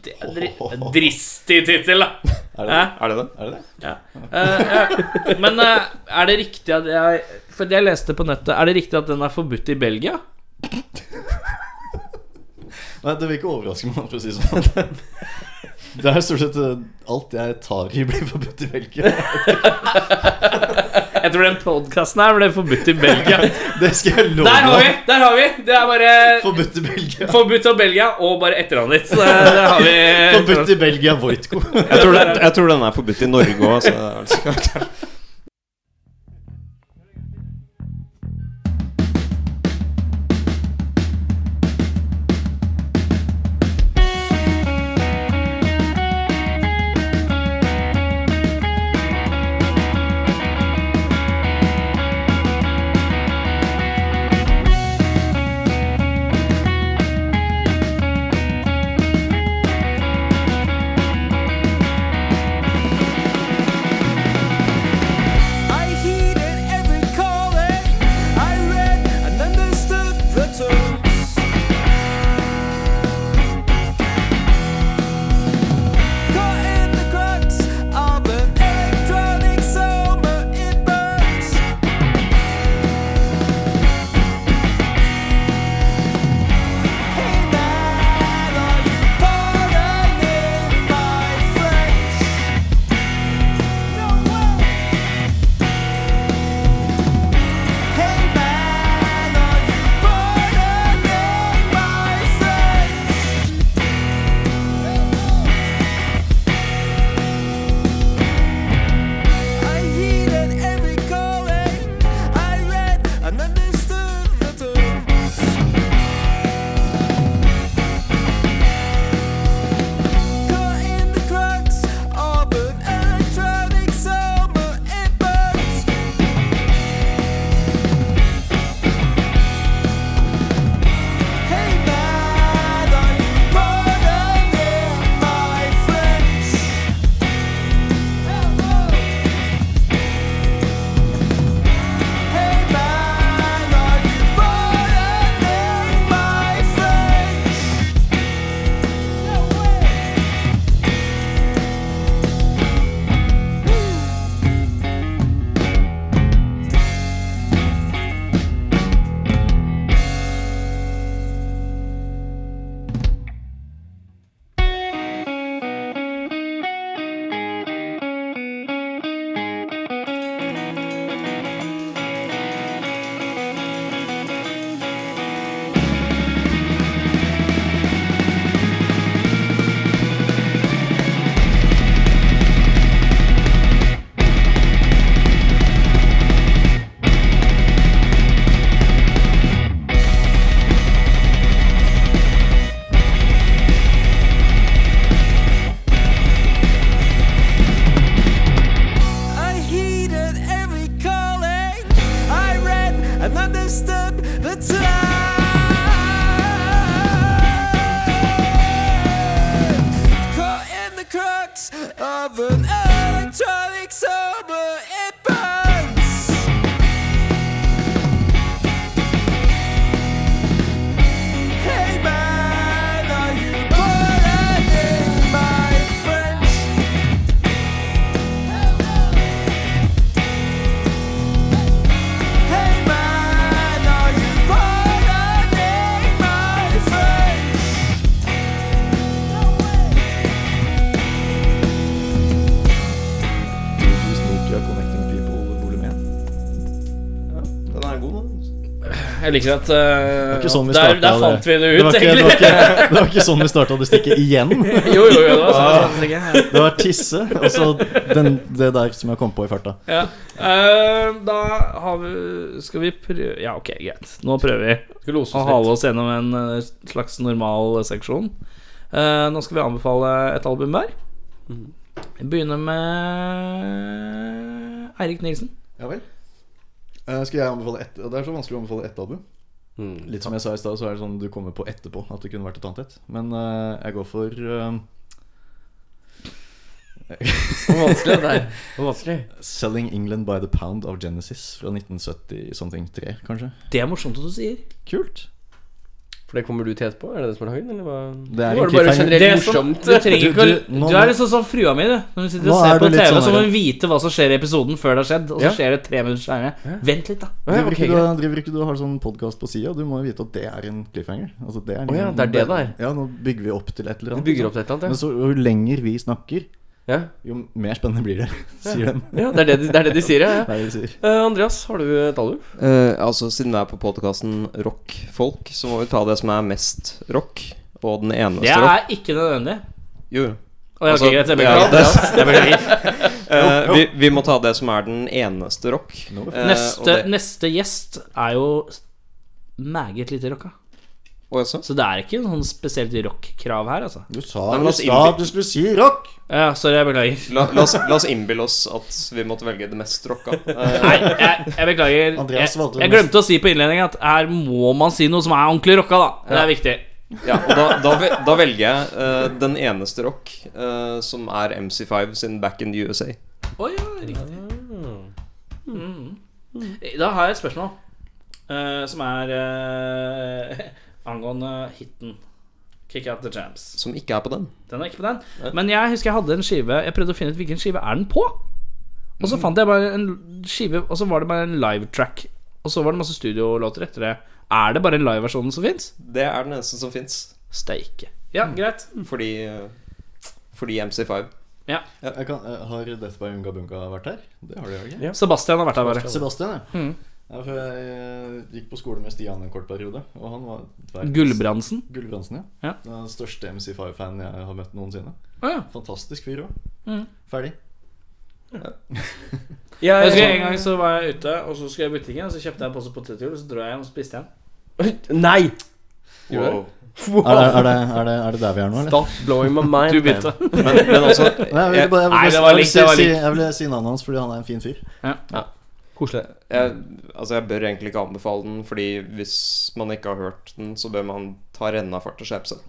Det er dri dristig tittel, da. Er det Hæ? det? Er det det? Er det det? Ja. Eh, eh, men eh, er det riktig at jeg For det jeg leste på nettet, er det riktig at den er forbudt i Belgia? Nei, det vil ikke overraske meg, for å si det sånn. Det er stort sett eh, alt jeg tar i, blir forbudt i Belgia. Jeg tror den podkasten her ble forbudt i Belgia. Det skal jeg love Der har vi! deg. der har vi Det er bare Forbudt i Belgia. Forbudt av Belgia og bare etternavnet ditt. Så der har vi Forbudt i Belgia, Voitko. Jeg tror, den, jeg tror den er forbudt i Norge altså. òg, så det er vel så klart. I Jeg liker at eh, Det var ikke sånn vi der, startet der fant vi det ut, var ikke, det, var ikke, det var ikke sånn vi starta det stikket igjen. Jo, jo, jo, det var sånn vi startet det stikket. Det var tisse, og så den, det der som jeg kom på i farta. Ja. Ah. Eh, da har vi Skal vi prøve Ja, ok, greit. Nå prøver vi Skal lose oss å hale oss gjennom en eh, slags normal seksjon. Eh, nå skal vi anbefale et album hver. Mhm. Vi begynner med Eirik Nilsen. Ja vel. Eh, skal jeg anbefale ett? Det er så vanskelig å anbefale ett album. Hmm. Litt som jeg sa i stad, så er det sånn du kommer på etterpå at det kunne vært et annet et. Men eh, jeg går for Hvor vanskelig det er. Hvor vanskelig. 'Selling England by the Pound' av Genesis fra 1970-something-3, kanskje. Det er morsomt at du sier. Kult. For det kommer du til etterpå? Er det det som er dagen, eller hva? Det er Nå var egentlig det bare feil. generelt Det er som- morsomt. sånn- du trenger ikke å- Du- nå- Du er litt sånn som frua mi, du. Når hun sitter Nå og er ser på du litt TV, sånn så må der. hun vite hva som skjer i episoden før det har skjedd. Og så Ja. skjer det tre minutter seinere. Vent litt, da. Driver ikke, du, driver ikke du og har sånn podkast på sida? Du må jo vite at det er en cliffhanger. Altså, det er Å ja, det er det det Ja, Nå bygger vi opp til et eller annet. Vi bygger opp til et eller annet, ja. Men så, jo lenger vi snakker, jo mer spennende blir det, sier de. Ja, det er det, de- det er det de sier, ja. ja. Det er det de sier. Eh, Andreas, har du et album? Eh, altså Siden vi er på podkasten rockfolk, så må vi ta det som er mest rock. Og den eneste Det rock. er ikke nødvendig. Jo. Altså, Å, ja, ok, greit, jeg ja, beklager. det- Jeg beklager. Eh, vi, vi må ta det som er den eneste rock. Eh, og Neste, det- neste gjest er jo meget lite rocka. sånn. Så det er ikke noen spesielt rock-krav her, altså. Du sa Nei, men la oss du sa innby- at du skulle si rock! Ja, sorry, jeg beklager. La, la, oss, la oss innbille oss at vi måtte velge det mest rocka. Eh, Nei, jeg, jeg beklager. Andreas jeg, valgte det jeg mest- glemte å si på innledningen at her må man si noe som er ordentlig rocka, da. Det Ja. er viktig. Ja, og da, da, ve- da velger jeg eh, den eneste rock, eh, som er MC5 sin Back in the USA. Å ja, riktig. Mm. Da har jeg et spørsmål eh, som er eh, angående hiten Kick Out The Jams. Som ikke er på den. Den er ikke på den. Men jeg husker jeg hadde en skive Jeg prøvde å finne ut hvilken skive er den på. Og Mm. så fant jeg bare en skive, og så var det bare en live-track. Og så var det masse studiolåter etter det. Er det bare en live-versjonen som fins? Det er den eneste som fins. Steike. Ja, greit. Mm. Fordi, eh, fordi MC5. Ja. Jeg kan, eh, har Death by Unga Bunga vært her? Det har de vel ikke? Sebastian har vært der, bare. Sebastian, ja. Mm. ja for jeg eh, gikk på skole med Stian en kort periode, og han var verdens- Gullbrandsen? Gullbrandsen, ja. Den største MC5-fanen jeg har møtt noensinne. Fantastisk fyr òg. Mm. Ferdig. Jeg husker En gang så var jeg ute, og så skulle jeg i butikken, og så kjøpte jeg en pose potetgull, og så dro jeg hjem og spiste en. Nei! Wow. Er, det, er, det, er, det, er det der vi er nå, eller? Stop blowing my mind. Du begynte. Men, Men- men altså- Nei, jeg ville bare, jeg ville Nei, bare- det var jeg ville likt, det var si, si, likt. jeg ville si navnet hans fordi han er en fin fyr. Ja. Koselig. Jeg, altså jeg bør egentlig ikke anbefale den, Fordi hvis man ikke har hørt den, så bør man ta renna fart og skjerpe seg.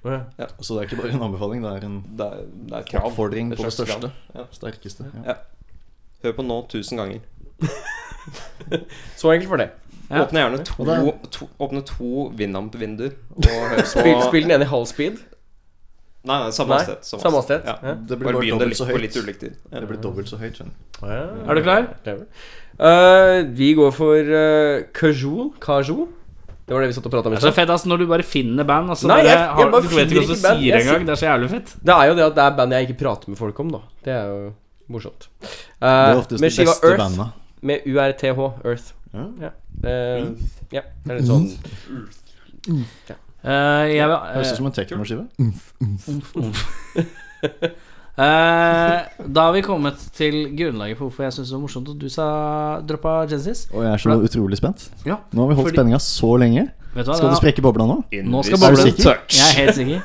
Ja. Så det er ikke bare en anbefaling, det er en det er, det er et krav. oppfordring Et på det slags krav. største. Ja. Sterkeste. Ja. Ja. Hør på nå tusen ganger. Så enkelt var det. Ja. Åpne gjerne Og da- to, to, åpne to Winamp-vinduer. og hør på- Spill, spill den ene i halv speed. Nei, nei, samme Nei, hastighet. samme hastighet. Ja. Ja. Det blir Bare bare begynn dobbelt det litt så på høyt. litt ulik tid. Ja. Det blir dobbelt så høyt, skjønner Eh, du. Er du klar? Clever. Eh, vi går for uh, Kajol. Kajol. Det var det vi satt og prata om. i Det er så stad. fett altså når du bare finner band. Altså, Nei, bare jeg, jeg har, bare du vet ikke hva finner du band. sier Jeg engang. Det er så jævlig fett. Det er jo det at det er band jeg ikke prater med folk om, da. Det er jo morsomt. Eh, Det er oftest med de skiva beste Earth, banda. Med URTH, Earth. Ja. Eh, Mm. ja, det er litt sånn ja. Eh, jeg vil, Høres ut som en teknoskive. Umf, umf. Umf, umf. Eh, da har vi kommet til grunnlaget for hvorfor jeg syns det var morsomt at du sa droppa Genesis. Og jeg er så For da- utrolig spent. Ja, nå har vi holdt fordi- spenninga så lenge. Vet du hva, Skal da- du sprekke bobla nå? Nå skal Er du boblen sikker? Jeg er helt sikker.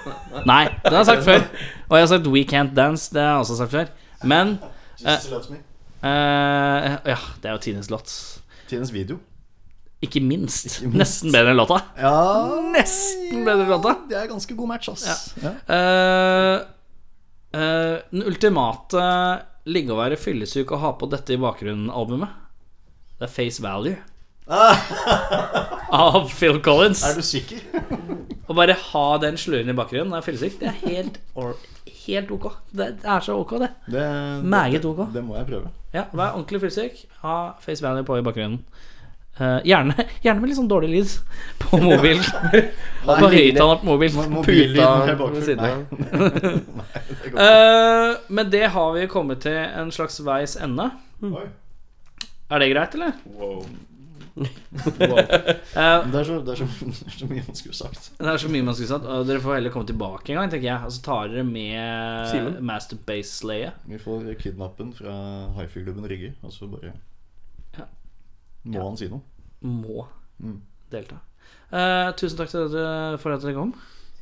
Nei, den har jeg sagt før. Og jeg har sagt We Can't Dance. Det har jeg også sagt før. Men eh, Jesus loves me. eh, Ja, det er jo tidens låt. Tidens video. Ikke minst. Ikke minst. Nesten bedre enn låta. Ja Nesten bedre låta. Det er ganske god match, ass. Ja. Eh, eh, den ultimate ligge og være fyllesyk og ha på dette i bakgrunnen-albumet. Det er Face Value. Av Phil Collins. Er du sikker? Å bare ha den slurven i bakgrunnen når jeg er fyllesyk, det er helt, or- helt ok. Det det er så ok, det. Det- Meget ok. Det må jeg prøve. Ja, Vær ordentlig fyllesyk, ha Face Value på i bakgrunnen. Eh, gjerne, gjerne med litt sånn dårlig lyd på mobil. Nei, på høyttaler på mobil. Mo- mobillyd når jeg er Puta ved bakfull. siden av. Nei. Nei, det går Eh, men det har vi kommet til en slags veis ende. Oi. Er det greit, eller? Wow. det, er så, det, er så, det er så mye man skulle sagt. Det er så mye man skulle sagt. og Dere får heller komme tilbake en gang, tenker jeg. Og så tar dere med Simen? Master Base Slayer. Vi får kidnappen fra hifi-klubben Rygge, og så bare Må han si noe? Må Mm. delta. Eh, tusen takk til dere for at dere kom.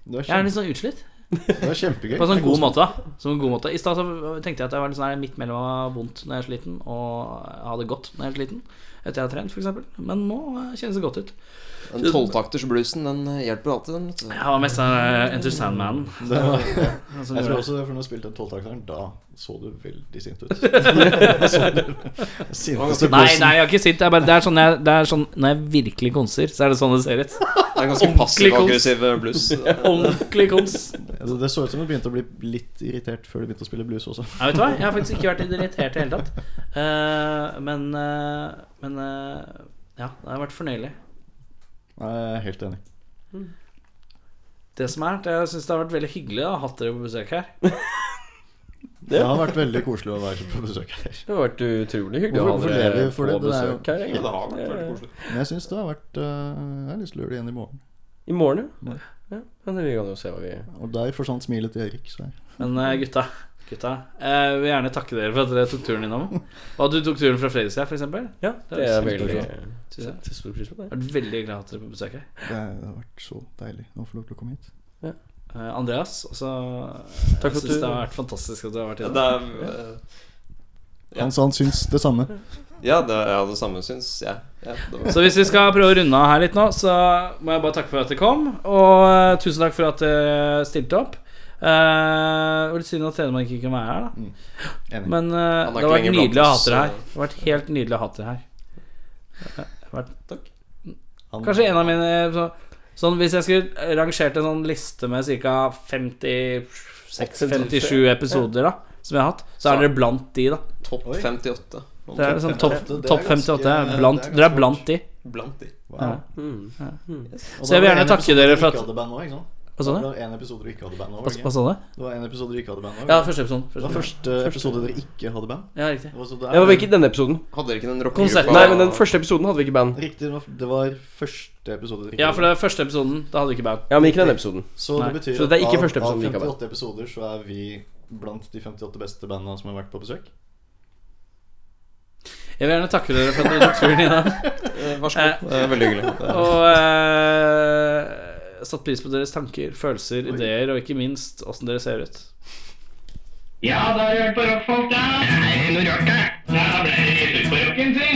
Det er jeg er litt kjempe- sånn utslitt. Det er kjempegøy. På en sånn Jeg god koser meg. måte. da. Som en god måte. I stad så tenkte jeg at jeg var litt sånn her midt mellom å ha vondt når jeg er sliten, og ha det godt når jeg er sliten. Etter jeg har trent, f.eks. Men nå eh, kjennes det godt ut. Den tolvtaktersbluesen, den eh, hjelper alltid, den. vet du. Jeg var mest sånn eh, Enter Sandman. Det var, Altså, jeg tror det- også det er for når du spilte den tolvtakteren, da så du veldig sint ut. Da så du- Sinteste Nei, bossen. nei, jeg er ikke sint. Jeg er bare, det, er sånn jeg, det er sånn Når jeg virkelig konser, så er det sånn det ser ut. Det er ganske passiv-aggressiv blues. Ordentlig kons. Altså, det så ut som du begynte å bli litt irritert før du begynte å spille blues også. Nei, vet du hva? Jeg har faktisk ikke vært irritert i det hele tatt. Eh, men eh, men eh, ja, det har vært fornøyelig. Nei, jeg er helt enig. Det som er, det, jeg syns det har vært veldig hyggelig å ha hatt dere på besøk her. Det har vært veldig koselig å være på besøk her. Det har vært utrolig hyggelig å ha Hvorfor- hvorfor dere lever vi for på det? Det er jo- besøk her. egentlig. Ja, det har vært Ja, veldig ja. koselig. Men jeg syns det har vært eh, Jeg har lyst til å gjøre det igjen i morgen. I morgen, ja. ja. Men vi kan jo se hva vi Og der forsvant smilet til Erik. Så jeg. Men eh, gutta, gutta jeg vil gjerne takke dere for at dere tok turen innom. Og at du tok turen fra Fredrikstad, f.eks. Ja, det er veldig- setter stor pris på det. Jeg har vært veldig glad å ha hatt dere på besøk her. Det, det har vært så deilig å få lov til å komme hit. Eh, Andreas, også, jeg Takk for at syns du- det har vært fantastisk at du har vært Det innom. er, eh, Han sa han syns det samme. ja, det er ja, det samme, syns jeg. Ja, det var- Så hvis vi skal prøve å runde av her litt nå, så må jeg bare takke for at dere kom. Og eh, tusen takk for at dere stilte opp. Eh, og litt synd at Telemark ikke kan være her, da. Enig. Men eh, Mm. Han er det har ikke vært lenger blant nydelig å ha oss, dere her. så- Det har vært helt nydelig å ha dere her. Det har vært, Han- Kanskje en av mine så, Sånn Hvis jeg skulle rangert en sånn liste med ca. 56-57 episoder, da som jeg har hatt, så Så- er dere blant de, da. Topp 58. Det er sånn topp Det er topp 58. er Blant, dere er blant de. Blant de. Ja. Mm. Ja. Mm. Og Så jeg vil da var det gjerne en takke episode dere du for ikke at hadde band også, ikke sant? Hva sa Det du? var en episode du ikke hadde band over, Hva- ikke? hva sa du? Det var en episode du ikke hadde band over, Ja, ikke? første episoden, første Det var første episode dere ikke hadde band. Ja, riktig. Det var så det Ja, er- men ikke i denne episoden. Hadde dere ikke den rockegruppa- Nei, men den første episoden hadde vi ikke band. Riktig, det var- det var første episode dere ikke Ja, hadde for det er første episoden. Da hadde vi ikke band. Ja, men ikke denne episoden. Så det Nei. betyr Så det er ikke at første av, av episoden vi ikke har band. 58 episoder så er vi blant de 58 beste bandene som har vært på besøk. Jeg vil gjerne takke dere for at dere tok turen i dag. Eh, vær så god. Det er veldig hyggelig. Det er- Og eh, satt pris på deres tanker, følelser, ideer og ikke minst åssen dere ser ut. Ja, da har du hørt på rockfolk, da. Det er noe rart, da. Da ble det rett ut på rocken, si.